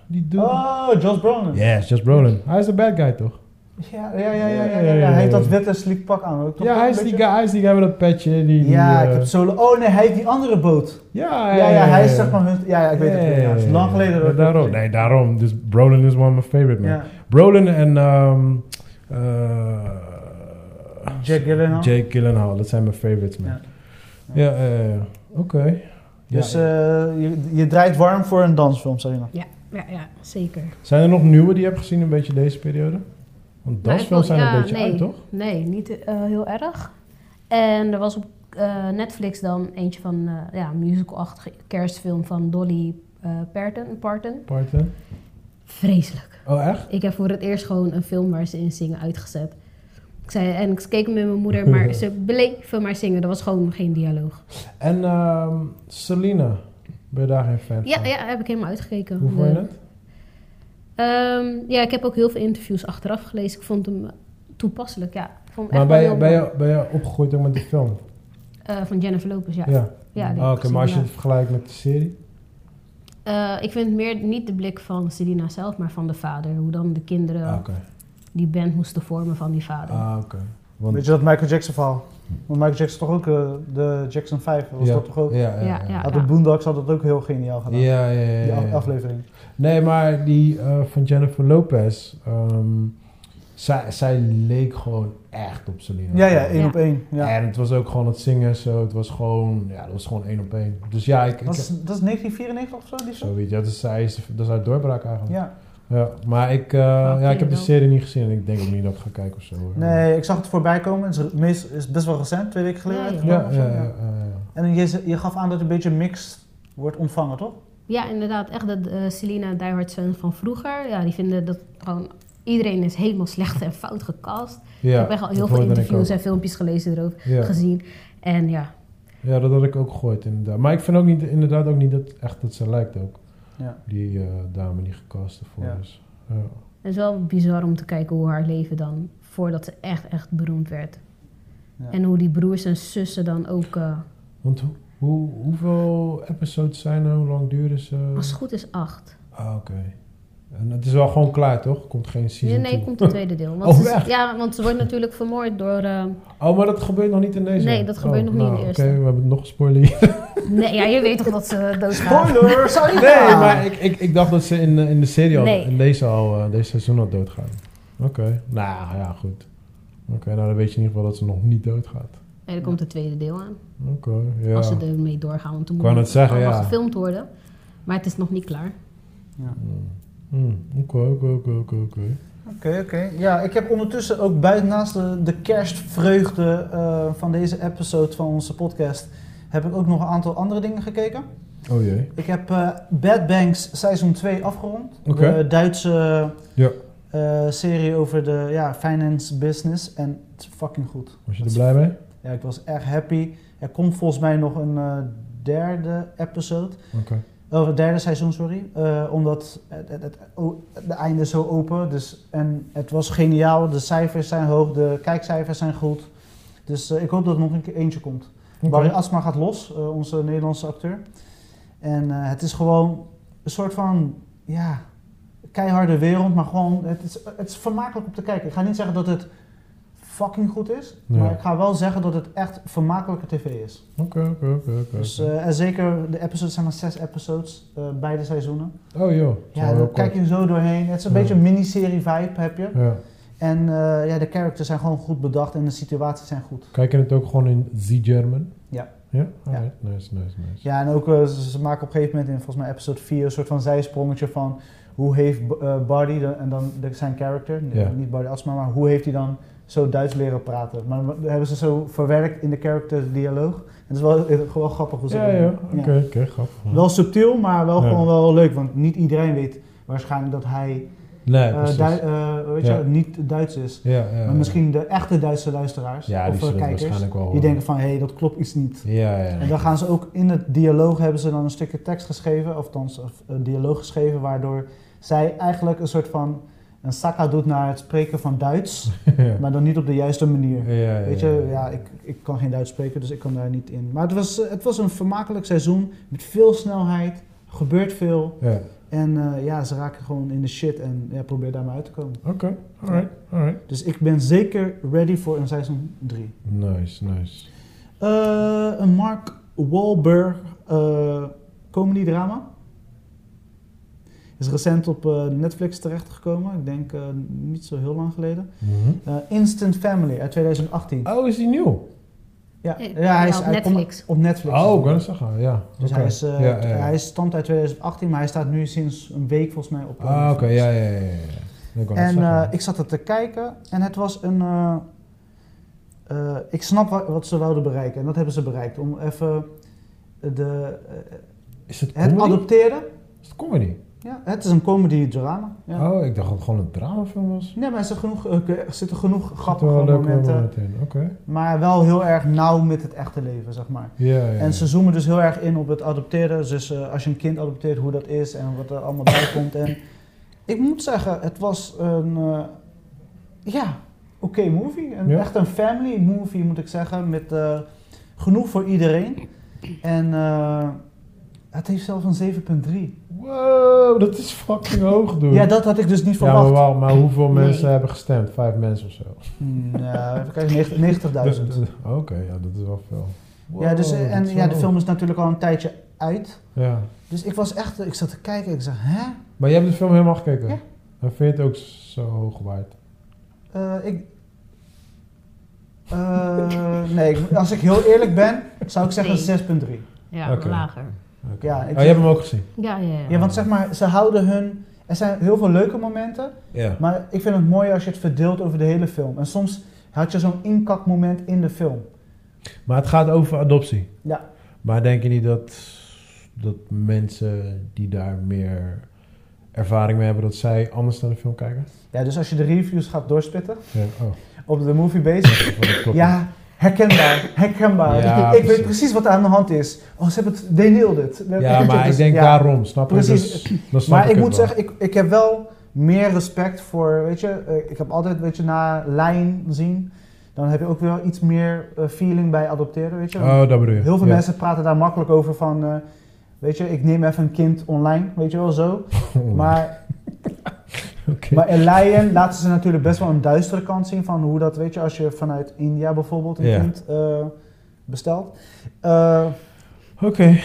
B: die dude...
A: Oh, Josh Brolin.
B: Yes, Josh Brolin. Hij is de bad guy, toch?
A: Ja, ja, ja, ja, ja,
B: Ja, ja,
A: ja,
B: ja,
A: Hij heeft
B: ja.
A: dat witte sleek pak aan ook. toch?
B: Ja, hij is,
A: Een
B: die guy,
A: beetje?
B: hij is die guy met dat petje. Die, die,
A: Ja, ik
B: eh,
A: heb solo. Oh nee, hij heeft die andere boot.
B: Ja,
A: Ja, ja, hij is zeg maar hun. Ja, ja ik weet het weer. Ja, het. is lang geleden dat
B: Ja,
A: ik dat
B: daarom.
A: gezien
B: Nee, daarom. Dus Brolin is one of my favorite, man.
A: heb. Ja.
B: Brolin en... ehm eh,
A: Jake Gyllenhaal.
B: Jake Gyllenhaal. Dat zijn mijn favorites, man. Ja,
A: Ja.
B: ja, ja, ja. Oké.
A: Dus
B: Ja,
A: eh, je, je draait warm voor een dansfilm, zeg je nou.
C: Ja, ja, ja, zeker.
B: zijn er nog nieuwe die je hebt gezien een beetje deze periode? Want
C: Nou, ik wil-
B: dansfilms zijn
C: ja,
B: een beetje
C: nee.
B: uit, toch?
C: Nee, niet eh, heel erg. En er was op eh, Netflix dan eentje van eh, ja, een musical-achtige kerstfilm van Dolly eh, Parton. Parton.
B: Parten.
C: Vreselijk.
B: Oh, echt?
C: Ik heb voor het eerst gewoon een film waar ze in zingen uitgezet. Ik zei, en ik keek met mijn
B: <laughs>
C: moeder, maar ze bleven maar zingen. Er was gewoon geen dialoog.
B: En ehm Selena. Ben je daar geen fan
C: Ja,
B: van?
C: ja, heb ik helemaal uitgekeken.
B: Hoe vond je
C: De-
B: dat?
C: Ehm, ja, ik heb ook heel veel interviews achteraf gelezen. Ik vond hem toepasselijk, ja. Ik vond hem
B: Maar
C: echt
B: ben
C: wel
B: je,
C: heel
B: ben,
C: mooi.
B: je, ben je opgegroeid ook met die film?
C: Eh, van Jennifer Lopez, ja.
B: Ja.
C: Ja, die
B: Ah,
C: heb
B: Oké,
C: ik
B: maar als je
C: gezien,
B: het vergelijkt met de serie?
C: Eh, ik vind meer niet de blik van Selena zelf, maar van de vader. Hoe dan de kinderen
B: Ah, Oké.
C: die band moesten vormen van die vader.
B: Ah, oké. Want-
A: Weet je dat Michael Jackson verhaal? Want Michael Jackson toch ook eh, de Jackson 5, was
B: ja.
A: dat toch ook?
B: Ja, ja,
C: Ja,
B: ja.
A: Had de Boondocks had dat ook heel geniaal gedaan.
B: Ja, ja, ja,
A: Die
B: ja,
A: af-
B: ja.
A: aflevering.
B: Nee, maar die eh, van Jennifer Lopez, ehm, zij, zij leek gewoon echt op Selena.
A: Ja, ja, één
C: Ja.
A: op één. Ja.
B: En het was ook gewoon het zingen zo, het was gewoon, ja, dat was gewoon één op één. Dus ja, ik, ik
A: Dat, is, dat is 1994 of zo, die
B: zo
A: zo?
B: weet je, dat is, zij is, dat is haar doorbraak eigenlijk.
A: Ja.
B: Ja. maar ik, eh, ja, ik heb de serie niet gezien en ik denk ook niet dat ik ga kijken of zo. hoor.
A: Nee, ik zag het voorbij komen. Het is, meest, is best wel recent, twee weken geleden.
C: Ja, ja.
A: uitgekomen
B: Ja, ja,
A: of zo,
B: ja,
A: ja.
B: ja, ja.
A: En je, ze- je gaf aan dat het een beetje mixed wordt ontvangen, toch?
C: Ja, inderdaad. Echt dat eh Selena en Die Hard Sven van vroeger. Ja, die vinden dat gewoon... Iedereen is helemaal slecht en fout gecast.
B: Ja,
C: ik heb echt al heel
B: dat
C: veel
B: hoorde ik
C: interviews
B: ook.
C: en filmpjes gelezen erover,
B: Ja.
C: gezien. En ja,
B: Ja, dat had ik ook gegooid inderdaad. Maar ik vind ook niet, inderdaad ook niet dat, echt dat ze lijkt ook.
A: Ja.
B: Die eh, dame die gecast ervoor
A: Ja.
B: is. Ja.
C: het is wel bizar om te kijken hoe haar leven dan... voordat ze echt, echt beroemd werd.
A: Ja.
C: En hoe die broers en zussen dan ook... eh,
B: Want hoe, hoe, hoeveel episodes zijn er? Hoe lang duren ze?
C: als het goed is, acht.
B: Ah, oké. En het is wel gewoon klaar, toch? Komt geen
C: Nee,
B: season
C: nee,
B: two.
C: komt het tweede deel. Want
B: Oh,
C: ze,
B: echt?
C: ja, want ze wordt natuurlijk vermoord door... eh,
B: Oh, maar dat gebeurt nog niet in deze?
C: Nee, dat gebeurt
B: Oh,
C: nog niet in
B: nou,
C: de
B: Oké,
C: eerste.
B: we hebben het nog
C: <laughs>
B: gespoileerd.
C: nee, ja, je weet toch dat ze doodgaat?
A: Spoiler! <laughs> Sorry!
B: Nee, maar ik, ik, ik dacht dat ze in, eh, in de serie al,
C: Nee.
B: in deze al, eh, deze seizoen al doodgaan. Oké, nou ja, goed. Oké, nou dan weet je in ieder geval dat ze nog niet doodgaat.
C: Nee, er komt het tweede deel aan.
B: Oké, ja.
C: Als ze ermee doorgaan. Want toen
B: Ik wou
C: moet
B: net zeggen,
C: allemaal
B: ja.
C: gefilmd worden. Maar het is nog niet klaar.
B: Hmm, Oké, oké, oké, oké, oké.
A: Oké, oké. Ja, ik heb ondertussen ook buiten naast de, de kerstvreugde eh, van deze episode van onze podcast... heb ik ook nog een aantal andere dingen gekeken.
B: Oh jee.
A: Ik heb eh, Bad Banks seizoen 2 afgerond.
B: Oké.
A: De Duitse
B: Ja.
A: eh, serie over de ja, finance business. En het is fucking goed.
B: Was je er blij mee?
A: Ja, ik was erg happy. Er komt volgens mij nog een eh, derde episode.
B: Oké.
A: Of het derde seizoen, sorry. Eh, omdat het, het, het, o- de einde is zo open. Dus, en het was geniaal. De cijfers zijn hoog. De kijkcijfers zijn goed. Dus eh, ik hoop dat er nog een keer eentje komt.
B: Oké.
A: Barry Asma gaat los, eh, onze Nederlandse acteur. En eh, het is gewoon een soort van, ja, keiharde wereld, maar gewoon, het is, het is vermakelijk om te kijken. Ik ga niet zeggen dat het fucking goed is,
B: Ja.
A: maar ik ga wel zeggen dat het echt vermakelijke tv is.
B: Oké, oké, oké, oké.
A: Dus, eh, en zeker, de episodes zijn maar zes episodes, eh, beide seizoenen.
B: Oh joh. Zo
A: Ja,
B: heel
A: daar
B: kort.
A: kijk je zo doorheen. Het is een
B: Ja.
A: beetje een miniserie vibe heb je.
B: Ja.
A: En eh, ja, de characters zijn gewoon goed bedacht en de situaties zijn goed.
B: Kijk je het ook gewoon in The German?
A: Ja.
B: Ja? Alright, Nice, nice, nice.
A: Ja, en ook eh, ze, ze maken op een gegeven moment in volgens mij episode 4 een soort van zijsprongetje van hoe heeft B- eh, Bardi de- en dan de- zijn character, n-
B: Ja.
A: niet Bardi Asma, maar hoe heeft hij dan zo Duits leren praten? Maar dan hebben ze zo verwerkt in de character dialoog. Het is wel eh, gewoon grappig hoe ze
B: Ja,
A: dat
B: ja.
A: doen.
B: Oké,
A: Ja.
B: oké, grappig.
A: Wel eh, subtiel, maar wel
B: Ja.
A: gewoon wel leuk, want niet iedereen weet waarschijnlijk dat hij
B: Nee,
A: eh,
B: precies.
A: Dui- eh, weet je,
B: Ja.
A: wel, niet Duits is.
B: ja, ja, ja.
A: maar misschien de echte Duitse luisteraars
B: Ja, die
A: of eh,
B: zullen het
A: kijkers,
B: waarschijnlijk wel
A: die
B: horen.
A: denken van hé, hey, dat klopt iets niet.
B: Ja, ja.
A: En dan gaan ze ook in het dialoog hebben ze dan een stukje tekst geschreven, of dan een dialoog geschreven, waardoor zij eigenlijk een soort van een saka doet naar het spreken van Duits,
B: <laughs> <laughs> ja.
A: maar dan niet op de juiste manier.
B: Ja, ja, ja.
A: Weet je, ja, ik, ik kan geen Duits spreken, dus ik kan daar niet in. Maar het was, eh, het was een vermakelijk seizoen met veel snelheid, gebeurt veel
B: Ja.
A: en eh, ja, ze raken gewoon in de shit en ja, probeer daar maar uit te komen.
B: Oké, alright, alright.
A: Dus ik ben zeker ready voor een seizoen 3.
B: Nice, nice.
A: Eh, een Mark Wahlberg eh comedy drama. Is recent op eh, Netflix terechtgekomen. Ik denk eh, niet zo heel lang geleden.
B: Mhm.
A: Eh, Instant Family uit 2018.
B: Oh, is die nieuw?
A: Ja,
C: Nee,
A: ja, hij is
C: Eh, op
A: hij komt
C: Netflix.
A: op Netflix.
B: Oh, ik kan het zeggen, ja.
A: Dus
B: Oké.
A: hij, is, eh,
B: ja, ja.
A: hij is stamt uit 2018, maar hij staat nu sinds een week volgens mij op. eh,
B: Ah, oké,
A: Netflix.
B: ja, ja, ja, ja. ja. Ik wou net
A: En
B: zeggen.
A: eh, ik zat er te kijken en het was een. eh, eh, ik snap wa- wat ze wilden bereiken en dat hebben ze bereikt. Om even de, eh,
B: is het
A: Het
B: comedy?
A: adopteren,
B: Is het comedy?
A: ja, het is een comedy-drama. Ja.
B: Oh, ik dacht dat het gewoon een dramafilm was.
A: Nee, maar er zitten genoeg, eh, er zitten genoeg grappige
B: Wel leuke
A: momenten,
B: momenten in, Oké.
A: maar wel heel erg nauw met het echte leven, zeg maar.
B: Ja, ja, ja.
A: En ze zoomen dus heel erg in op het adopteren, dus eh, als je een kind adopteert, hoe dat is en wat er allemaal bij komt. En ik moet zeggen, het was een, eh, ja, oké movie. Een,
B: Ja.
A: Echt een family movie, moet ik zeggen, met eh, genoeg voor iedereen. En eh, het heeft zelfs een 7,3.
B: Wow, dat is fucking hoog, doen.
A: Ja, dat had ik dus niet
B: ja, maar,
A: verwacht.
B: wauw,
A: <clears throat>
B: maar hoeveel
C: Nee.
B: mensen hebben gestemd? Vijf mensen of zo.
A: Nou, even kijken, 90 90.000.
B: Dus- Oké, ja, dat is wel
A: Ja,
B: veel.
A: dus,
B: Wow,
A: eh,
B: dat is
A: en ja,
B: wel
A: de
B: hoog.
A: film is natuurlijk al een tijdje uit.
B: Ja.
A: Dus ik was echt, ik zat te kijken ik zeg, hè?
B: Maar jij hebt de film helemaal gekeken?
A: Ja.
B: En vind je het ook zo hoog waard?
A: Eh, ik... Eh, nee, ik- als ik heel eerlijk ben, zou ik
C: Nee.
A: zeggen 6,3.
C: Ja,
B: Oké.
C: lager.
B: Oké.
A: Ja, ik
B: oh,
A: vind-
B: je hebt hem ook gezien?
C: Ja, ja, ja.
A: Ja, want zeg maar, ze houden hun... Er zijn heel veel leuke momenten,
B: Ja.
A: maar ik vind het mooi als je het verdeelt over de hele film. En soms had je zo'n inkakmoment in de film.
B: Maar het gaat over adoptie?
A: Ja.
B: Maar denk je niet dat, dat mensen die daar meer ervaring mee hebben, dat zij anders naar de film kijken?
A: Ja, dus als je de reviews gaat doorspitten
B: Ja, oh.
A: op de movie base,
B: dat klopt.
A: ja,
B: <laughs>
A: herkenbaar, herkenbaar.
B: Ja,
A: ik
B: precies.
A: weet precies wat er aan de hand is. Oh, ze hebben het, they nailed it.
B: Ja, maar ik
A: Dus,
B: denk
A: ja.
B: daarom, snap je?
A: Precies.
B: Dus, dan snap
A: Maar ik
B: het
A: moet
B: wel.
A: zeggen, ik, ik heb wel meer respect voor, weet je, eh, ik heb altijd, weet je, na lijn zien, dan heb je ook wel iets meer eh, feeling bij adopteren, weet je.
B: Oh, dat bedoel je.
A: Heel veel
B: Ja.
A: mensen praten daar makkelijk over van, eh, weet je, ik neem even een kind online, weet je wel,
B: <laughs>
A: zo.
B: Oh,
A: Maar,
B: oké.
A: maar in Lion laten ze natuurlijk best wel een duistere kant zien van hoe dat, weet je, als je vanuit India bijvoorbeeld een
B: Ja.
A: kind eh, bestelt. Eh,
B: Oké.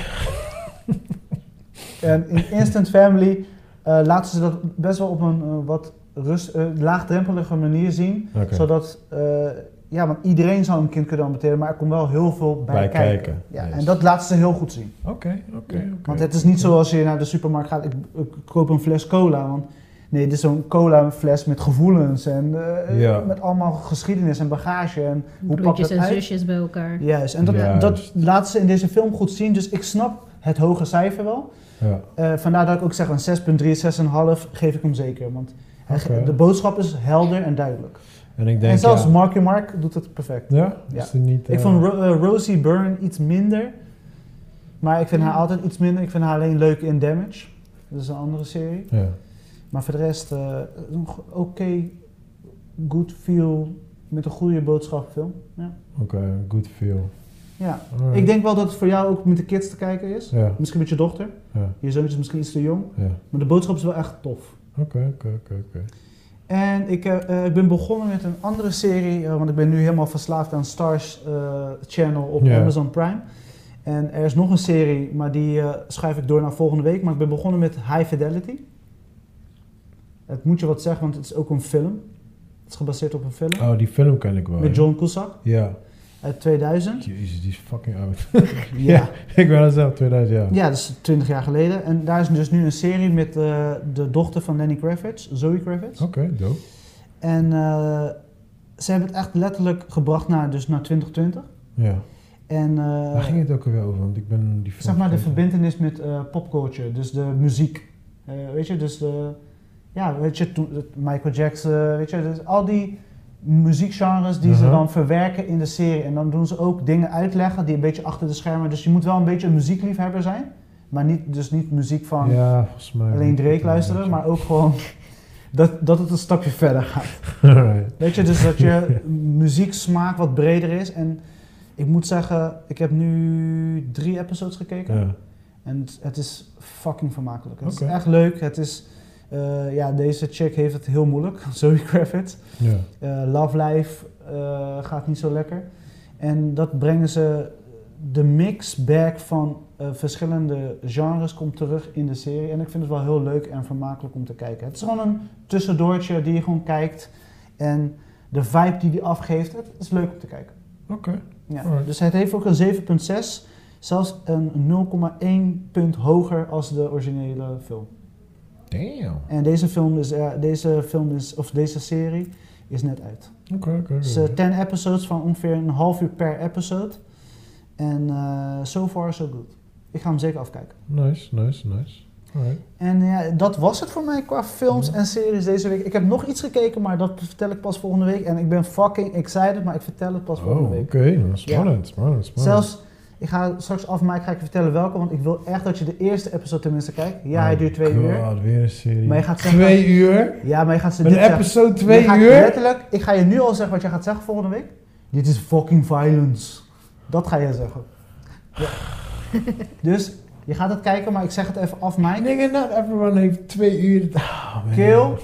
A: En in Instant Family eh, laten ze dat best wel op een eh, wat rust, eh, laagdrempelige manier zien.
B: Oké.
A: Zodat, eh, ja, want iedereen zou een kind kunnen adopteren, maar er komt wel heel veel bij,
B: Bij
A: kijken.
B: kijken.
A: Ja,
B: Juist.
A: en dat laten ze heel goed zien.
B: Oké, oké, oké.
A: Want het is niet zoals je naar de supermarkt gaat, ik, ik koop een fles cola. Want nee, dit is zo'n cola fles met gevoelens en eh,
B: Ja.
A: met allemaal geschiedenis en bagage. En hoe pakt
C: Broertjes
A: dat
C: en
A: uit?
C: zusjes bij elkaar.
A: Juist, en dat,
B: Juist.
A: dat laten ze in deze film goed zien. Dus ik snap het hoge cijfer wel.
B: Ja.
A: Eh, vandaar dat ik ook zeg een 6,3, 6,5 geef ik hem zeker. Want hij ge-
B: Oké.
A: de boodschap is helder en duidelijk.
B: En ik denk,
A: en zelfs
B: ja.
A: Marky Mark doet het perfect.
B: Ja?
A: Ja.
B: Is het niet...
A: Ik
B: eh,
A: vond Ro- eh, Rosie Byrne iets minder. Maar ik vind haar
C: Ja.
A: altijd iets minder. Ik vind haar alleen leuk in Damage. Dat is een andere serie.
B: Ja.
A: Maar voor de rest, eh, een go- oké, good feel met een goede boodschap film. Ja.
B: Oké, good feel.
A: ja.
B: Alright.
A: Ik denk wel dat het voor jou ook met de kids te kijken is.
B: Ja,
A: Misschien met je dochter.
B: ja,
A: Je zoontje is misschien iets te jong.
B: ja.
A: Maar de boodschap is wel echt tof.
B: Oké, oké, oké, oké.
A: En ik, eh, eh, ik ben begonnen met een andere serie, eh, want ik ben nu helemaal verslaafd aan Stars eh, Channel op
B: Ja.
A: Amazon Prime. En er is nog een serie, maar die eh, schuif ik door naar volgende week. Maar ik ben begonnen met High Fidelity. Het moet je wat zeggen, want het is ook een film. Het is gebaseerd op een film.
B: Oh, die film ken ik wel.
A: met
B: ja.
A: John Cusack
B: Ja.
A: uit 2000.
B: Jezus, die is fucking oud. <laughs>
A: Ja.
B: ik ben al zelf 2000 jaar.
A: ja, dat is 20 jaar geleden. En daar is dus nu een serie met eh, de dochter van Lenny Kravitz, Zoe Kravitz.
B: Oké, dope.
A: En eh, ze hebben het echt letterlijk gebracht naar, dus naar 2020.
B: Ja.
A: En eh,
B: Waar ging het ook alweer over? Want ik ben die film...
A: zeg maar de
B: vergeten.
A: verbindenis met eh, popculture, dus de muziek. Eh, weet je, dus de, ja, weet je, toen- het Michael Jackson, weet je, dus al die muziekgenres die ze
B: Mhm.
A: dan verwerken in de serie. En dan doen ze ook dingen uitleggen die een beetje achter de schermen. Dus je moet wel een beetje een muziekliefhebber zijn, maar niet, dus niet muziek van
B: Ja, volgens mij.
A: alleen Drake luisteren,
B: <laughs>
A: maar ook gewoon <laughs> dat, dat het een stapje verder gaat.
B: Alright.
A: Weet je, dus dat je muzieksmaak wat breder is. En ik moet zeggen, ik heb nu drie episodes gekeken.
B: Ja.
A: En het, het is fucking vermakelijk. Het
B: Oké.
A: is echt leuk. Het is, eh, ja, deze chick heeft het heel moeilijk. <laughs> Zoe Kravitz.
B: Ja.
A: Eh, Love Life eh, gaat niet zo lekker. En dat brengen ze, de mixback van eh, verschillende genres komt terug in de serie. En ik vind het wel heel leuk en vermakelijk om te kijken. Het is gewoon een tussendoortje die je gewoon kijkt. En de vibe die die afgeeft, het is leuk om te kijken.
B: Oké.
A: Ja.
B: Alright.
A: Dus het heeft ook een 7.6. Zelfs een 0,1 punt hoger als de originele film.
B: Damn.
A: En deze film is, eh, deze film is of deze serie is net uit.
B: Oké, oké.
A: Het is
B: oké.
A: eh, 10 episodes van ongeveer een half uur per episode. En eh, so far so good. Ik ga hem zeker afkijken.
B: Nice, nice, nice. Alright.
A: En ja, dat was het voor mij qua films
B: Ja.
A: en series deze week. Ik heb nog iets gekeken, maar dat vertel ik pas volgende week. En ik ben fucking excited, maar ik vertel het pas
B: Oh,
A: volgende
B: oké.
A: week.
B: Spannend, spannend, spannend.
A: Zelfs, ik ga straks afmaken, ga ik je vertellen welke. Want ik wil echt dat je de eerste episode tenminste kijkt. Ja, hij
B: Oh
A: duurt twee
B: God,
A: uur.
B: weer een serie.
A: Maar je gaat zeggen-
B: twee uur?
A: Ja, maar je gaat ze
B: Een
A: dit zeggen.
B: episode
A: Dan
B: twee
A: ga ik
B: uur?
A: Letterlijk, ik ga je nu al zeggen wat je gaat zeggen volgende week. Dit is fucking violence. Dat ga jij zeggen. Ja. <laughs> dus je gaat het kijken, maar ik zeg het even af, Mike.
B: Nigga, not everyone heeft twee uur. Ah, man.
A: Keel,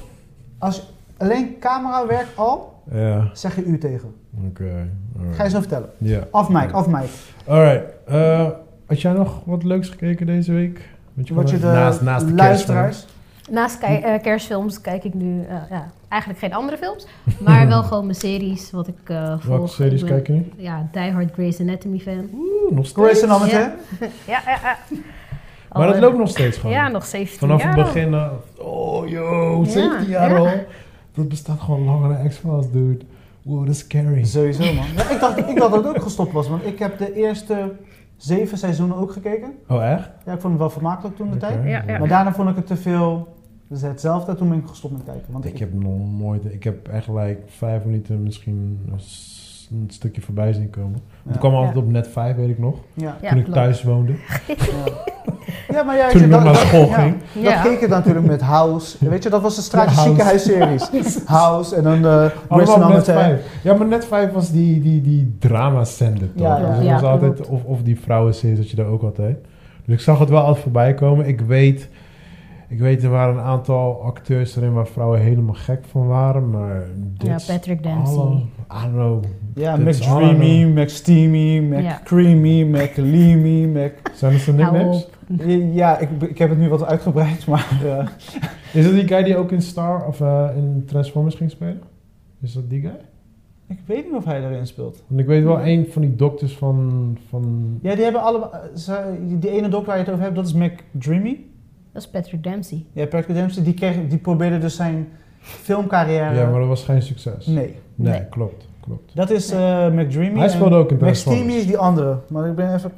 A: als alleen camerawerk al,
B: Ja,
A: zeg je u tegen.
B: oké. alright.
A: Ga je zo vertellen.
B: Ja.
A: Af Mike, af Mike.
B: Alright. eh, had jij nog wat leuks gekeken deze week? Wat
A: Wat je de
B: naast, naast de
A: luisteraars...
C: Naast ki- eh, kerstfilms kijk ik nu eh, ja, eigenlijk geen andere
B: <laughs>
C: films. Maar wel gewoon mijn series, wat ik eh,
B: kerstfilm.
C: volg.
B: Welke series
C: Ik ben,
B: kijk je nu?
C: Ja, Die Hard Grey's Anatomy fan.
B: Oeh, nog steeds.
A: Grace en Amat,
C: Ja.
A: hè?
C: Ja, ja, ja.
B: <laughs> Maar
A: Oh,
B: dat
C: Al, eh,
B: loopt nog steeds gewoon.
C: Ja, nog 17
B: Vanaf
C: jaar
B: het
C: al.
B: begin. eh, Oh, yo,
C: Ja,
B: 17 jaar
C: ja.
B: al. Dat bestaat gewoon langer dan X-Files, dude. Wow, dat is scary.
A: Sowieso, man. Ja, ik, dacht, ik dacht dat het ook gestopt was, want ik heb de eerste zeven seizoenen ook gekeken.
B: Oh, echt?
A: Ja, ik vond het wel vermakelijk toen de tijd.
B: Oké.
C: Ja, ja.
A: Maar daarna vond ik het te veel. Dus hetzelfde, toen ben ik gestopt met kijken. Want
B: Ik heb nog nooit, ik heb echt like vijf minuten misschien een, s- een stukje voorbij zien komen.
A: Ja.
B: Het kwam altijd
C: Ja.
B: op net vijf, weet ik nog.
A: Ja,
C: Ja,
B: toen ik
C: klopt.
B: thuis woonde.
A: ja. ja, maar ja,
B: toen
A: weet
B: ik
A: je,
B: nog naar
A: dat-
B: school
A: ja,
B: ging.
A: Dat
C: Ja.
A: keek ik natuurlijk met House. Weet je, dat was de straatje
B: Ja, House.
A: <laughs> ziekenhuisseries. House en dan eh Grace en
B: Allemaal op Oh, net
A: Amat.
B: vijf. Ja, maar net vijf was die, die, die drama-zender toch?
A: Ja, ja.
B: Dus het
C: Ja,
B: was altijd,
C: klopt.
B: of, of die vrouwenseries dat je daar ook altijd. Dus ik zag het wel altijd voorbij komen. Ik weet, ik weet er waren een aantal acteurs erin waar vrouwen helemaal gek van waren. Maar dit
C: Ja,
B: is
C: Patrick Dempsey.
B: alle- I don't know.
A: Ja,
B: Dit
A: Mac
B: is allemaal-
A: Dreamy, Mac Steamy, Mac
C: Ja.
A: Creamy, Mac Leamy, Mac...
C: <laughs>
A: Eh,
B: Zijn dat zijn
C: Hou
B: nicknames?
C: op.
A: Ja, ik, ik heb het nu wat uitgebreid, maar... eh,
B: Is dat die guy die ook in Star of eh, in Transformers ging spelen? Is dat die guy?
A: Ik weet niet of hij erin speelt.
B: Want ik weet wel een van die dokters van... van
A: Ja, die hebben allemaal. eh, ze- Die ene doc waar je het over hebt, dat is Mac Dreamy.
C: Dat is Patrick Dempsey.
A: Ja, Patrick Dempsey, die, kreeg, die probeerde dus zijn filmcarrière.
B: ja, maar dat was geen succes.
A: Nee,
B: Nee,
C: Nee.
B: klopt. klopt.
A: dat is eh Mac Dreamy.
B: Hij
A: en
B: speelde ook in
A: Mac
B: Transformers.
A: Steamy is die andere, maar ik ben even.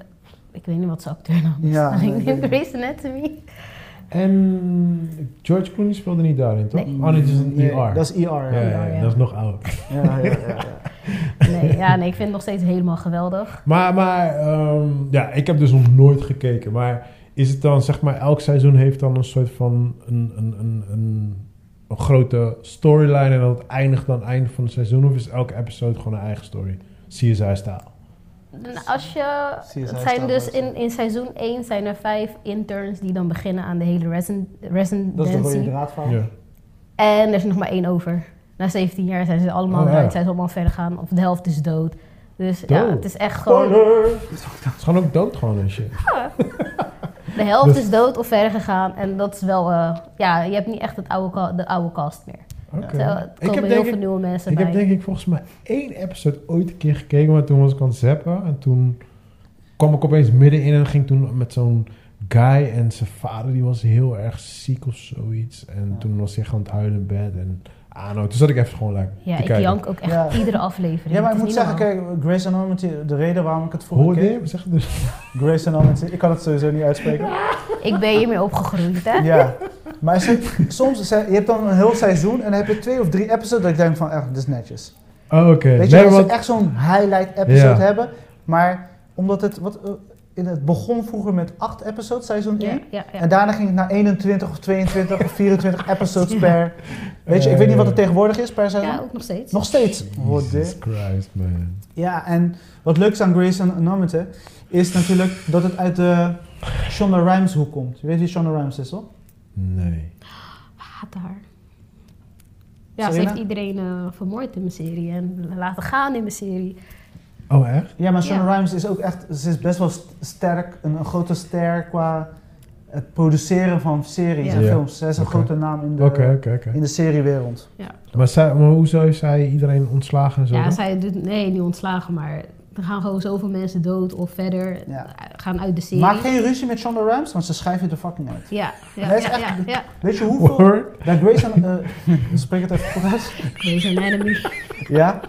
C: Ik weet niet wat zijn acteurnaam is.
A: Ja, nee,
C: ik denk
A: nee.
B: <laughs>
C: Grey's Anatomy.
B: En George Clooney speelde niet daarin, toch?
C: Nee.
B: Oh, dit is een
A: Nee,
B: ER.
A: Dat is ER. Ja,
B: ja,
A: ja,
B: ja,
C: ja.
B: dat is nog oud.
A: ja. ja,
C: <laughs>
A: ja.
C: Nee, ja, nee, ik vind het nog steeds helemaal geweldig.
B: Maar, maar ehm, ja, ik heb dus nog nooit gekeken. Maar is het dan, zeg maar, elk seizoen heeft dan een soort van een, een, een, een, een grote storyline en dat eindigt dan einde van het seizoen? Of is elke episode gewoon een eigen story? CSI-stijl.
C: En Als je,
A: CSI
C: het
A: staat
C: zijn dus
A: wel zo.
C: in, in seizoen 1 zijn er vijf interns die dan beginnen aan de hele resen-
A: Dat is de rode
C: residency.
A: draad van.
B: Ja.
C: En er is nog maar één over. Na 17 jaar zijn ze allemaal
B: Oh, ja.
C: eruit, zijn ze allemaal verder gaan. Of de helft is dood. Dus ja,
B: Dood.
C: het is echt gewoon...
A: Spoiler!
B: Het is gewoon ook dood gewoon en shit.
C: De helft
B: Dus-
C: is dood of verder gegaan. En dat is wel... eh, ja, je hebt niet echt het oude, ka- de oude cast meer.
B: Oké.
C: Terwijl Er
B: Ik
C: komen
B: heb
C: heel
B: denk
C: veel
B: ik,
C: nieuwe mensen
B: ik
C: bij.
B: heb denk ik volgens mij één episode ooit een keer gekeken, maar toen was ik aan het zappen. En toen kwam ik opeens middenin en ging toen met zo'n guy en zijn vader, die was heel erg ziek of zoiets. En
A: Ja.
B: toen was hij gewoon aan het huilen in bed en ah nou, toen zat ik even gewoon lekker
C: ja,
B: te
C: ik
B: kijken.
C: jank ook echt
A: Ja.
C: iedere aflevering.
A: Ja, maar
C: Het
A: ik
C: is
A: moet
C: niet
A: zeggen,
C: normaal.
A: kijk, Grace Anatomy, de reden waarom ik het vroeger
B: Hoorde
A: keek.
B: je? Zeg het dus.
A: Grace Anatomy, ik kan het sowieso niet
C: <laughs>
A: uitspreken.
C: Ik ben hiermee opgegroeid, hè?
A: Ja, maar er zijn- soms, zijn- je hebt dan een heel seizoen en dan heb je twee of drie episodes dat ik denk van, echt, dit is netjes.
B: Oh, Oké,
A: Weet je,
B: nee,
A: dat ze
B: want
A: echt zo'n highlight episode
B: Ja.
A: hebben, maar omdat het, wat, eh, in het begon vroeger met acht episodes, seizoen 1.
C: Ja, ja, ja.
A: En daarna ging het naar 21 of 22 of
C: <laughs>
A: 24 episodes per, weet je, ik
B: Eh,
A: weet niet wat
B: ja.
A: het tegenwoordig is per seizoen.
C: Ja, ook nog steeds.
A: dus, eh, Nog steeds. Hoor
B: Jesus
A: dit.
B: Christ, man.
A: Ja, en wat leuk is aan Grace Anatomy is natuurlijk dat het uit de Shonda Rhimes hoek komt. Je weet wie Shonda Rhimes is, toch?
B: Nee.
C: haat haar. Ja, ze
A: Serena?
C: heeft iedereen eh, vermoord in mijn serie en laten gaan in mijn serie.
B: Oh, echt?
A: Ja, maar Shonda
C: Ja.
A: Rhimes is ook echt, ze is best wel st- sterk, een, een grote ster qua het produceren van series
C: Ja.
A: en
B: Ja.
A: films. Zij is een
B: Oké.
A: grote naam in de,
B: Oké, oké, oké.
A: in de seriewereld.
B: Maar, zij- maar hoezo is zij iedereen ontslagen en zo?
C: Ja,
B: dan?
C: zij doet, nee, niet ontslagen, maar er gaan gewoon zoveel mensen dood of verder,
A: Ja.
C: eh, gaan uit de serie.
A: Maak geen ruzie met Shonda Rhimes, want ze schrijven je de fucking uit.
C: Ja, ja,
A: Dat is
C: ja, ja,
A: echt-
C: ja.
A: Weet je hoeveel...
B: <laughs> Word?
A: Daar Grace aan... eh, spreek het even goed uit.
C: Grey's Anatomy.
A: Ja.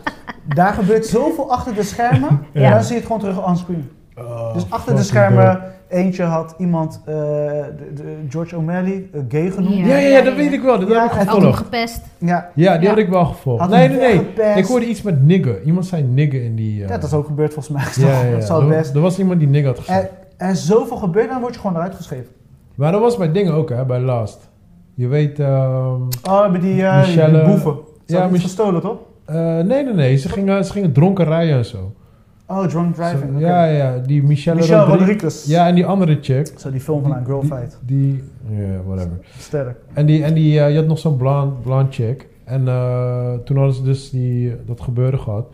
A: Daar gebeurt zoveel achter de schermen,
B: Ja.
A: en dan zie je het gewoon terug onscreen.
B: Oh,
A: dus achter de
B: fucking dope.
A: schermen, eentje had iemand, eh, de, de- George O'Malley, eh, gay genoemd.
C: Ja.
B: Ja, ja, ja, dat weet ik wel. Dat
A: Ja,
B: heb ik
A: en-
C: Altijd
B: gevolgd.
C: gepest.
A: Ja.
B: Ja, die
C: Ja.
B: had ik wel gevolgd.
A: Had
B: nee,
A: hem
B: nee, nee.
A: weggepest.
B: Ik hoorde iets met nigger. Iemand zei nigger in die... eh,
A: ja, dat is ook gebeurd volgens mij.
B: Ja, ja, ja.
A: Dat zou
B: Er-
A: best. Eh,
B: Er was iemand die nigger had gezegd.
A: Er, er is zoveel gebeurd en dan word je gewoon eruit geschreven.
B: Maar dat was bij dingen ook, hè, bij Last. Je weet... ehm,
A: Oh, bij die, eh
B: Michelle-
A: die boeven. Ze
B: Ja,
A: ja,
B: Mich-
A: gestolen, toch?
B: eh, nee, nee, nee. Ze gingen, ze gingen dronken rijden en zo.
A: Oh, Drunk Driving.
B: Zo-
A: oké.
B: Ja, ja, die Michelle,
A: Michelle
B: Rodri-
A: Rodriguez.
B: Ja, en die andere chick.
A: Zo, die film van een girl
B: die,
A: fight.
B: Die, ja, whatever.
A: Sterk.
B: En, die, en die, eh, je had nog zo'n blond, blond chick. En eh, toen hadden ze dus die, dat gebeuren gehad.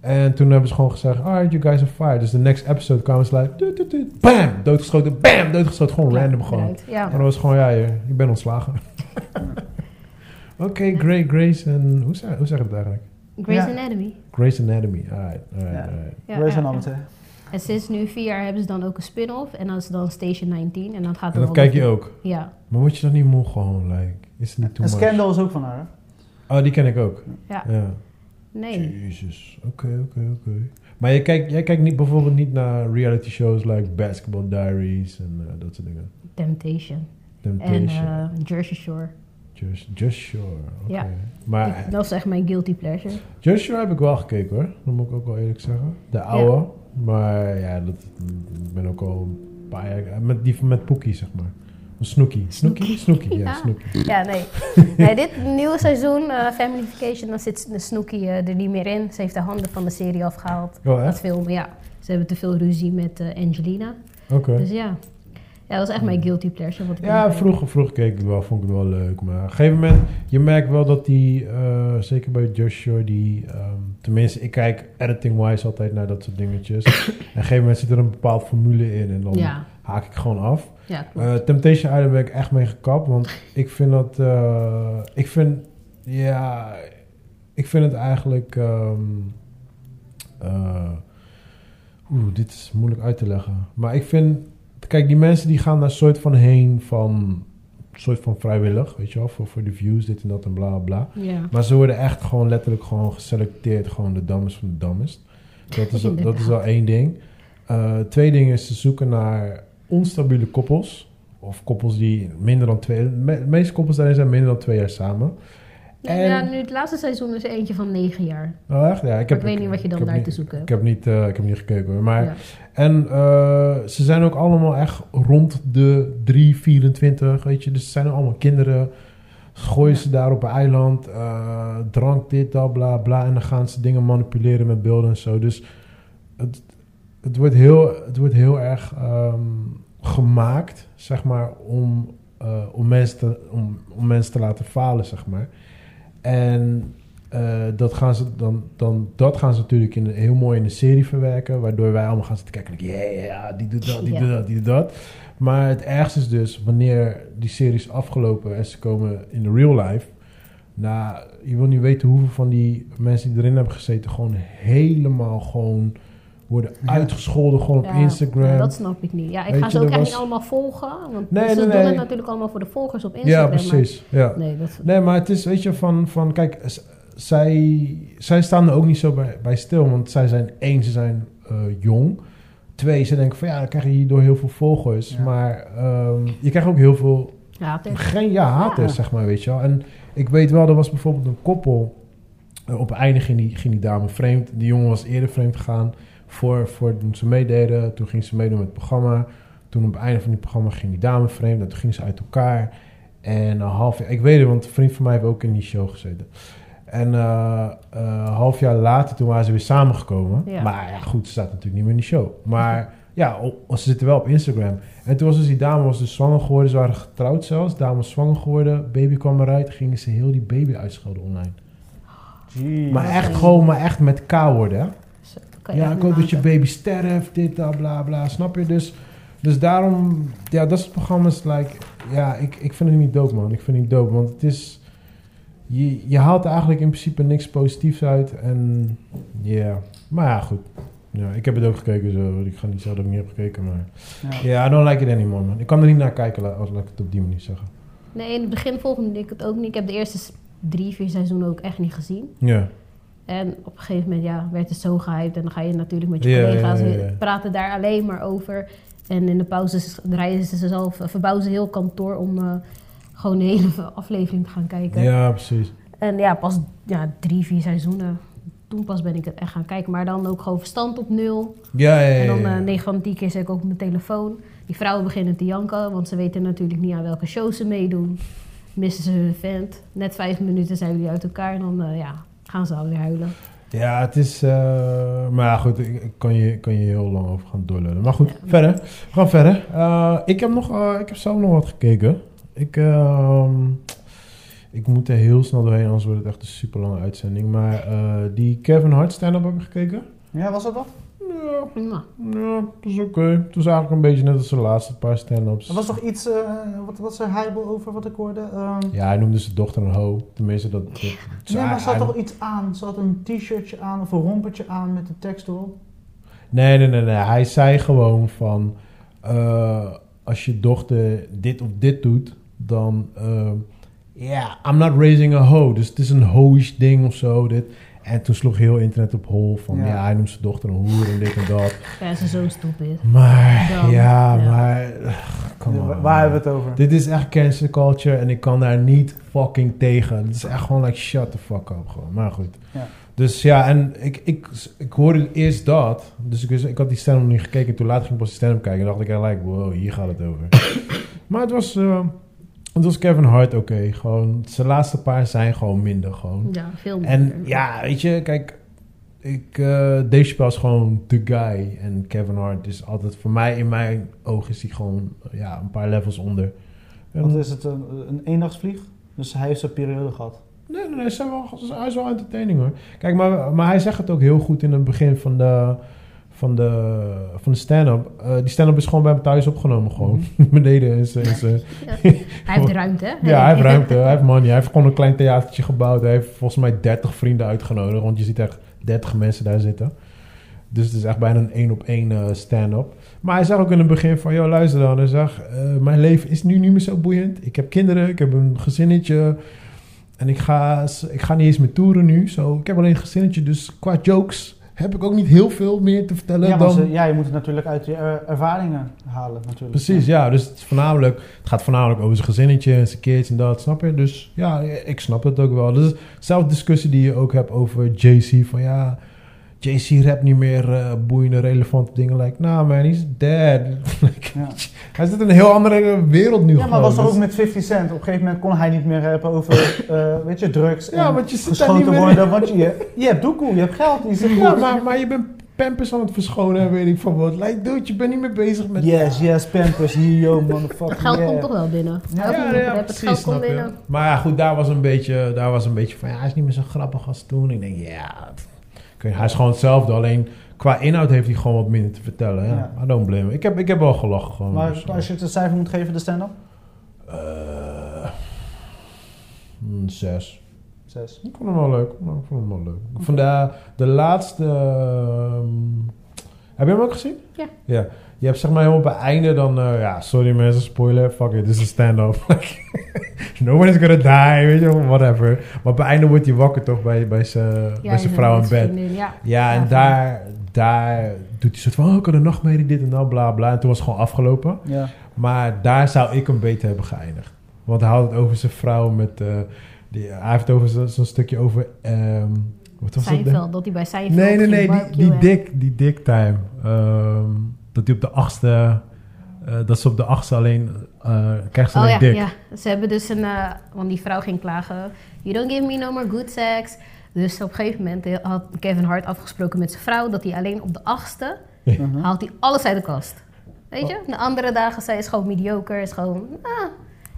B: En toen hebben ze gewoon gezegd, alright, you guys are fired. Dus de next episode kwamen ze like, tut, tut, tut, bam, doodgeschoten, bam, doodgeschoten. Gewoon random gewoon.
C: Eruit. Ja.
B: En dan was het gewoon, ja, je, ik ben ontslagen. Oké, Grey Grace en... Hoe zeg, hoe zeg je het eigenlijk?
C: Grey's
A: Ja.
C: Anatomy.
B: Grace Anatomy, alright, alright,
A: Ja.
B: alright.
C: Ja,
A: Grey's
C: ja, ja.
A: Anatomy.
C: En sinds nu vier jaar hebben ze dan ook een spin-off. En dat is dan Station 19. En dat gaat
B: En
C: dan
B: dat
C: over-
B: kijk je ook.
C: Ja,
B: Maar word je dan niet moe gewoon, like? Is het niet too
A: En
B: much?
A: Scandal is ook van haar. hè?
B: Oh, die ken ik ook.
C: Ja. nee.
B: Jezus, oké, oké, oké. Maar je kijkt, jij kijkt niet, bijvoorbeeld niet naar reality shows like Basketball Diaries en eh, dat soort dingen.
C: Temptation. En
B: Temptation,
C: eh, Jersey Shore.
B: Just, Just Shore, oké.
C: Ja.
B: Maar
C: Ik- dat is echt mijn guilty pleasure.
B: Just Shore heb ik wel gekeken hoor, dat moet ik ook wel eerlijk zeggen. De oude, maar ja, dat, ik ben ook al een paar jaar... Met, die, met Poekie, zeg maar. Snooki. Snooki? Snooki, ja,
C: <laughs> Ja.
B: Snooki.
C: Ja, nee.
B: <laughs>
C: nee dit nieuwe seizoen, eh, Family Vacation, dan zit de Snooki eh, er niet meer in. Ze heeft de handen van de serie afgehaald.
B: Oh,
C: Dat
B: echt?
C: film, ja. Ze hebben te veel ruzie met eh, Angelina.
B: Oké.
C: Dus ja. Ja, dat is echt mijn guilty pleasure. Wat ik
B: Ja,
C: niet-
B: vroeger, vroeger keek ik het wel, vond ik het wel leuk. Maar op een gegeven moment, je merkt wel dat die, eh, zeker bij Joshua, die, ehm, tenminste, ik kijk editing-wise altijd naar dat soort dingetjes. <coughs> en op een gegeven moment zit er een bepaalde formule in en dan
C: Ja,
B: haak ik gewoon af.
C: ja klopt.
B: Eh, Temptation Island ben ik echt mee gekapt, want ik vind dat, eh, ik vind, ja, ik vind het eigenlijk, ehm, eh, oeh, dit is moeilijk uit te leggen. Maar ik vind, kijk, die mensen die gaan daar soort van heen van, soort van vrijwillig, weet je wel, voor, voor de views, dit en dat en bla bla.
C: ja.
B: Maar ze worden echt gewoon letterlijk gewoon geselecteerd. Gewoon de dammers van de dammers. Dat is, al- dat is al één ding. Eh, twee dingen is ze zoeken naar onstabiele koppels. Of koppels die minder dan twee... me- De meeste koppels daarin zijn minder dan twee jaar samen. En-
C: ja, nou, nu het laatste seizoen is er eentje van negen jaar.
B: Oh, echt? Ja, ik, heb,
C: ik weet niet wat je dan
B: ik heb
C: daar
B: niet-
C: te zoeken
B: Ik
C: hebt.
B: heb niet, eh, ik heb niet gekeken hoor. Maar,
C: Ja.
B: En eh, ze zijn ook allemaal echt rond de 3, 24, weet je. Dus ze zijn allemaal kinderen. Gooien ze daar op een eiland. eh, drank dit, dat, bla, bla. En dan gaan ze dingen manipuleren met beelden en zo. Dus het, het, wordt, heel, het wordt heel erg ehm, gemaakt, zeg maar, om, eh, om, mensen te, om, om mensen te laten falen, zeg maar. En eh, dat, gaan ze dan, dan, dat gaan ze natuurlijk in, een- heel mooi in de serie verwerken. Waardoor wij allemaal gaan zitten kijken. like, Ja, ja, ja, die doet dat, die
C: Ja.
B: doet dat, die doet dat. Maar het ergste is dus wanneer die serie is afgelopen en ze komen in de real life. Nou, je wil niet weten hoeveel van die mensen die erin hebben gezeten gewoon helemaal gewoon worden uitgescholden. Gewoon op
C: Ja,
B: Instagram.
C: ja, dat snap ik niet. Ja, ik
B: Weet
C: ga
B: je,
C: ze ook
B: er
C: echt
B: was-
C: niet allemaal volgen. Want
B: Nee,
C: ze
B: nee,
C: doen
B: nee.
C: het natuurlijk allemaal voor de volgers op Instagram.
B: ja,
C: maar-
B: precies. Ja.
C: nee, dat...
B: Nee, maar het is, weet je, van, van kijk, z- zij, zij staan er ook niet zo bij, bij stil. Want zij zijn, één, ze zijn eh, jong. Twee, ze denken van ja, dan krijg je hierdoor heel veel volgers.
A: Ja.
B: Maar ehm, je krijgt ook heel veel
C: Ja, het is-
B: geen ja haters,
A: Ja.
B: zeg maar, weet je wel. En ik weet wel, er was bijvoorbeeld een koppel. eh, op einde ging die, ging die dame vreemd. Die jongen was eerder vreemd gegaan voor, voor toen ze meededen. Toen ging ze meedoen met het programma. Toen op het einde van het programma ging die dame vreemd. En toen gingen ze uit elkaar. En een half jaar... Ik weet het, want een vriend van mij heeft ook in die show gezeten. En eh, eh, een half jaar later, toen waren ze weer samengekomen.
C: Ja.
B: Maar Ah, ja, goed, ze staat natuurlijk niet meer in die show. Maar ja, o- ze zitten wel op Instagram. En toen was dus die dame was dus zwanger geworden. Ze waren getrouwd zelfs. De dame was zwanger geworden. Baby kwam eruit. Gingen ze heel die baby uitschelden online.
A: Jeez.
B: Maar echt
C: Oké.
B: gewoon, maar echt met K-woorden. hè.
C: zo- kan je
B: Ja,
C: echt
B: ik hoop dat je
C: maken.
B: baby sterft, dit, dat, bla, bla. Snap je? Dus, dus daarom, ja, dat soort programma's, like, ja, ik, ik vind het niet dope, man. Ik vind het niet dope, want het is, je, je haalt er eigenlijk in principe niks positiefs uit. En, ja, maar ja, goed. Ja, ik heb het ook gekeken, zo. Ik ga niet zeggen dat ik niet heb gekeken, maar... Ja,
A: Ja.
B: I don't like it anymore, man. Ik kan er niet naar kijken, la- als laat ik het op die manier zeggen.
C: Nee, in het begin volgende ik het ook niet. Ik heb de eerste s- drie, vier seizoenen ook echt niet gezien.
B: Ja,
C: En op een gegeven moment ja, werd het zo gehyped. En dan ga je natuurlijk met je
B: Ja,
C: collega's
B: ja, ja, ja.
C: praten daar alleen maar over. En in de pauzes draaien ze zelf, verbouwen ze heel kantoor om eh, gewoon de hele <laughs> aflevering te gaan kijken.
B: ja, precies.
C: En ja, pas ja, drie, vier seizoenen. Toen pas ben ik het echt gaan kijken. Maar dan ook gewoon verstand op nul.
B: Ja, ja, ja,
C: En dan
B: ja, ja.
C: eh 9 van de 10 keer zit ik ook op mijn telefoon. Die vrouwen beginnen te janken, want ze weten natuurlijk niet aan welke show ze meedoen. Missen ze hun vent. Net vijf minuten zijn jullie uit elkaar en dan eh, ja, gaan ze alweer huilen.
B: Ja, het is. eh, maar ja, goed, ik ik kan je, kan je heel lang over gaan doorlullen. Maar goed, verder. We gaan verder. Eh, ik, heb nog, eh, ik heb zelf nog wat gekeken. Ik, ehm, ik moet er heel snel doorheen, anders wordt het echt een super lange uitzending. Maar eh, die Kevin Hart stand-up heb ik gekeken.
A: Ja, was dat dat?
B: Ja,
C: Nou,
B: ja, dat is oké. Het was eigenlijk een beetje net als de laatste paar stand-ups.
A: Er was toch iets, eh, wat was er heibel over wat ik hoorde? Ehm,
B: Ja, hij noemde zijn dochter een ho. Tenminste, dat... dat
A: nee, maar
B: hij-
A: ze had
B: hij-
A: toch iets aan? Ze had een t-shirtje aan of een rompertje aan met de tekst erop.
B: Nee, nee, nee, nee. Hij zei gewoon van... eh, als je dochter dit of dit doet, dan... eh, Ja, I'm not raising a ho. Dus het is een hoish ding of zo. Dit. En toen sloeg heel internet op hol van... Ja,
A: Ja.
B: hij noemt zijn dochter een hoer en dit en dat.
C: ja, ze is zo stupid.
B: Maar,
C: Dan,
B: ja,
C: ja.
B: maar... ugh, Come
A: Wa-
B: on.
A: Waar hebben we het over?
B: Dit is echt cancel culture en ik kan daar niet fucking tegen. Het is echt gewoon like shut the fuck up gewoon. Maar goed.
A: Ja.
B: Dus ja, en ik, ik, ik hoorde eerst dat. Dus ik, wist- ik had die stand nog niet gekeken. Toen later ging ik pas die stand kijken. En dacht ik eigenlijk, wow, hier gaat het over. maar het was, eh, het was Kevin Hart oké. Gewoon, zijn laatste paar zijn gewoon minder gewoon.
C: Ja, veel
B: En
C: minder.
B: ja, weet je, kijk, ik, eh Dave Chappelle is gewoon the guy. En Kevin Hart is altijd, voor mij, in mijn ogen is hij gewoon ja, een paar levels onder. En-
A: Want is het een, een eendagsvlieg? Dus hij heeft zijn periode gehad.
B: nee, nee, nee, ze zijn wel, hij is wel entertaining hoor. Kijk, maar, maar hij zegt het ook heel goed in het begin van de, van de, van de stand-up. Eh, die stand-up is gewoon bij hem thuis opgenomen gewoon. <laughs> Beneden eh, in zijn- in zijn,
C: Hij heeft ruimte, hè?
B: Ja, hij heeft ruimte, hij heeft money, hij heeft gewoon een klein theatertje gebouwd. Hij heeft volgens mij 30 vrienden uitgenodigd, want je ziet echt 30 mensen daar zitten. Dus het is echt bijna een één op één eh, stand-up. Maar hij zag ook in het begin van, joh, luister dan. Hij zag, eh, mijn leven is nu niet meer zo boeiend. Ik heb kinderen, ik heb een gezinnetje. En ik ga, s- ik ga niet eens meer toeren nu. Zo, ik heb alleen een gezinnetje, dus qua jokes heb ik ook niet heel veel meer te vertellen
A: Ja, want
B: dan...
A: ze- ja, je moet het natuurlijk uit je er- ervaringen halen. Natuurlijk.
B: Precies, ja. Dus het, is voornamelijk, het gaat voornamelijk over zijn gezinnetje en zijn kids en dat, snap je? Dus ja, ik snap het ook wel. Dus zelfde discussie die je ook hebt over JC. Van ja, JC rapt niet meer eh, boeiende, relevante dingen. Like, nah man, he's dead. <laughs> Like,
A: Ja.
B: Hij zit in een heel andere wereld nu
A: Ja, maar
B: gewoon.
A: was er
B: Dus-
A: ook met 50 Cent. Op een gegeven moment kon hij niet meer hebben over eh, weet je, drugs
B: Ja,
A: en
B: want je zit daar niet
A: geschoten
B: meer
A: worden. Want je, je hebt doekoe, je hebt geld, je zit
B: Ja,
A: goed.
B: maar, maar je bent pampers aan het verschonen en weet ik van wat. Like, dude, je bent niet meer bezig met...
A: Yes, yes, Pampers, hier, yo, motherfucker.
C: Het geld
A: yeah.
C: komt toch wel binnen.
A: Ja,
C: Elke rapper, het geld komt
B: snap je.
C: binnen.
B: Maar ja, goed, daar was een beetje, daar was een beetje van, ja, hij is niet meer zo grappig als toen. Ik denk, ja, pff, oké, hij is gewoon hetzelfde, alleen qua inhoud heeft hij gewoon wat minder te vertellen. Ja.
A: Ja.
B: I don't blame him. Ik heb, ik heb wel gelachen gewoon.
A: Maar
B: dus,
A: als je het een cijfer moet geven, de stand-up?
B: eh, een zes.
A: Zes.
B: Ik vond hem wel leuk. maar Ik vond hem wel leuk. Vandaar de laatste... ehm, heb je hem ook gezien?
C: Ja.
B: Ja. Je hebt zeg maar helemaal bij einde dan... eh, ja, sorry mensen, spoiler. Fuck it, dit is een stand-up. <laughs> Nobody's gonna die, weet je wel, whatever. Maar bij einde wordt hij wakker toch bij, bij zijn
C: Ja,
B: bij
C: en
B: zijn vrouw in bed.
C: vriendin, Ja,
B: Ja, en
C: Ja,
B: daar, daar doet hij soort van... Oh, ik had een nachtmerrie, dit en dat, bla bla. En toen was het gewoon afgelopen.
A: Ja.
B: Maar daar zou ik hem beter hebben geëindigd. Want hij had het over zijn vrouw met... eh, die, hij heeft het over zo- zo'n stukje over... ehm, wat was dat?
C: Seinfeld, dat hij bij Seinfeld
B: Nee, nee,
C: ging
B: nee. Die,
C: barbecuen.
B: die, dik, die dik time. Ehm, dat hij op de achtste... eh, dat ze op de achtste alleen... eh krijgt ze
C: Oh
B: alleen
C: ja,
B: dik.
C: ja, ze hebben dus een, eh, want die vrouw ging klagen. You don't give me no more good sex. Dus op een gegeven moment had Kevin Hart afgesproken met zijn vrouw dat hij alleen op de achtste
A: Mhm.
C: haalt hij alles uit de kast.
B: Oh.
C: Weet je? De andere dagen zei is gewoon mediocre, is gewoon. Ah.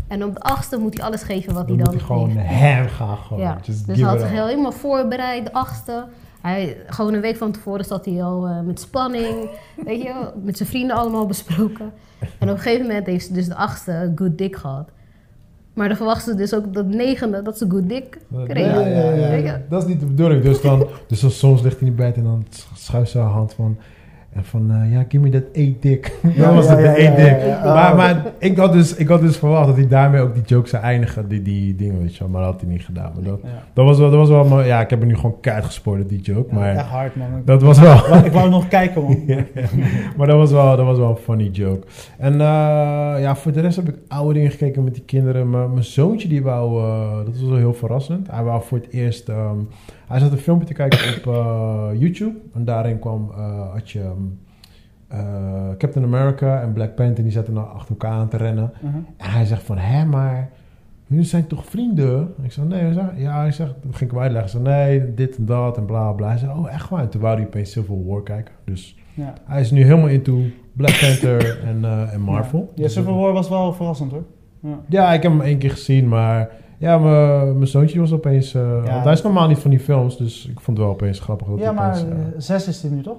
C: En op de achtste moet hij alles geven wat
B: Dan
C: hij
B: moet
C: dan
B: hij gewoon
C: heeft.
B: hem gaan. Gewoon.
C: Ja.
B: Just
C: Dus
B: give
C: hij had
B: it
C: zich
B: up.
C: heel helemaal voorbereid, de achtste. Hij, gewoon een week van tevoren zat hij al eh, met spanning, <laughs> weet je, wel, met zijn vrienden allemaal besproken. En op een gegeven moment heeft ze dus de achtste good dick gehad. Maar dan verwachtte ze dus ook op dat negende dat ze good dick kreeg.
B: Ja, ja, ja,
C: Weet
B: ja.
C: je?
B: Dat is niet de bedoeling. Dus, dan, dus dan soms ligt hij in bed en dan schuift ze haar hand van... En van, eh, ja, give me dat eet dik.
A: Ja,
B: <laughs> dat was
A: ja,
B: het,
A: ja,
B: de
A: ja,
B: eet
A: ja,
B: dik.
A: ja, ja.
B: Maar,
A: Oh.
B: maar ik, had dus, ik had dus verwacht dat hij daarmee ook die joke zou eindigen. Die, die dingen, weet je wel. Maar dat had hij niet gedaan. Maar dat,
A: Ja.
B: dat, was wel, dat was wel... mooi. Ja, ik heb hem nu gewoon keihard gespoord, die joke.
A: Maar... Echt
B: Maar
A: hard, man.
B: <laughs> dat was wel...
A: Ik wou nog kijken, man.
B: Maar dat was wel, dat was wel een funny joke. En eh, ja, voor de rest heb ik oude dingen gekeken met die kinderen. Maar mijn zoontje die wou, eh, dat was wel heel verrassend. Hij wou voor het eerst, ehm, hij zat een filmpje te kijken op eh, YouTube. En daarin kwam, eh, had je ehm, eh, Captain America en Black Panther. Die zaten nou achter elkaar aan te rennen.
A: Mhm.
B: En hij zegt van, hè, maar jullie zijn toch vrienden? Ik zei, nee. Hij zei, ja, ik zeg, toen ging ik hem uitleggen. Ik zei, nee, dit en dat en bla bla. Hij zei, oh, echt waar? En toen wou hij opeens Civil War kijken. Dus
A: Ja.
B: hij is nu helemaal into Black
A: <coughs>
B: Panther en, eh, en Marvel.
A: Ja, Civil War was wel verrassend hoor. Ja.
B: Ja, ik heb hem één keer gezien, maar... Ja, mijn mijn zoontje was opeens... eh, want hij is normaal niet van die films, dus ik vond het wel opeens grappig. Dat
A: Ja,
B: hij
A: maar
B: opeens, eh,
A: eh, zes is dit nu toch?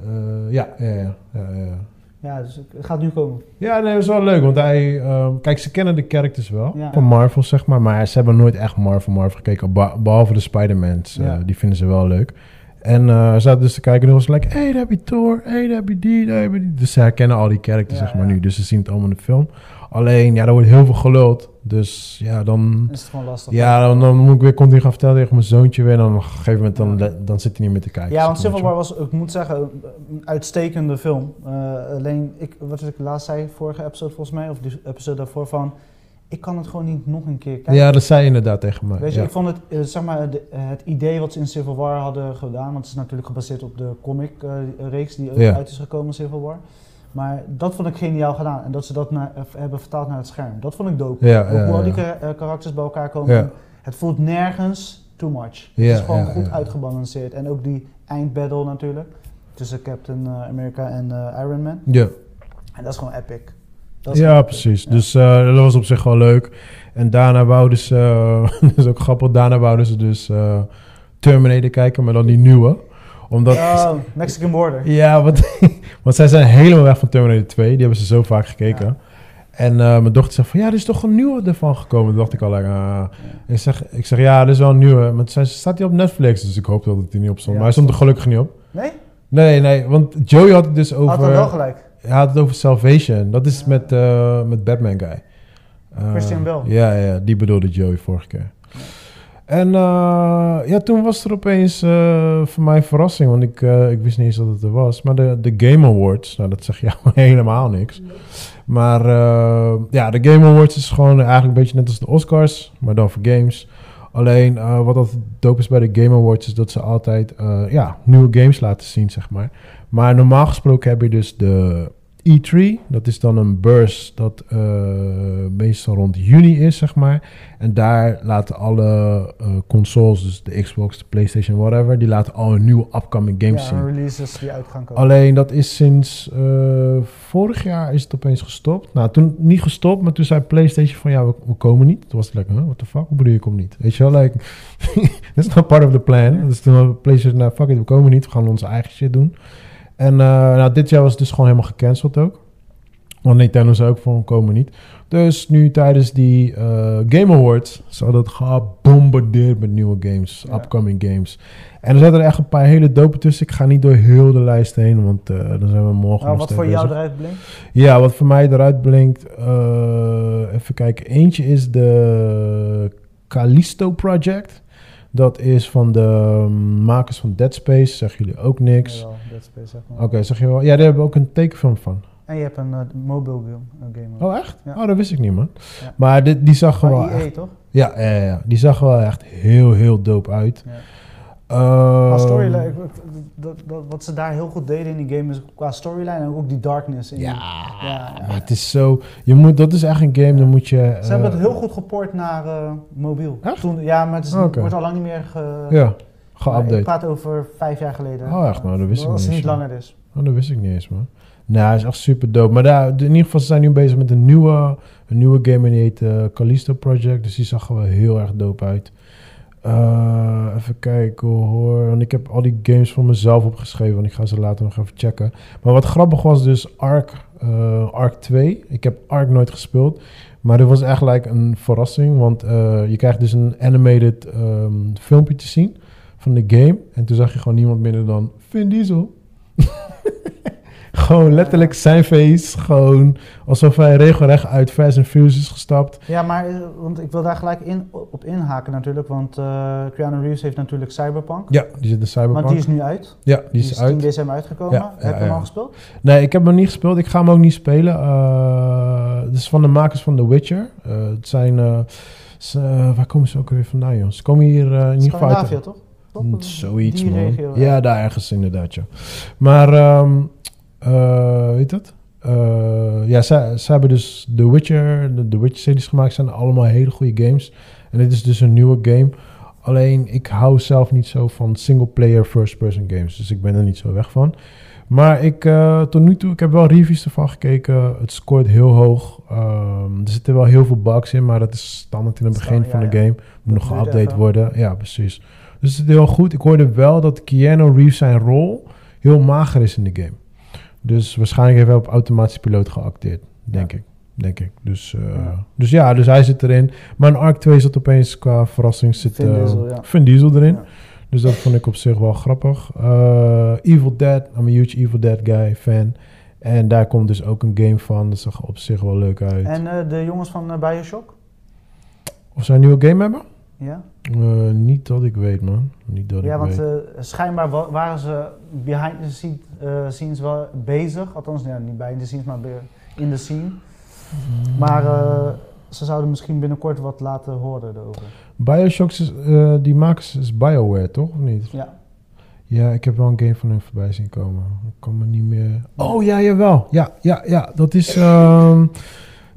B: eh, ja, ja, ja, ja, ja, ja.
A: Ja, dus het gaat nu komen.
B: Ja, nee, dat is wel leuk, want hij... ehm, kijk, ze kennen de characters wel,
A: Ja.
B: van Marvel, zeg maar. Maar ze hebben nooit echt Marvel, Marvel gekeken, beh- behalve de Spider-Mans. eh,
A: Ja.
B: die vinden ze wel leuk. En eh, ze zaten dus te kijken, en was like, hey, daar heb je Thor, hey, daar heb je die, daar heb je die. Dus ze herkennen al die characters,
A: Ja,
B: zeg maar,
A: ja.
B: nu. Dus ze zien het allemaal in de film. Alleen, ja, er wordt heel veel geluld. Dus ja, dan...
A: Dan is het gewoon lastig.
B: Ja, dan, dan moet ik weer continu gaan vertellen tegen mijn zoontje weer. En dan op een gegeven moment dan, dan zit hij niet meer te kijken.
A: Ja, want
B: zeg maar,
A: Civil War was, ik moet zeggen, een uitstekende film. Eh, alleen, ik, wat ik laatst zei, vorige episode volgens mij, of die episode daarvoor, van... Ik kan het gewoon niet nog een keer kijken.
B: Ja, dat zei je inderdaad tegen mij.
A: Weet je,
B: ja.
A: ik vond het, eh, zeg maar, de- het idee wat ze in Civil War hadden gedaan, want het is natuurlijk gebaseerd op de comic-reeks die ook
B: Ja.
A: uit is gekomen, Civil War. Maar dat vond ik geniaal gedaan. En dat ze dat naar- eh, hebben vertaald naar het scherm. Dat vond ik dope.
B: Ja,
A: Ook
B: ja,
A: hoe al die
B: ja.
A: kar- eh, karakters bij elkaar komen.
B: Ja.
A: Het voelt nergens too much.
B: Ja,
A: het is gewoon
B: ja,
A: goed
B: ja.
A: uitgebalanceerd. En ook die eindbattle natuurlijk. Tussen Captain eh, America en eh, Iron Man.
B: Ja,
A: En dat is gewoon epic. Dat is
B: ja
A: gewoon-
B: precies.
A: Ja.
B: Dus eh, dat was op zich wel leuk. En daarna wouden ze, eh, <laughs> dat is ook grappig, daarna wouden ze dus eh, Terminator kijken, maar dan die nieuwe. Omdat, ja,
A: Oh, Mexican Border.
B: want, <laughs> want zij zijn helemaal weg van Terminator 2. Die hebben ze zo vaak gekeken. En eh, mijn dochter zegt van, ja, er is toch een nieuwe ervan gekomen. Toen dacht ik al, like, ah. ik, zeg, ik zeg, ja, er is wel een nieuwe. Maar toen zei ze, staat die op Netflix? Dus ik hoop dat het er niet op stond.
A: Ja,
B: maar hij stond er gelukkig niet op.
A: Nee?
B: Nee, nee, want Joey had het dus
A: Had hem wel
B: over. eh,
A: gelijk.
B: Hij had het over Salvation. Dat is
A: Ja.
B: met, eh, met Batman Guy. Eh,
A: Christian Bale.
B: Ja, ja, die bedoelde Joey vorige keer. En eh, ja, toen was er opeens eh, voor mij een verrassing, want ik, eh, ik wist niet eens dat het er was. Maar de, de Game Awards, nou dat zeg <laughs> jou helemaal niks. Maar eh, ja, de Game Awards is gewoon eigenlijk een beetje net als de Oscars, maar dan voor games. Alleen eh, wat altijd dope is bij de Game Awards is dat ze altijd eh, ja, nieuwe games laten zien, zeg maar. Maar normaal gesproken heb je dus de E3. Dat is dan een beurs dat eh, meestal rond juni is, zeg maar. En daar laten alle eh, consoles, dus de Xbox, de PlayStation, whatever, die laten al hun nieuwe upcoming games
A: ja,
B: zien.
A: releases die uit gaan komen.
B: Alleen dat is sinds eh, vorig jaar is het opeens gestopt. Nou, toen niet gestopt, maar toen zei PlayStation van ja, we, we komen niet. Toen was het lekker, huh, what the fuck, hoe bedoel je, komt niet? Weet je wel, like, <laughs> that's not part of the plan. Dus toen had PlayStation, nou fuck it, we komen niet, we gaan onze eigen shit doen. En eh, nou, dit jaar was het dus gewoon helemaal gecanceld ook. Want Nintendo zei ook van, we komen niet. Dus nu tijdens die eh, Game Awards zou dat gebombardeerd met nieuwe games,
A: Ja.
B: upcoming games. En er zaten er echt een paar hele dope tussen. Ik ga niet door heel de lijst heen, want eh, dan zijn we morgen.
A: Nou,
B: nog
A: wat
B: steeds
A: voor jou
B: bezig.
A: eruit blinkt?
B: Ja, wat voor mij eruit blinkt. eh, even kijken. Eentje is de Callisto Project. Dat is van de mm, makers van Dead Space. Zeggen jullie ook niks?
A: Jawel, Dead Space, zeg maar.
B: Oké, zeg je wel. Ja, daar hebben we ook een tekenfilm van.
A: En je hebt een eh, mobile game. een game
B: Oh, echt?
A: Ja.
B: Oh, dat wist ik niet, man.
A: Ja.
B: Maar dit, die zag er
A: Van
B: wel
A: EA,
B: echt...
A: toch?
B: Ja, ja, ja, ja. die zag er wel echt heel, heel dope uit.
A: Ja.
B: Ehm,
A: Qua storyline, ik- ik- dat, dat, wat ze daar heel goed deden in die game is qua storyline en ook die darkness. In
B: Ja,
A: ja.
B: maar het is zo... Je moet, dat is echt een game, dan moet je...
A: die-
B: eh,
A: Ze hebben het heel goed gepoord naar eh, mobiel.
B: Echt?
A: Toen, ja, maar het is,
B: Oké.
A: wordt al lang niet meer ge,
B: Ja,
A: maar Ik
B: geupdate.
A: praat over vijf jaar geleden.
B: Oh, echt? Nou, dat wist ik
A: Als
B: niet
A: het
B: eens,
A: niet
B: ja.
A: langer is.
B: Oh, dat wist ik niet eens, man. Nou, hij is echt super dope. Maar daar, in ieder geval, ze zijn nu bezig met een nieuwe, een nieuwe game. En die heet eh, Callisto Project. Dus die zag er wel heel erg dope uit. Eh, even kijken hoor. Want ik heb al die games voor mezelf opgeschreven. Want ik ga ze later nog even checken. Maar wat grappig was dus Ark, eh, Ark 2. Ik heb Ark nooit gespeeld. Maar dit was echt like een verrassing. Want eh, je krijgt dus een animated ehm, filmpje te zien van de game. En toen zag je gewoon niemand minder dan Vin Diesel. <laughs> gewoon letterlijk zijn face. Gewoon alsof hij regelrecht uit Fast and Furious is gestapt.
A: Ja, maar eh, want ik wil daar gelijk in, op inhaken natuurlijk. Want eh Keanu Reeves heeft natuurlijk Cyberpunk.
B: Ja, die zit in Cyberpunk.
A: Want die is nu uit.
B: ja, die is, uit.
A: 10 december uitgekomen.
B: Ja, ja,
A: Heb je hem
B: ja.
A: al gespeeld?
B: Nee, ik heb hem niet gespeeld. Ik ga hem ook niet spelen. Eh, het is van de makers van The Witcher. Eh, het zijn... eh, ze- eh, waar komen ze ook weer vandaan, jongens? Ze komen hier eh, in ieder geval uit...
A: Scandinavië, toch? Toch?
B: Mm, Zoiets,
A: Die
B: man.
A: regio,
B: ja, daar ergens inderdaad, ja. Maar, ehm eh, weet dat? Eh, eh, ja, zij, zij hebben dus The Witcher, de, de Witcher-series gemaakt. zijn allemaal hele goede games. En dit is dus een nieuwe game. Alleen, ik hou zelf niet zo van single-player first-person games. Dus ik ben er niet zo weg van. Maar ik, eh, tot nu toe, ik heb wel reviews ervan gekeken. Het scoort heel hoog. Ehm, er zitten wel heel veel bugs in, maar dat is standaard in het begin
A: Standaard,
B: van
A: ja,
B: de game.
A: Dat
B: Moet nog
A: duurt
B: geüpdate
A: even.
B: worden. Ja, precies. Dus het is heel goed. Ik hoorde wel dat Keanu Reeves zijn rol heel mager is in de game. Dus waarschijnlijk heeft hij op automatische piloot geacteerd, denk ik. Denk ik. Dus, eh,
A: Ja.
B: dus ja, dus hij zit erin. Maar in Ark 2 zat opeens qua verrassing zit,
A: Vin
B: eh,
A: Diesel, ja.
B: Vin Diesel erin.
A: Ja.
B: Dus dat vond ik op zich wel grappig. Eh, Evil Dead, I'm a huge Evil Dead guy fan. En daar komt dus ook een game van. Dat zag op zich wel leuk uit.
A: En eh, de jongens van eh, Bioshock?
B: Of zij een nieuwe game hebben?
A: Ja,
B: Eh, niet dat ik weet, man. Niet dat
A: ja
B: ik
A: want
B: weet.
A: eh, schijnbaar wa- waren ze behind the scene- eh, scenes wel bezig. Althans, ja, niet behind the scenes, maar be- in de scene.
B: Hmm.
A: Maar eh, ze zouden misschien binnenkort wat laten horen erover.
B: Bioshock, is, eh, die makers is Bioware, toch? Of niet?
A: Ja.
B: Ja, ik heb wel een game van hun voorbij zien komen. Ik kan me niet meer... Oh, ja, jawel. Ja, ja, ja. Dat is... ehm,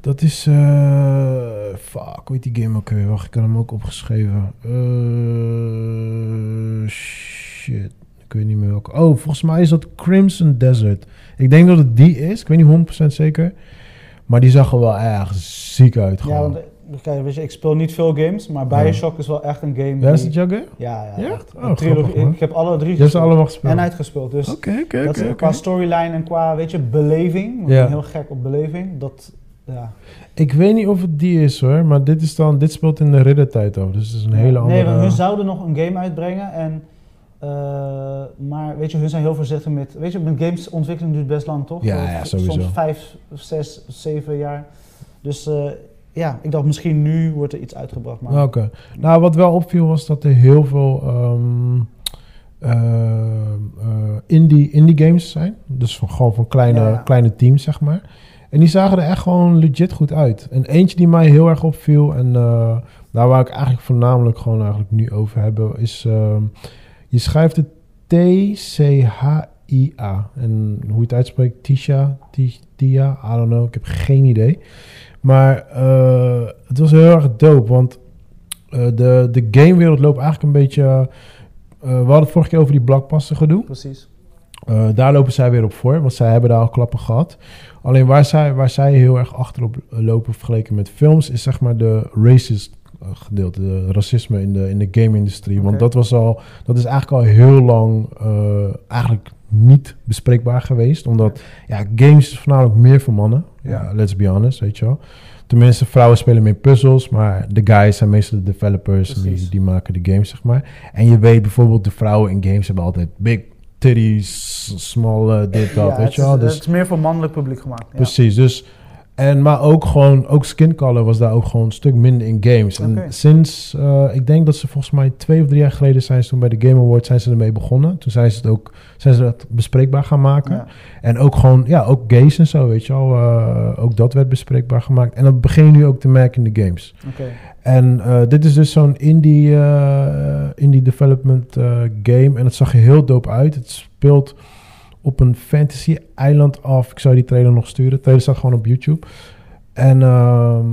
B: dat is... eh, fuck, hoe heet die game ook weer? Wacht, ik had hem ook opgeschreven. Eh, shit. Ik weet niet meer welke. Oh, volgens mij is dat Crimson Desert. Ik denk dat het die is. Ik weet niet 100% zeker. Maar die zag er wel erg ziek uit.
A: Ja,
B: Gewoon.
A: want eh, kijk, weet je, ik speel niet veel games, maar
B: Ja.
A: Bioshock is wel echt een game
B: Ja, is
A: die...
B: het jouw game?
A: Ja, ja,
B: Ja?
A: echt.
B: Oh,
A: Een trilogie-
B: grappig, man.
A: ik heb alle drie
B: Je hebt ze allemaal Oh. gespeeld.
A: en uitgespeeld. Dus
B: Oké, oké,
A: dat is,
B: oké,
A: qua
B: oké.
A: storyline en qua, weet je, beleving. want
B: Ja.
A: Ik ben heel gek op beleving. Dat, ja.
B: Ik weet niet of het die is hoor, maar dit, is dan, dit speelt in de riddertijd af. Dus het is een hele andere...
A: Nee, want hun zouden nog een game uitbrengen en... eh, maar weet je, hun zijn heel voorzichtig met... Weet je, met games ontwikkeling duurt best lang, toch?
B: Ja,
A: Eh,
B: ja,
A: v-
B: sowieso.
A: Soms vijf, zes, zeven jaar. Dus eh, ja, ik dacht misschien nu wordt er iets uitgebracht. Maar
B: Oké. Nou, wat wel opviel was dat er heel veel ehm, ehm, eh, indie, indie games zijn. Dus van, gewoon van kleine,
A: Ja, ja.
B: kleine teams, zeg maar. En die zagen er echt gewoon legit goed uit. En eentje die mij heel erg opviel en eh, daar waar ik eigenlijk voornamelijk gewoon eigenlijk nu over hebben, is ehm, je schrijft het T-C-H-I-A. En hoe je het uitspreekt, Tisha, Ti- Tia, I don't know, ik heb geen idee. Maar eh, het was heel erg dope, want eh, de, de gamewereld loopt eigenlijk een beetje... eh, we hadden het vorige keer over die blockbuster gedoe.
A: precies.
B: Eh, daar lopen zij weer op voor, want zij hebben daar al klappen gehad. Alleen waar zij, waar zij heel erg achterop lopen vergeleken met films, is zeg maar de racist eh, gedeelte, de racisme in de, in de game-industrie. Want
A: Oké.
B: dat, was al, dat is eigenlijk al heel lang eh, eigenlijk niet bespreekbaar geweest. Omdat ja, games is voornamelijk meer voor mannen. Ja, let's be honest, weet je wel. Tenminste, vrouwen spelen meer puzzels, maar de guys zijn meestal de developers en die,
A: Precies.
B: die maken de games, zeg maar. En je weet bijvoorbeeld, de vrouwen in games hebben altijd big titties, small eh, dit, dat,
A: Ja,
B: weet
A: het
B: je wel.
A: is-
B: Dus,
A: Het is meer voor mannelijk publiek gemaakt. ja.
B: Precies, dus... En, maar ook gewoon, ook skin color was daar ook gewoon een stuk minder in games. En
A: Oké.
B: sinds, eh, ik denk dat ze volgens mij twee of drie jaar geleden zijn ze toen bij de Game Awards zijn ze ermee begonnen. Toen zijn ze het ook, zijn ze dat bespreekbaar gaan maken.
A: Ja.
B: En ook gewoon, ja, ook gays en zo, weet je wel. eh, ook dat werd bespreekbaar gemaakt. En dat begin je nu ook te merken in de games.
A: Oké.
B: En eh, dit is dus zo'n indie, eh, indie development eh, game. En het zag er heel dope uit. Het speelt op een fantasy eiland af. Ik zou die trailer nog sturen. De trailer staat gewoon op YouTube. En ehm,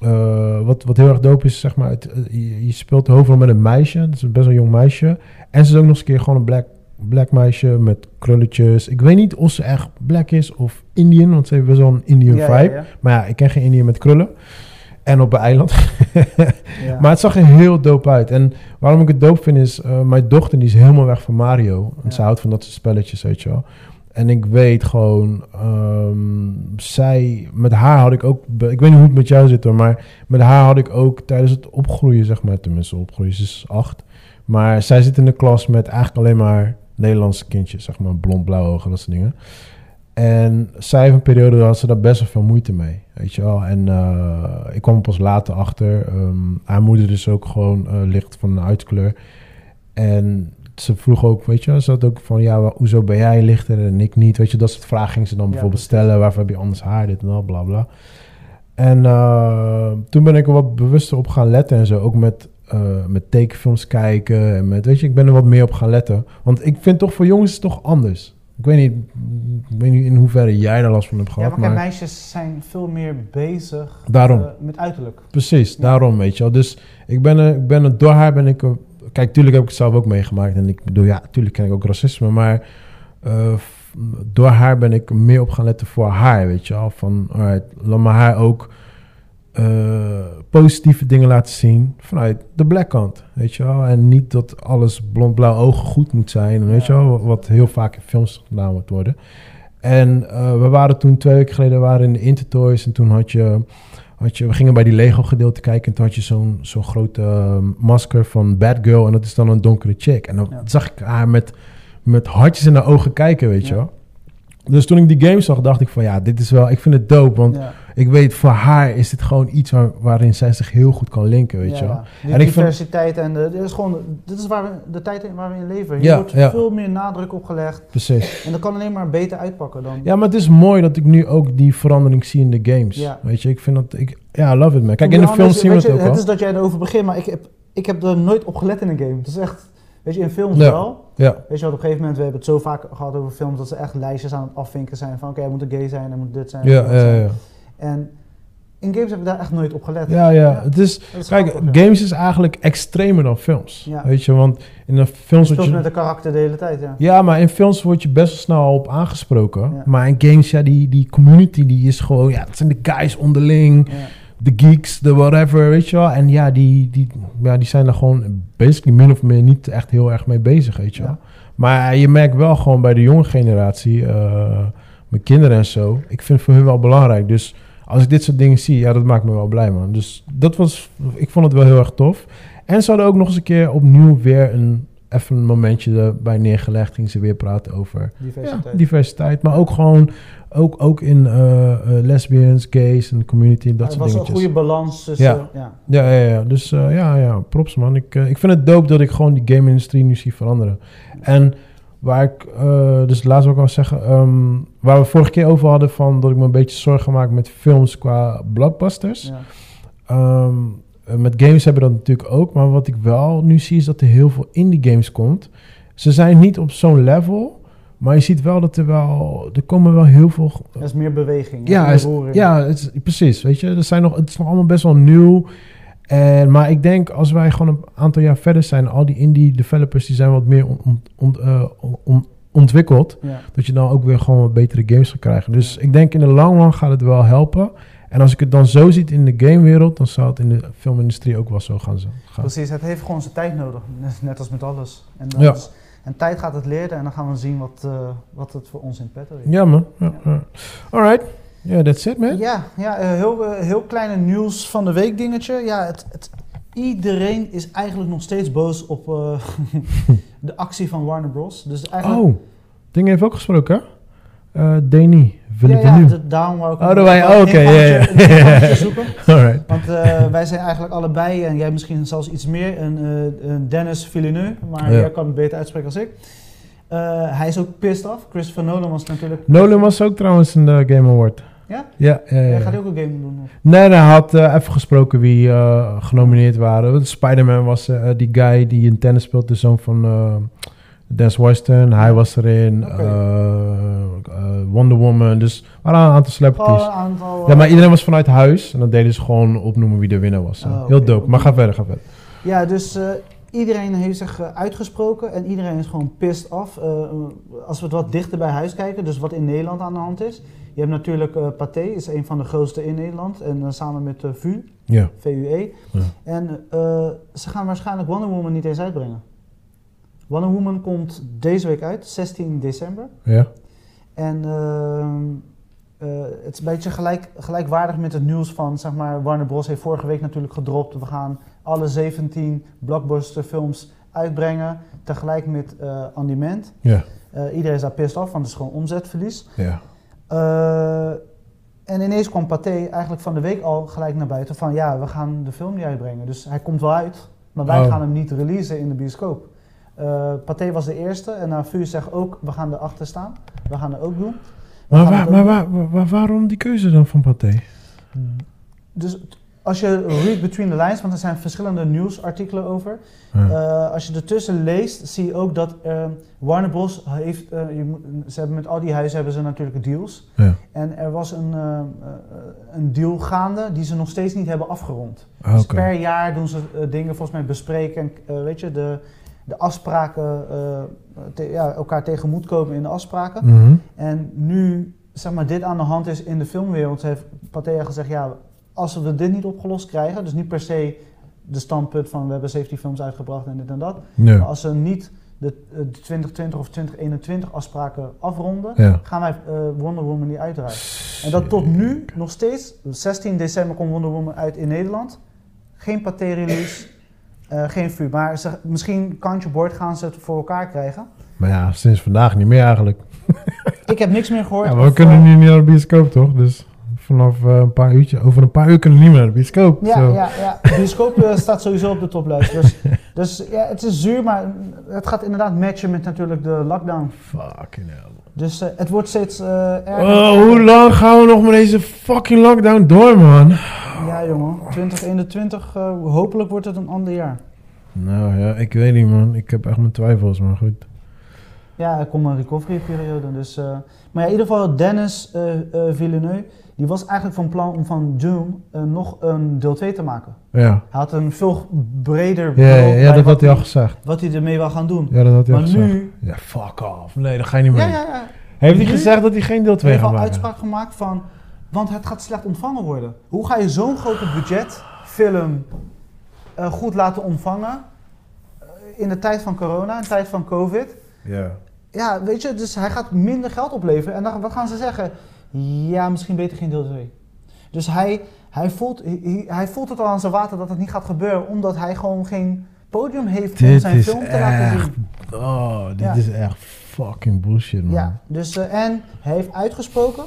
B: eh, wat, wat heel erg dope is, zeg maar, het, eh, je, je speelt de hoofdrol met een meisje. Dat is een best wel jong meisje. En ze is ook nog eens een keer gewoon een black, black meisje met krulletjes. Ik weet niet of ze echt black is of Indian, want ze heeft best wel een Indian
A: Ja, ja,
B: vibe.
A: ja.
B: Maar ja, ik ken geen Indian met krullen. En op een eiland. <laughs>
A: Ja.
B: Maar het zag er heel dope uit. En waarom ik het dope vind is... eh, mijn dochter die is helemaal weg van Mario. En
A: Ja.
B: ze houdt van dat soort spelletjes, weet je wel. En ik weet gewoon... ehm, zij... Met haar had ik ook... be- Ik weet niet hoe het met jou zit hoor. Maar met haar had ik ook tijdens het opgroeien, zeg maar... Tenminste, opgroeien. Ze is acht. Maar zij zit in de klas met eigenlijk alleen maar... Nederlandse kindjes, zeg maar. Blond, blauw ogen, dat soort dingen. En zij heeft een periode dat ze daar best wel veel moeite mee. Weet je wel. En eh, ik kwam er pas later achter. ehm, haar moeder is ook gewoon eh, licht van een huidskleur. En ze vroeg ook, weet je, wel, ze had ook van ja, wa- hoezo ben jij lichter en ik niet? Weet je, dat soort vragen ging ze dan
A: Ja,
B: bijvoorbeeld stellen. Waarvoor heb je anders haar? Dit en dat, bla bla. En eh, toen ben ik er wat bewuster op gaan letten en zo. Ook met, eh, met tekenfilms kijken. En met, weet je, ik ben er wat meer op gaan letten. Want ik vind toch voor jongens is het toch anders. Ik weet niet, ik weet niet in hoeverre jij daar last van hebt
A: Ja,
B: gehad.
A: maar kijk,
B: maar
A: meisjes zijn veel meer bezig
B: daarom.
A: eh, met uiterlijk.
B: Precies,
A: Ja.
B: daarom weet je wel. Dus ik ben, er- ik ben er door haar ben ik... er- Kijk, tuurlijk heb ik het zelf ook meegemaakt. En ik bedoel, ja, tuurlijk ken ik ook racisme. Maar eh, f- door haar ben ik er meer op gaan letten voor haar, weet je wel. Van, alright, laat maar haar ook eh, positieve dingen laten zien vanuit de black kant, weet je wel. En niet dat alles blond-blauw ogen goed moet zijn, weet je wel. Wat heel vaak in films gedaan wordt worden. En eh, we waren toen twee weken geleden we waren in de Intertoys. En toen had je, had je... We gingen bij die Lego gedeelte kijken. En toen had je zo'n zo'n grote eh, masker van Batgirl. En dat is dan een donkere chick. En dan
A: Ja.
B: zag ik haar met, met hartjes in haar ogen kijken, weet je
A: Ja.
B: wel. Dus toen ik die game zag, dacht ik van ja, dit is wel... Ik vind het dope, want
A: ja,
B: ik weet voor haar is dit gewoon iets waar- waarin zij zich heel goed kan linken, weet je wel.
A: De
B: En ik vind-
A: diversiteit en de, dit is gewoon, dit is waar we, de tijd in waar we in leven. Hier
B: Ja,
A: wordt
B: ja.
A: veel meer nadruk op gelegd
B: Precies.
A: en dat kan alleen maar beter uitpakken dan.
B: Ja, maar het is mooi dat ik nu ook die verandering zie in de games.
A: Ja.
B: Weet je, ik vind dat... Ik, ja, I love it, man. Kijk,
A: Hoe
B: in de
A: dan
B: films
A: is-
B: zien we
A: weet
B: het
A: je,
B: ook al.
A: Het is dat jij erover begint, maar ik heb, ik heb er nooit op gelet in een game. Het is echt, weet je, in films
B: Ja.
A: wel.
B: Ja,
A: Weet je wat, op een gegeven moment, we hebben het zo vaak gehad over films dat ze echt lijstjes aan het afvinken zijn van oké, hij moet een gay zijn, hij moet dit zijn. hij
B: ja,
A: moet
B: ja,
A: dat
B: ja.
A: zijn.
B: ja.
A: En in games heb ik daar echt nooit op gelet.
B: Ja, ja. Het is,
A: Dat is
B: kijk,
A: grappig, ja.
B: games is eigenlijk extremer dan films.
A: Ja.
B: Weet je, want in de
A: Je
B: films... word
A: speelt
B: je-
A: met de karakter de hele tijd, ja.
B: Ja, maar in films word je best wel snel op aangesproken.
A: Ja.
B: Maar in games, ja, die, die community die is gewoon... Ja, het zijn de guys onderling.
A: Ja.
B: de geeks, de whatever, weet je wel. En ja, die, die, ja, die zijn er gewoon basically min of meer niet echt heel erg mee bezig, weet je wel. Maar je merkt wel gewoon bij de jonge generatie, eh, mijn kinderen en zo, ik vind het voor hun wel belangrijk. Dus als ik dit soort dingen zie, ja, dat maakt me wel blij, man. Dus dat was, ik vond het wel heel erg tof. En ze hadden ook nog eens een keer opnieuw weer een, even een momentje erbij neergelegd. Gingen ze weer praten over
A: Diversiteit.
B: ja, diversiteit, maar ook gewoon ook, ook in eh, eh, lesbians, gays en community en dat
A: het
B: soort
A: Ah, was
B: dingetjes.
A: een goede balans tussen.
B: Ja.
A: Ja.
B: Ja, ja, ja. Dus eh, ja, ja, props man. Ik, eh, ik vind het dope dat ik gewoon die game-industrie nu zie veranderen. En waar ik, eh, dus laatst ook al zeggen, ehm, waar we vorige keer over hadden van dat ik me een beetje zorgen maak met films qua blockbusters.
A: ja.
B: Ehm, eh, met games hebben we dat natuurlijk ook. Maar wat ik wel nu zie is dat er heel veel indie games komt. Ze zijn niet op zo'n level. Maar je ziet wel dat er wel... Er komen wel heel veel...
A: Er is meer beweging.
B: Ja,
A: meer
B: is-
A: roering.
B: Ja, het is- precies. Weet je, er zijn nog, het is nog allemaal best wel nieuw. En, maar ik denk als wij gewoon een aantal jaar verder zijn... Al die indie developers die zijn wat meer on- on- on- eh, on- ontwikkeld
A: Ja.
B: dat je dan ook weer gewoon wat betere games gaat krijgen. Dus ik denk in de long run gaat het wel helpen. En als ik het dan zo ziet in de gamewereld, dan zou het in de filmindustrie ook wel zo gaan. gaan.
A: Precies, het heeft gewoon zijn tijd nodig. Net, net als met alles. En, dat
B: Ja.
A: is- en tijd gaat het leren en dan gaan we zien wat, eh, wat het voor ons in petto heeft.
B: Ja man. Ja, ja. Alright. Ja, that's it man.
A: Ja, ja eh, heel, eh, heel kleine nieuws van de week dingetje. Ja, het, het, iedereen is eigenlijk nog steeds boos op eh, <laughs> de actie van Warner Bros. Dus eigenlijk...
B: Oh, Ding heeft ook gesproken hè? Eh Danny. Wil
A: ja,
B: ik nu?
A: ja, d- daarom wou ik...
B: Oh, daar wij- oh, oké,
A: ik wou
B: ja,
A: het je-
B: ja.
A: ik wou
B: <laughs>
A: het je zoeken.
B: Alright.
A: Want
B: <laughs>
A: eh, wij zijn eigenlijk allebei, en jij misschien zelfs iets meer, een, eh, een Dennis Villeneuve. Maar
B: Ja.
A: jij kan het beter uitspreken als ik. Eh, hij is ook pissed af. Christopher Nolan was natuurlijk...
B: Nolan was ook trouwens een eh, Game Award.
A: Ja?
B: Ja, ja, ja,
A: Hij
B: ja.
A: gaat ook een game doen. of?
B: Nee, nee, hij had eh, even gesproken wie eh, genomineerd waren. Want Spider-Man was eh, die guy die in tennis speelt, de zoon van eh Dance Washington. Hij was erin.
A: Oké.
B: eh, eh, Wonder Woman. Dus er waren een aantal
A: Gewoon
B: celebrities.
A: een aantal...
B: ja,
A: eh,
B: maar iedereen was vanuit huis. En dan deden ze gewoon opnoemen wie de winnaar was.
A: Oh, oké.
B: Heel dope. Maar ga verder, ga verder.
A: Ja, dus eh, iedereen heeft zich eh, uitgesproken en iedereen is gewoon pissed af. Eh, als we het wat dichter bij huis kijken, dus wat in Nederland aan de hand is. Je hebt natuurlijk eh Pathé, is een van de grootste in Nederland. En eh, samen met eh, VU,
B: Ja.
A: VUE.
B: Ja.
A: E. En eh, ze gaan waarschijnlijk Wonder Woman niet eens uitbrengen. Wonder Woman komt deze week uit, 16 december.
B: Ja.
A: En ehm, eh, het is een beetje gelijk, gelijkwaardig met het nieuws van, zeg maar, Warner Bros. heeft vorige week natuurlijk gedropt. We gaan alle 17 blockbusterfilms uitbrengen, tegelijk met eh On Demand.
B: Ja.
A: Eh, iedereen is daar pissed af, want het is gewoon omzetverlies.
B: Ja.
A: Eh, en ineens kwam Pathé eigenlijk van de week al gelijk naar buiten van, ja, we gaan de film niet uitbrengen. Dus hij komt wel uit, maar wij
B: Oh.
A: gaan hem niet releasen in de bioscoop. Eh Pathé was de eerste en nou, VU zegt ook, we gaan erachter staan. We gaan er ook doen. We
B: Maar,
A: gaan
B: waar,
A: het
B: maar
A: ook-
B: waar, waar- waarom die keuze dan van Pathé?
A: Dus t- als je read between the lines, want er zijn verschillende nieuwsartikelen over. eh, als je ertussen leest, zie je ook dat eh, Warner Bros. heeft, eh, je moet- ze hebben met al die huizen hebben ze natuurlijk deals.
B: Ja.
A: En er was een, eh, eh, een deal gaande die ze nog steeds niet hebben afgerond.
B: Ah,
A: Dus
B: Oké.
A: per jaar doen ze eh, dingen volgens mij bespreken en eh, weet je, de, de afspraken, eh, te- ja, elkaar tegemoetkomen in de afspraken.
B: Mhm.
A: En nu, zeg maar, dit aan de hand is in de filmwereld, heeft Pathea gezegd, ja, als we dit niet opgelost krijgen, dus niet per se de standpunt van we hebben 17 films uitgebracht en dit en dat, maar
B: Ja.
A: als ze niet de, eh, de 2020 of 2021 afspraken afronden,
B: Ja.
A: gaan wij eh, Wonder Woman niet uitdraaien. En dat tot nu nog steeds, 16 december komt Wonder Woman uit in Nederland, geen Pathé-release, eh, geen vuur, maar ze, misschien kantje boord gaan ze het voor elkaar krijgen.
B: Maar ja, sinds vandaag niet meer eigenlijk.
A: Ik heb niks meer gehoord.
B: Ja, maar we
A: of,
B: kunnen
A: eh,
B: nu niet naar de bioscoop, toch? Dus vanaf eh, een paar uurtje, over een paar uur kunnen we niet meer naar de bioscoop.
A: Ja,
B: Zo.
A: ja, ja. De bioscoop eh, staat sowieso op de toplijst.
B: <laughs>
A: Dus, dus ja, het is zuur, maar het gaat inderdaad matchen met natuurlijk de lockdown.
B: Fucking hell.
A: Dus eh, het wordt steeds eh erger.
B: Oh, hoe lang gaan we nog met deze fucking lockdown door, man?
A: Ja, jongen. 2021, eh, hopelijk wordt het een ander jaar.
B: Nou ja, ik weet niet, man. Ik heb echt mijn twijfels, maar goed.
A: Ja, er komt een recovery periode. Dus, eh, maar ja, in ieder geval, Dennis eh eh, Villeneuve, die was eigenlijk van plan om van Dune eh, nog een deel 2 te maken.
B: Ja,
A: Hij had een veel breder
B: ja, ja,
A: beeld
B: ja,
A: bij
B: dat
A: wat,
B: had hij al gezegd.
A: wat hij ermee wil gaan doen.
B: Ja, dat had hij al
A: maar
B: gezegd.
A: nu...
B: Ja, fuck off. Nee, dat ga je niet meer.
A: Ja, ja, ja.
B: Heeft hij
A: Nu-
B: gezegd dat hij geen deel 2
A: heeft
B: gaat
A: al
B: maken?
A: uitspraak gemaakt van, want het gaat slecht ontvangen worden. Hoe ga je zo'n grote budget film eh, goed laten ontvangen eh, in de tijd van corona, in de tijd van covid?
B: Ja.
A: Ja, weet je, dus hij gaat minder geld opleveren. En dan, wat gaan ze zeggen? Ja, misschien beter geen deel 2. Dus hij, hij, voelt, hij, hij voelt het al aan zijn water dat het niet gaat gebeuren, omdat hij gewoon geen podium heeft om
B: Dit
A: zijn
B: is
A: film te laten zien.
B: echt... Oh, dit
A: Ja.
B: is echt fucking bullshit, man.
A: Ja, dus, eh, en hij heeft uitgesproken,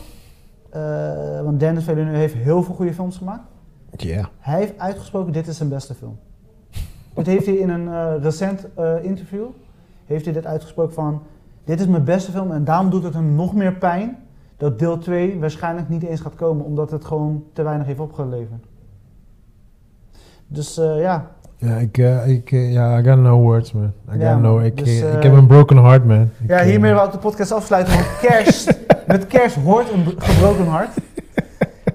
A: eh, want Dennis Villeneuve heeft heel veel goede films gemaakt.
B: Ja.
A: Hij heeft uitgesproken, dit is zijn beste film. Dit heeft hij in een eh, recent eh, interview, heeft hij dit uitgesproken van, dit is mijn beste film en daarom doet het hem nog meer pijn dat deel 2 waarschijnlijk niet eens gaat komen, omdat het gewoon te weinig heeft opgeleverd. Dus eh, ja,
B: Ja, ik, eh, ik, eh, ja, I got no words, man. I
A: Ja,
B: got no,
A: man.
B: ik,
A: Dus,
B: ik
A: eh,
B: heb een broken heart, man. Ik,
A: Ja,
B: eh,
A: hiermee wou ik de podcast afsluiten. Want
B: <laughs>
A: kerst, met kerst hoort een b- gebroken hart.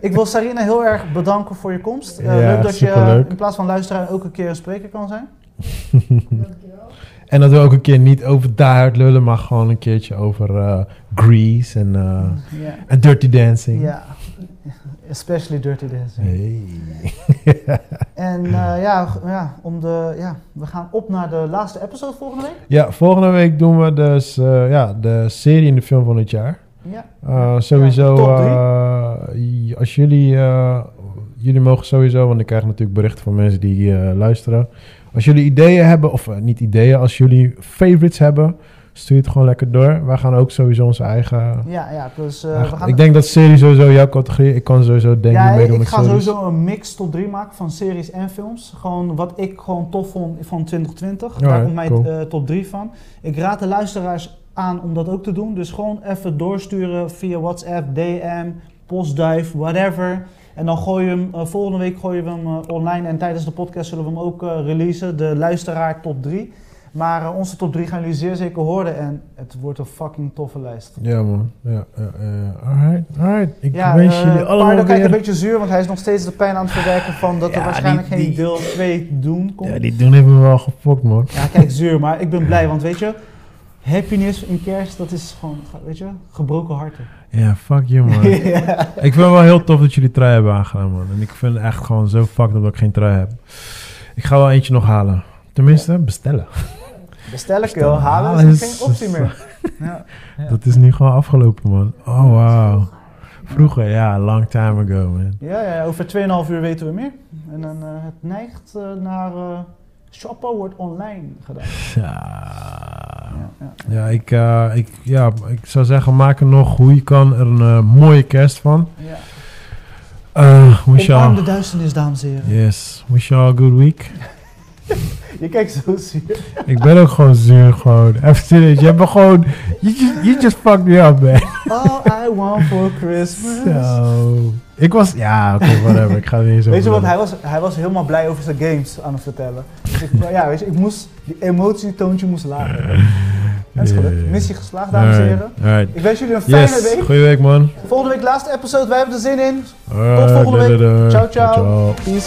A: Ik wil Sarina heel erg bedanken voor je komst. Eh,
B: Ja,
A: leuk dat je eh,
B: superleuk.
A: in plaats van luisteraar ook een keer een spreker kan zijn.
C: Dankjewel.
B: En dat we ook een keer niet over Die Hard lullen, maar gewoon een keertje over eh, Grease en eh,
A: Ja.
B: en Dirty Dancing.
A: ja. Especially Dirty Dancing.
B: Hey.
A: En eh, ja, g- ja, om de, ja, we gaan op naar de laatste episode volgende week.
B: Ja, volgende week doen we dus eh, ja, de serie en de film van het jaar.
A: Ja.
B: Eh, sowieso,
A: top drie.
B: eh, als jullie, eh, jullie mogen sowieso, want ik krijg natuurlijk berichten van mensen die eh, luisteren. Als jullie ideeën hebben, of eh, niet ideeën, als jullie favorites hebben, stuur het gewoon lekker door. Wij gaan ook sowieso onze eigen...
A: Ja, ja, dus eh, we
B: eigen-
A: gaan...
B: ik denk dat serie sowieso jouw categorie, ik kan sowieso denk
A: ja,
B: ik meedoen
A: ik
B: met
A: ga
B: series.
A: sowieso een mix top 3 maken van series en films. Gewoon wat ik gewoon tof vond van 2020. Daar
B: Alright,
A: komt mijn
B: cool.
A: eh, top 3 van. Ik raad de luisteraars aan om dat ook te doen. Dus gewoon even doorsturen via WhatsApp, DM, postduif, whatever. En dan gooi je hem, eh, volgende week gooien we hem eh, online. En tijdens de podcast zullen we hem ook eh, releasen. De luisteraar top 3. Maar eh, onze top 3 gaan jullie zeer zeker horen. En het wordt een fucking toffe lijst.
B: Ja man, ja, ja, ja. alright, alright. Ik
A: Ja,
B: wens
A: eh,
B: jullie allemaal
A: Pardo kijkt
B: weer...
A: een beetje zuur, want hij is nog steeds de pijn aan het verwerken van dat
B: Ja,
A: er waarschijnlijk
B: die-
A: geen
B: die-
A: deel 2 doen komt.
B: Ja, die doen hebben me wel gefokt man.
A: Ja, kijk, zuur, maar ik ben blij, want weet je, happiness in kerst, dat is gewoon, weet je, gebroken harten.
B: <laughs> Ja, fuck you
A: <laughs>
B: man.
A: ja.
B: Ik vind het wel heel tof dat jullie trui hebben aangedaan, man. En ik vind het echt gewoon zo fucked up dat ik geen trui heb. Ik ga wel eentje nog halen. Tenminste, bestellen.
A: Bestel ik
B: Bestel-
A: wel, halen
B: halen
A: is
B: Ah, is-
A: geen optie meer. Ja. Ja.
B: Dat is nu gewoon afgelopen, man. Oh, wauw. Vroeger, ja, long time ago, man.
A: Ja, ja, over 2,5 uur weten we meer. En dan eh, het neigt eh, naar eh, shoppen wordt online gedaan.
B: Ja,
A: Ja, ja.
B: ja, ik, eh, ik, ja ik zou zeggen, maak er nog hoe je kan er een eh, mooie kerst van.
A: ja.
B: Eh, wish
A: Omarm
B: y'all...
A: de duisternis, dames en heren.
B: Yes, wish y'all a good week.
A: Je kijkt zo
B: <laughs>
A: zuur.
B: Ik ben ook gewoon zuur, gewoon. Even serieus, je hebt me gewoon... You just, you just fucked me up, man.
A: All I want for Christmas.
B: Zo. Ik was... Ja, oké,
A: <laughs>
B: whatever. Ik ga het niet eens
A: Weet je
B: over
A: wat, hij was, hij was helemaal blij over zijn games aan het vertellen. Dus ik, ja, weet je, ik moest, die emotietoontje moest lager. Dat is
B: Ja, ja,
A: gelukt.
B: ja.
A: Missie geslaagd, dames en heren.
B: Alright, alright.
A: Ik wens jullie een fijne
B: Yes,
A: week.
B: goeie week, man.
A: Volgende week laatste episode, wij hebben er zin in.
B: Alright,
A: volgende week.
B: doei, doei.
A: Ciao, ciao. Peace.